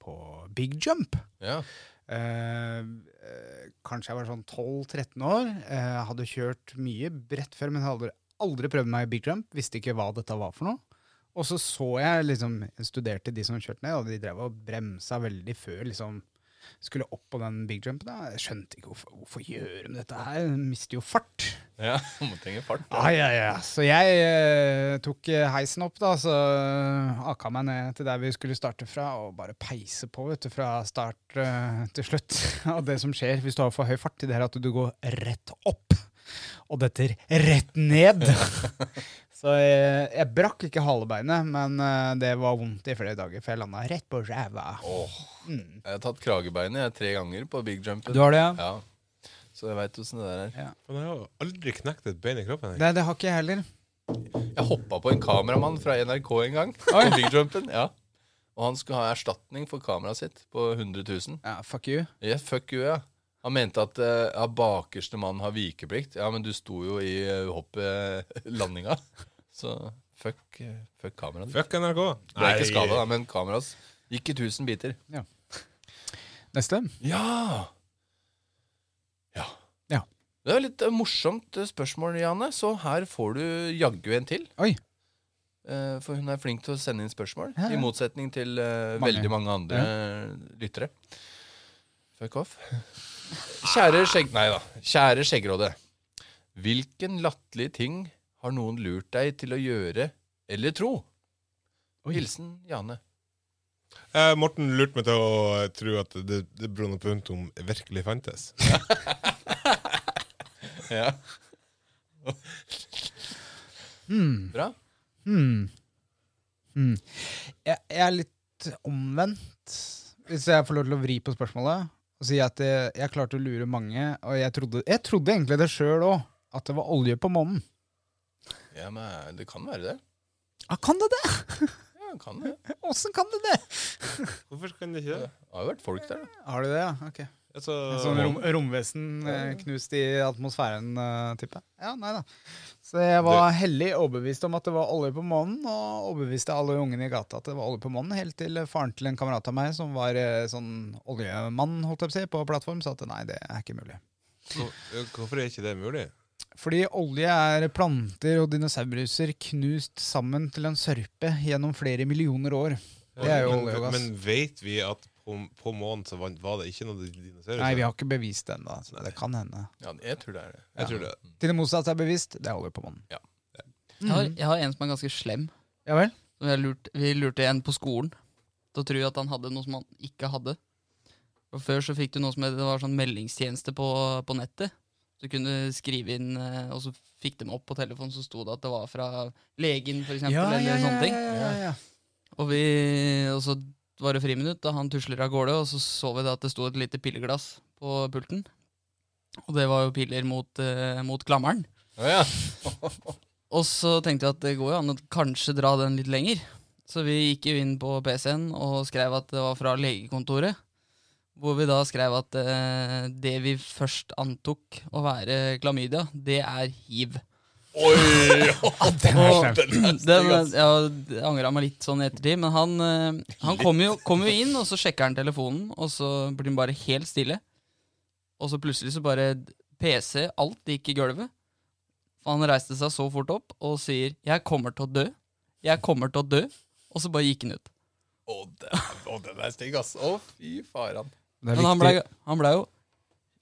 Speaker 3: på big jump.
Speaker 4: Ja.
Speaker 3: Eh, eh, kanskje jeg var sånn 12-13 år. Eh, hadde kjørt mye brett før, men hadde aldri prøvd meg i big jump. Visste ikke hva dette var for noe. Og så så jeg liksom, jeg studerte de som kjørte ned, og de drev og bremsa veldig før liksom skulle opp på den big jumpen. da. Jeg skjønte ikke hvorfor, hvorfor gjør de dette her. De mister jo fart.
Speaker 4: ja. Må trenge fart.
Speaker 3: Ja, ja, ja. Så jeg eh, tok eh, heisen opp, da, så eh, aka meg ned til der vi skulle starte fra, og bare peise på vet du, fra start eh, til slutt. Og det som skjer hvis du har for høy fart, det er at du går rett opp, og detter rett ned. Så jeg, jeg brakk ikke halebeinet, men eh, det var vondt i flere dager, for jeg landa rett på ræva.
Speaker 4: Åh.
Speaker 3: Mm.
Speaker 4: Jeg har tatt kragebeinet jeg, tre ganger på big jumpen.
Speaker 3: Du har det, ja?
Speaker 4: Ja. Så jeg veit åssen det der er.
Speaker 6: Men jeg har aldri knekt et bein i kroppen. Jeg.
Speaker 3: Nei, det har ikke jeg heller.
Speaker 4: Jeg hoppa på en kameramann fra NRK en gang.
Speaker 3: Oi.
Speaker 4: På big jumpen, ja Og han skulle ha erstatning for kameraet sitt på 100 000.
Speaker 3: Ja, fuck you.
Speaker 4: Yeah, fuck you, ja. Han mente at eh, ja, bakerste mann har vikeplikt. Ja, men du sto jo i eh, hoppet, landinga. Så fuck, eh, fuck kameraet.
Speaker 6: Fuck NRK.
Speaker 4: Ble ikke skada, da, men kameraet hans gikk i 1000 biter.
Speaker 3: Neste.
Speaker 4: Ja! Ja.
Speaker 3: Ja.
Speaker 4: Det er litt eh, morsomt eh, spørsmål, Janne, så her får du jaggu en til.
Speaker 3: Oi.
Speaker 4: Eh, For hun er flink til å sende inn spørsmål,
Speaker 3: Ja, ja.
Speaker 4: i motsetning til eh,
Speaker 3: Mange.
Speaker 4: veldig mange andre eh, lyttere. Fuck off. Kjære skjegg... Nei da. Kjære Skjeggråde. Hvilken latterlig ting har noen lurt deg til å gjøre eller tro? Hilsen Jane.
Speaker 6: Eh, Morten lurte meg til å eh, tro at det, det Bruno Puntum virkelig fantes.
Speaker 4: Ja.
Speaker 3: Hmm.
Speaker 4: Bra.
Speaker 3: Hmm. Hmm. Jeg, jeg er litt omvendt, hvis jeg får lov til å vri på spørsmålet. Og si at jeg, jeg klarte å lure mange, og jeg trodde, jeg trodde egentlig det sjøl òg. At det var olje på månen.
Speaker 4: Ja, men eh, det kan være det.
Speaker 3: Ja, Ah, kan det det?!
Speaker 4: Ja, det kan det.
Speaker 3: Åssen kan det det?!
Speaker 6: Hvorfor kan det ikke det?
Speaker 4: Det har jo vært folk der, da.
Speaker 3: Har du det, ja? Ok.
Speaker 2: Altså,
Speaker 3: Sånn rom, romvesen eh, knust i atmosfæren, eh, tipper jeg. Ja, nei da. Så jeg var hellig overbevist om at det var olje på månen, og overbeviste alle ungene i gata at det var olje på månen, helt til faren til en kamerat av meg som var eh, sånn oljemann holdt jeg på å si, på plattform, sa at nei, det er ikke mulig.
Speaker 2: hvor- hvorfor er ikke det mulig?
Speaker 3: Fordi olje er planter og dinosauruser knust sammen til en sørpe gjennom flere millioner år. Det er jo
Speaker 2: men,
Speaker 3: olje og gass.
Speaker 2: Men vet vi at på, på månen så var var det ikke noe dinosaurer?
Speaker 3: Nei, vi har ikke bevist det ennå, så det kan
Speaker 2: Mm.
Speaker 3: hende.
Speaker 4: Ja, jeg tror det er det.
Speaker 2: Jeg tror det.
Speaker 3: Til det motsatte er bevist, det er olje på månen.
Speaker 5: Jeg har, jeg har en som er ganske slem.
Speaker 3: Ja vel?
Speaker 5: Som jeg lurt, vi lurte en på skolen til å tro at han hadde noe som han ikke hadde. Og Før så fikk du noe som het- det var sånn meldingstjeneste på, på nettet. Du kunne skrive inn, eh, og så fikk de opp på telefonen, så sto det at det var fra legen, for eksempel, eller sånne ting. Og, vi, og så var det friminutt, da han tusler av gårde, og så så vi da at det sto et lite pilleglass på pulten. Og det var jo piller mot, eh, mot klammeren.
Speaker 4: Ja, ja.
Speaker 5: Og så tenkte vi at det går jo an å kanskje dra den litt lenger. Så vi gikk jo inn på PC-en og skrev at det var fra legekontoret. Hvor vi da skrev at eh, det vi først antok å være klamydia, det er hiv. Og den, ja, jeg angra meg litt sånn i ettertid, men han, eh, han kom, jo, kom jo inn, og så sjekker han telefonen, og så blir han bare helt stille. Og så plutselig så bare PC, alt gikk i gulvet. For han reiste seg så fort opp og sier 'jeg kommer til å dø', 'jeg kommer til å dø', og så bare gikk han ut.
Speaker 4: Å, den, å, den er stygg, ass. Å, fy faran.
Speaker 3: Det er
Speaker 5: Men han
Speaker 3: viktig.
Speaker 5: ble, han ble jo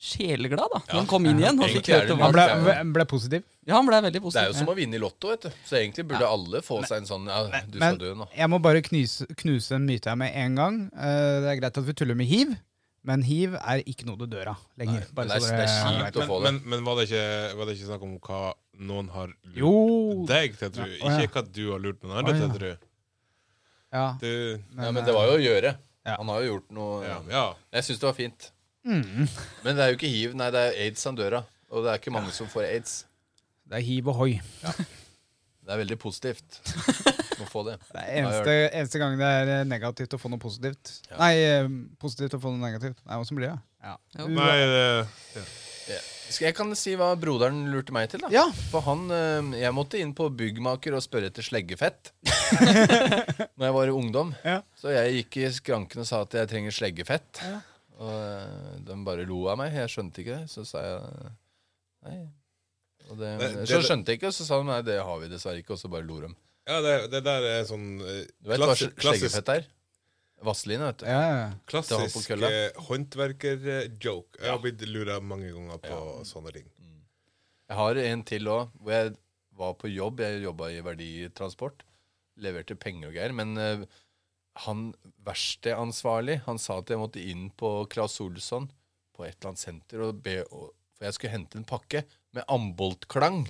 Speaker 5: sjeleglad da, når han kom inn igjen. Han
Speaker 4: Egentlig
Speaker 5: fikk vite
Speaker 4: er det
Speaker 5: hva
Speaker 3: Han ble,
Speaker 4: Det er
Speaker 3: ble positiv.
Speaker 5: Ja, han ble veldig
Speaker 4: Det er jo
Speaker 5: positiv.
Speaker 4: som å vinne i Lotto, vet du. Så egentlig burde alle få seg en sånn ja, Du skal
Speaker 3: men-
Speaker 4: dø nå.
Speaker 3: Jeg må bare knuse, knuse en myte her med en gang. Eh, det er greit at vi tuller med hiv, men hiv er ikke noe du dør av lenger.
Speaker 4: men det er-
Speaker 3: så
Speaker 4: det er
Speaker 3: dere
Speaker 4: kjipt
Speaker 3: vet.
Speaker 4: å få det.
Speaker 2: Men, men var, det ikke, var det ikke snakk om hva noen har lurt
Speaker 3: Jo
Speaker 2: deg til å tro?
Speaker 3: Ja, å ja.
Speaker 2: Ikke hva du har lurt noen andre
Speaker 3: Å
Speaker 2: til
Speaker 3: ja.
Speaker 2: å tro.
Speaker 3: ja,
Speaker 2: Du-
Speaker 4: Ja, men det var jo å gjøre.
Speaker 3: Ja.
Speaker 4: Han har jo gjort noe
Speaker 2: Ja, ja.
Speaker 4: Jeg syns det var fint.
Speaker 3: Mm.
Speaker 4: Men det er jo ikke hiv, nei, det er aids han dør av. Og det er ikke mange som får aids.
Speaker 3: det er hiv og hoi.
Speaker 4: Det er veldig positivt å få det.
Speaker 3: Det er eneste, eneste gang det er eh, negativt å få noe positivt. Nei, eh, positivt å få noe negativt. Nei, åssen blir det? Ja.
Speaker 5: Ja.
Speaker 3: Du-
Speaker 2: Nei, det
Speaker 4: Skal jeg kan si hva broderen lurte meg til, da?
Speaker 3: Ja.
Speaker 4: For han, eh, Jeg måtte inn på byggmaker og spørre etter sleggefett. Når jeg var ungdom.
Speaker 3: Ja.
Speaker 4: Så jeg gikk i skranken og sa at jeg trenger sleggefett. Og eh, de bare lo av meg. Jeg skjønte ikke det. Så sa jeg nei. Og det,
Speaker 2: Det- det-
Speaker 4: så skjønte jeg ikke, og så sa de nei, det har vi dessverre ikke. Og så bare lo de.
Speaker 2: ja det, det der er sånn eh,
Speaker 4: Du vet
Speaker 2: klassi-
Speaker 4: hva
Speaker 2: klassisk,
Speaker 4: sleggefett er? Vaseline, vet du.
Speaker 3: Ja, ja.
Speaker 4: Det har på
Speaker 2: klassisk
Speaker 4: kølla.
Speaker 2: eh, håndverker-joke. Jeg har blitt lura mange ganger på sånne ting.
Speaker 4: Jeg har en til òg, hvor jeg var på jobb. Jeg jobba i verditransport. Leverte penger og greier. Men eh, han verkstedansvarlig han sa at jeg måtte inn på Claes Olsson på et eller annet senter og be og- For jeg skulle hente en pakke med amboltklang.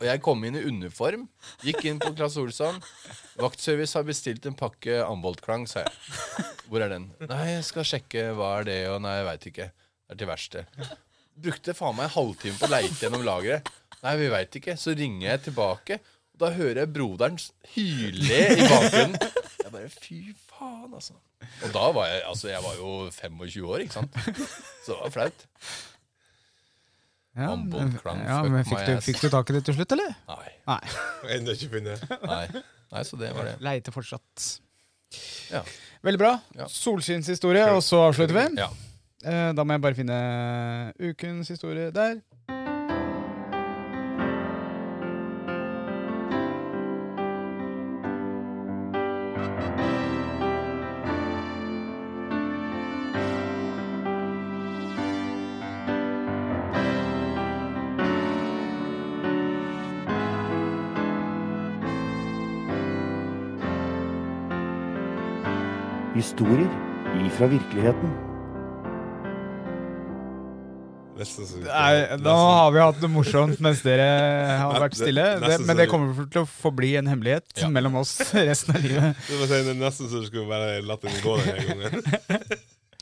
Speaker 4: Og jeg kom inn i uniform, gikk inn på Claes Olsson. Vaktservice har bestilt en pakke amboltklang, sa jeg. Hvor er den? Nei, jeg skal sjekke. Hva er det? Og nei, jeg veit ikke. Det er til verksted. Brukte faen meg en halvtime på å leite gjennom lageret. Nei, vi veit ikke. Så ringer jeg tilbake, og da hører jeg broderen s- hyle i bakgrunnen. Jeg bare fy faen, altså. Og da var jeg altså, jeg var jo 25 år, ikke sant? Så det var flaut.
Speaker 3: ja, men,
Speaker 4: Humble clown,
Speaker 3: ja,
Speaker 4: fuck
Speaker 3: men
Speaker 4: my
Speaker 3: fikk, du,
Speaker 4: ass.
Speaker 3: fikk du tak i det til slutt, eller?
Speaker 4: Nei.
Speaker 3: Nei.
Speaker 2: Enda ikke funnet.
Speaker 4: Nei, nei så det var det.
Speaker 3: Leite fortsatt.
Speaker 4: Ja.
Speaker 3: Veldig bra.
Speaker 4: Ja.
Speaker 3: Solskinnshistorie, og så avslutter vi.
Speaker 4: Ja.
Speaker 3: Eh, Da må jeg bare finne ukens historie der.
Speaker 7: Historier ifra virkeligheten.
Speaker 2: Nesten så-
Speaker 3: Nei,
Speaker 2: nesten-
Speaker 3: nå har vi hatt det morsomt mens dere har
Speaker 2: Nei,
Speaker 3: vært
Speaker 2: det-
Speaker 3: stille. Det,
Speaker 2: nesten
Speaker 3: men det
Speaker 2: så-
Speaker 3: kommer til å forbli en hemmelighet mellom oss resten av livet.
Speaker 2: Det var sånn, det er nesten så du skulle bare latt den gå denne gangen.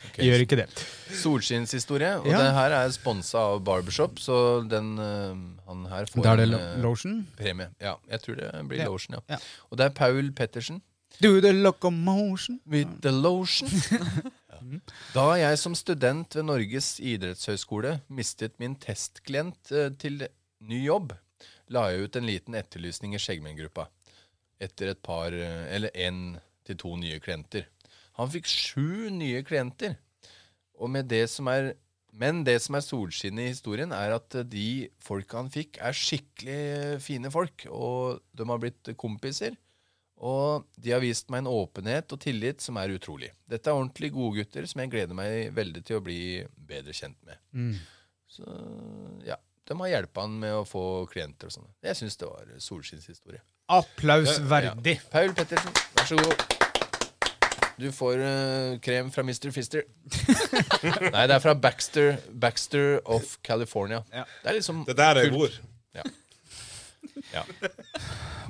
Speaker 4: Ok,
Speaker 3: Gjør ikke det.
Speaker 4: Solskinnshistorie. Og
Speaker 3: Ja.
Speaker 4: det her er sponsa av Barbershop, så den eh, han her får
Speaker 3: Da er det
Speaker 4: en eh,
Speaker 3: lotion.
Speaker 4: premie. Ja, jeg tror det blir
Speaker 3: Ja.
Speaker 4: lotion, ja.
Speaker 3: Ja.
Speaker 4: Og det er Paul Pettersen.
Speaker 3: Do the locomotion.
Speaker 4: With the lotion. Da jeg som student ved Norges idrettshøyskole mistet min testklient eh, til ny jobb, la jeg ut en liten etterlysning i Skjeggmenngruppa etter et par, eh, eller en til to nye klienter. Han fikk sju nye klienter. Og med det som er, men det som er solskinnet i historien, er at eh, de folka han fikk, er skikkelig eh, fine folk, og de har blitt kompiser. Og de har vist meg en åpenhet og tillit som er utrolig. Dette er ordentlig gode gutter som jeg gleder meg veldig til å bli bedre kjent med.
Speaker 3: Mm.
Speaker 4: Så ja, De har hjulpet han med å få klienter og sånn. Jeg syns det var solskinnshistorie.
Speaker 3: Applaus verdig.
Speaker 4: Paul Pettersen, vær så god. Du får eh, krem fra Mr. Fister. Nei, det er fra Baxter, Baxter of California.
Speaker 3: Ja.
Speaker 4: Det er liksom
Speaker 6: Det der er ord.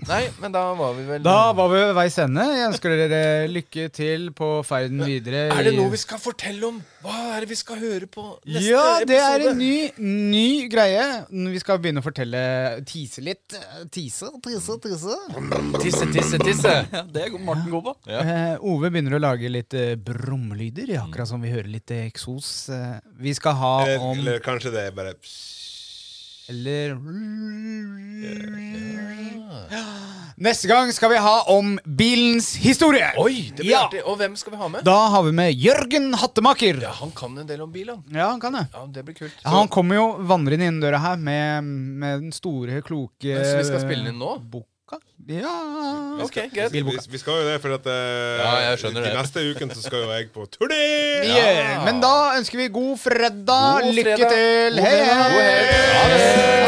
Speaker 4: Nei, men da var vi vel
Speaker 3: Da var vi ved veis ende. Jeg ønsker dere lykke til på ferden videre.
Speaker 4: Er det
Speaker 3: i-
Speaker 4: noe vi skal fortelle om? Hva er det vi skal høre på neste
Speaker 3: ja, det er
Speaker 4: episode?
Speaker 3: en ny, ny greie. Vi skal begynne å fortelle Tise litt. Tise, tise, tise.
Speaker 4: Tisse, tisse, tisse.
Speaker 5: Ja, det er Morten god på.
Speaker 3: Eh, Ove begynner å lage litt eh, brumlyder, akkurat som vi hører litt eh, eksos. Eh, vi skal ha
Speaker 6: Eller,
Speaker 3: om
Speaker 6: eller kanskje det er bare
Speaker 3: Eller Neste gang skal vi ha om bilens historie.
Speaker 4: Oi, det blir
Speaker 3: Ja.
Speaker 4: artig. Og hvem skal vi ha med?
Speaker 3: Da har vi med Jørgen Hattemaker.
Speaker 4: Ja, Han kan en del om bil, han.
Speaker 3: Ja, han kan det.
Speaker 4: Ja, det blir kult.
Speaker 3: Ja, han kommer jo vandrende inn døra her med, med den store, kloke
Speaker 4: Så vi skal spille den inn nå?
Speaker 3: Boka? Ja
Speaker 4: Ok, greit.
Speaker 6: vi, vi skal jo det, for at eh,
Speaker 4: Ja, jeg skjønner
Speaker 6: de
Speaker 4: det.
Speaker 6: neste ukene så skal jo jeg på turné!
Speaker 3: Yeah. Men da ønsker vi god fredag.
Speaker 4: God
Speaker 3: Lykke
Speaker 4: fredag.
Speaker 3: til.
Speaker 4: God
Speaker 3: Hei,
Speaker 4: fredag.
Speaker 3: hei.
Speaker 4: God helg. Ha det.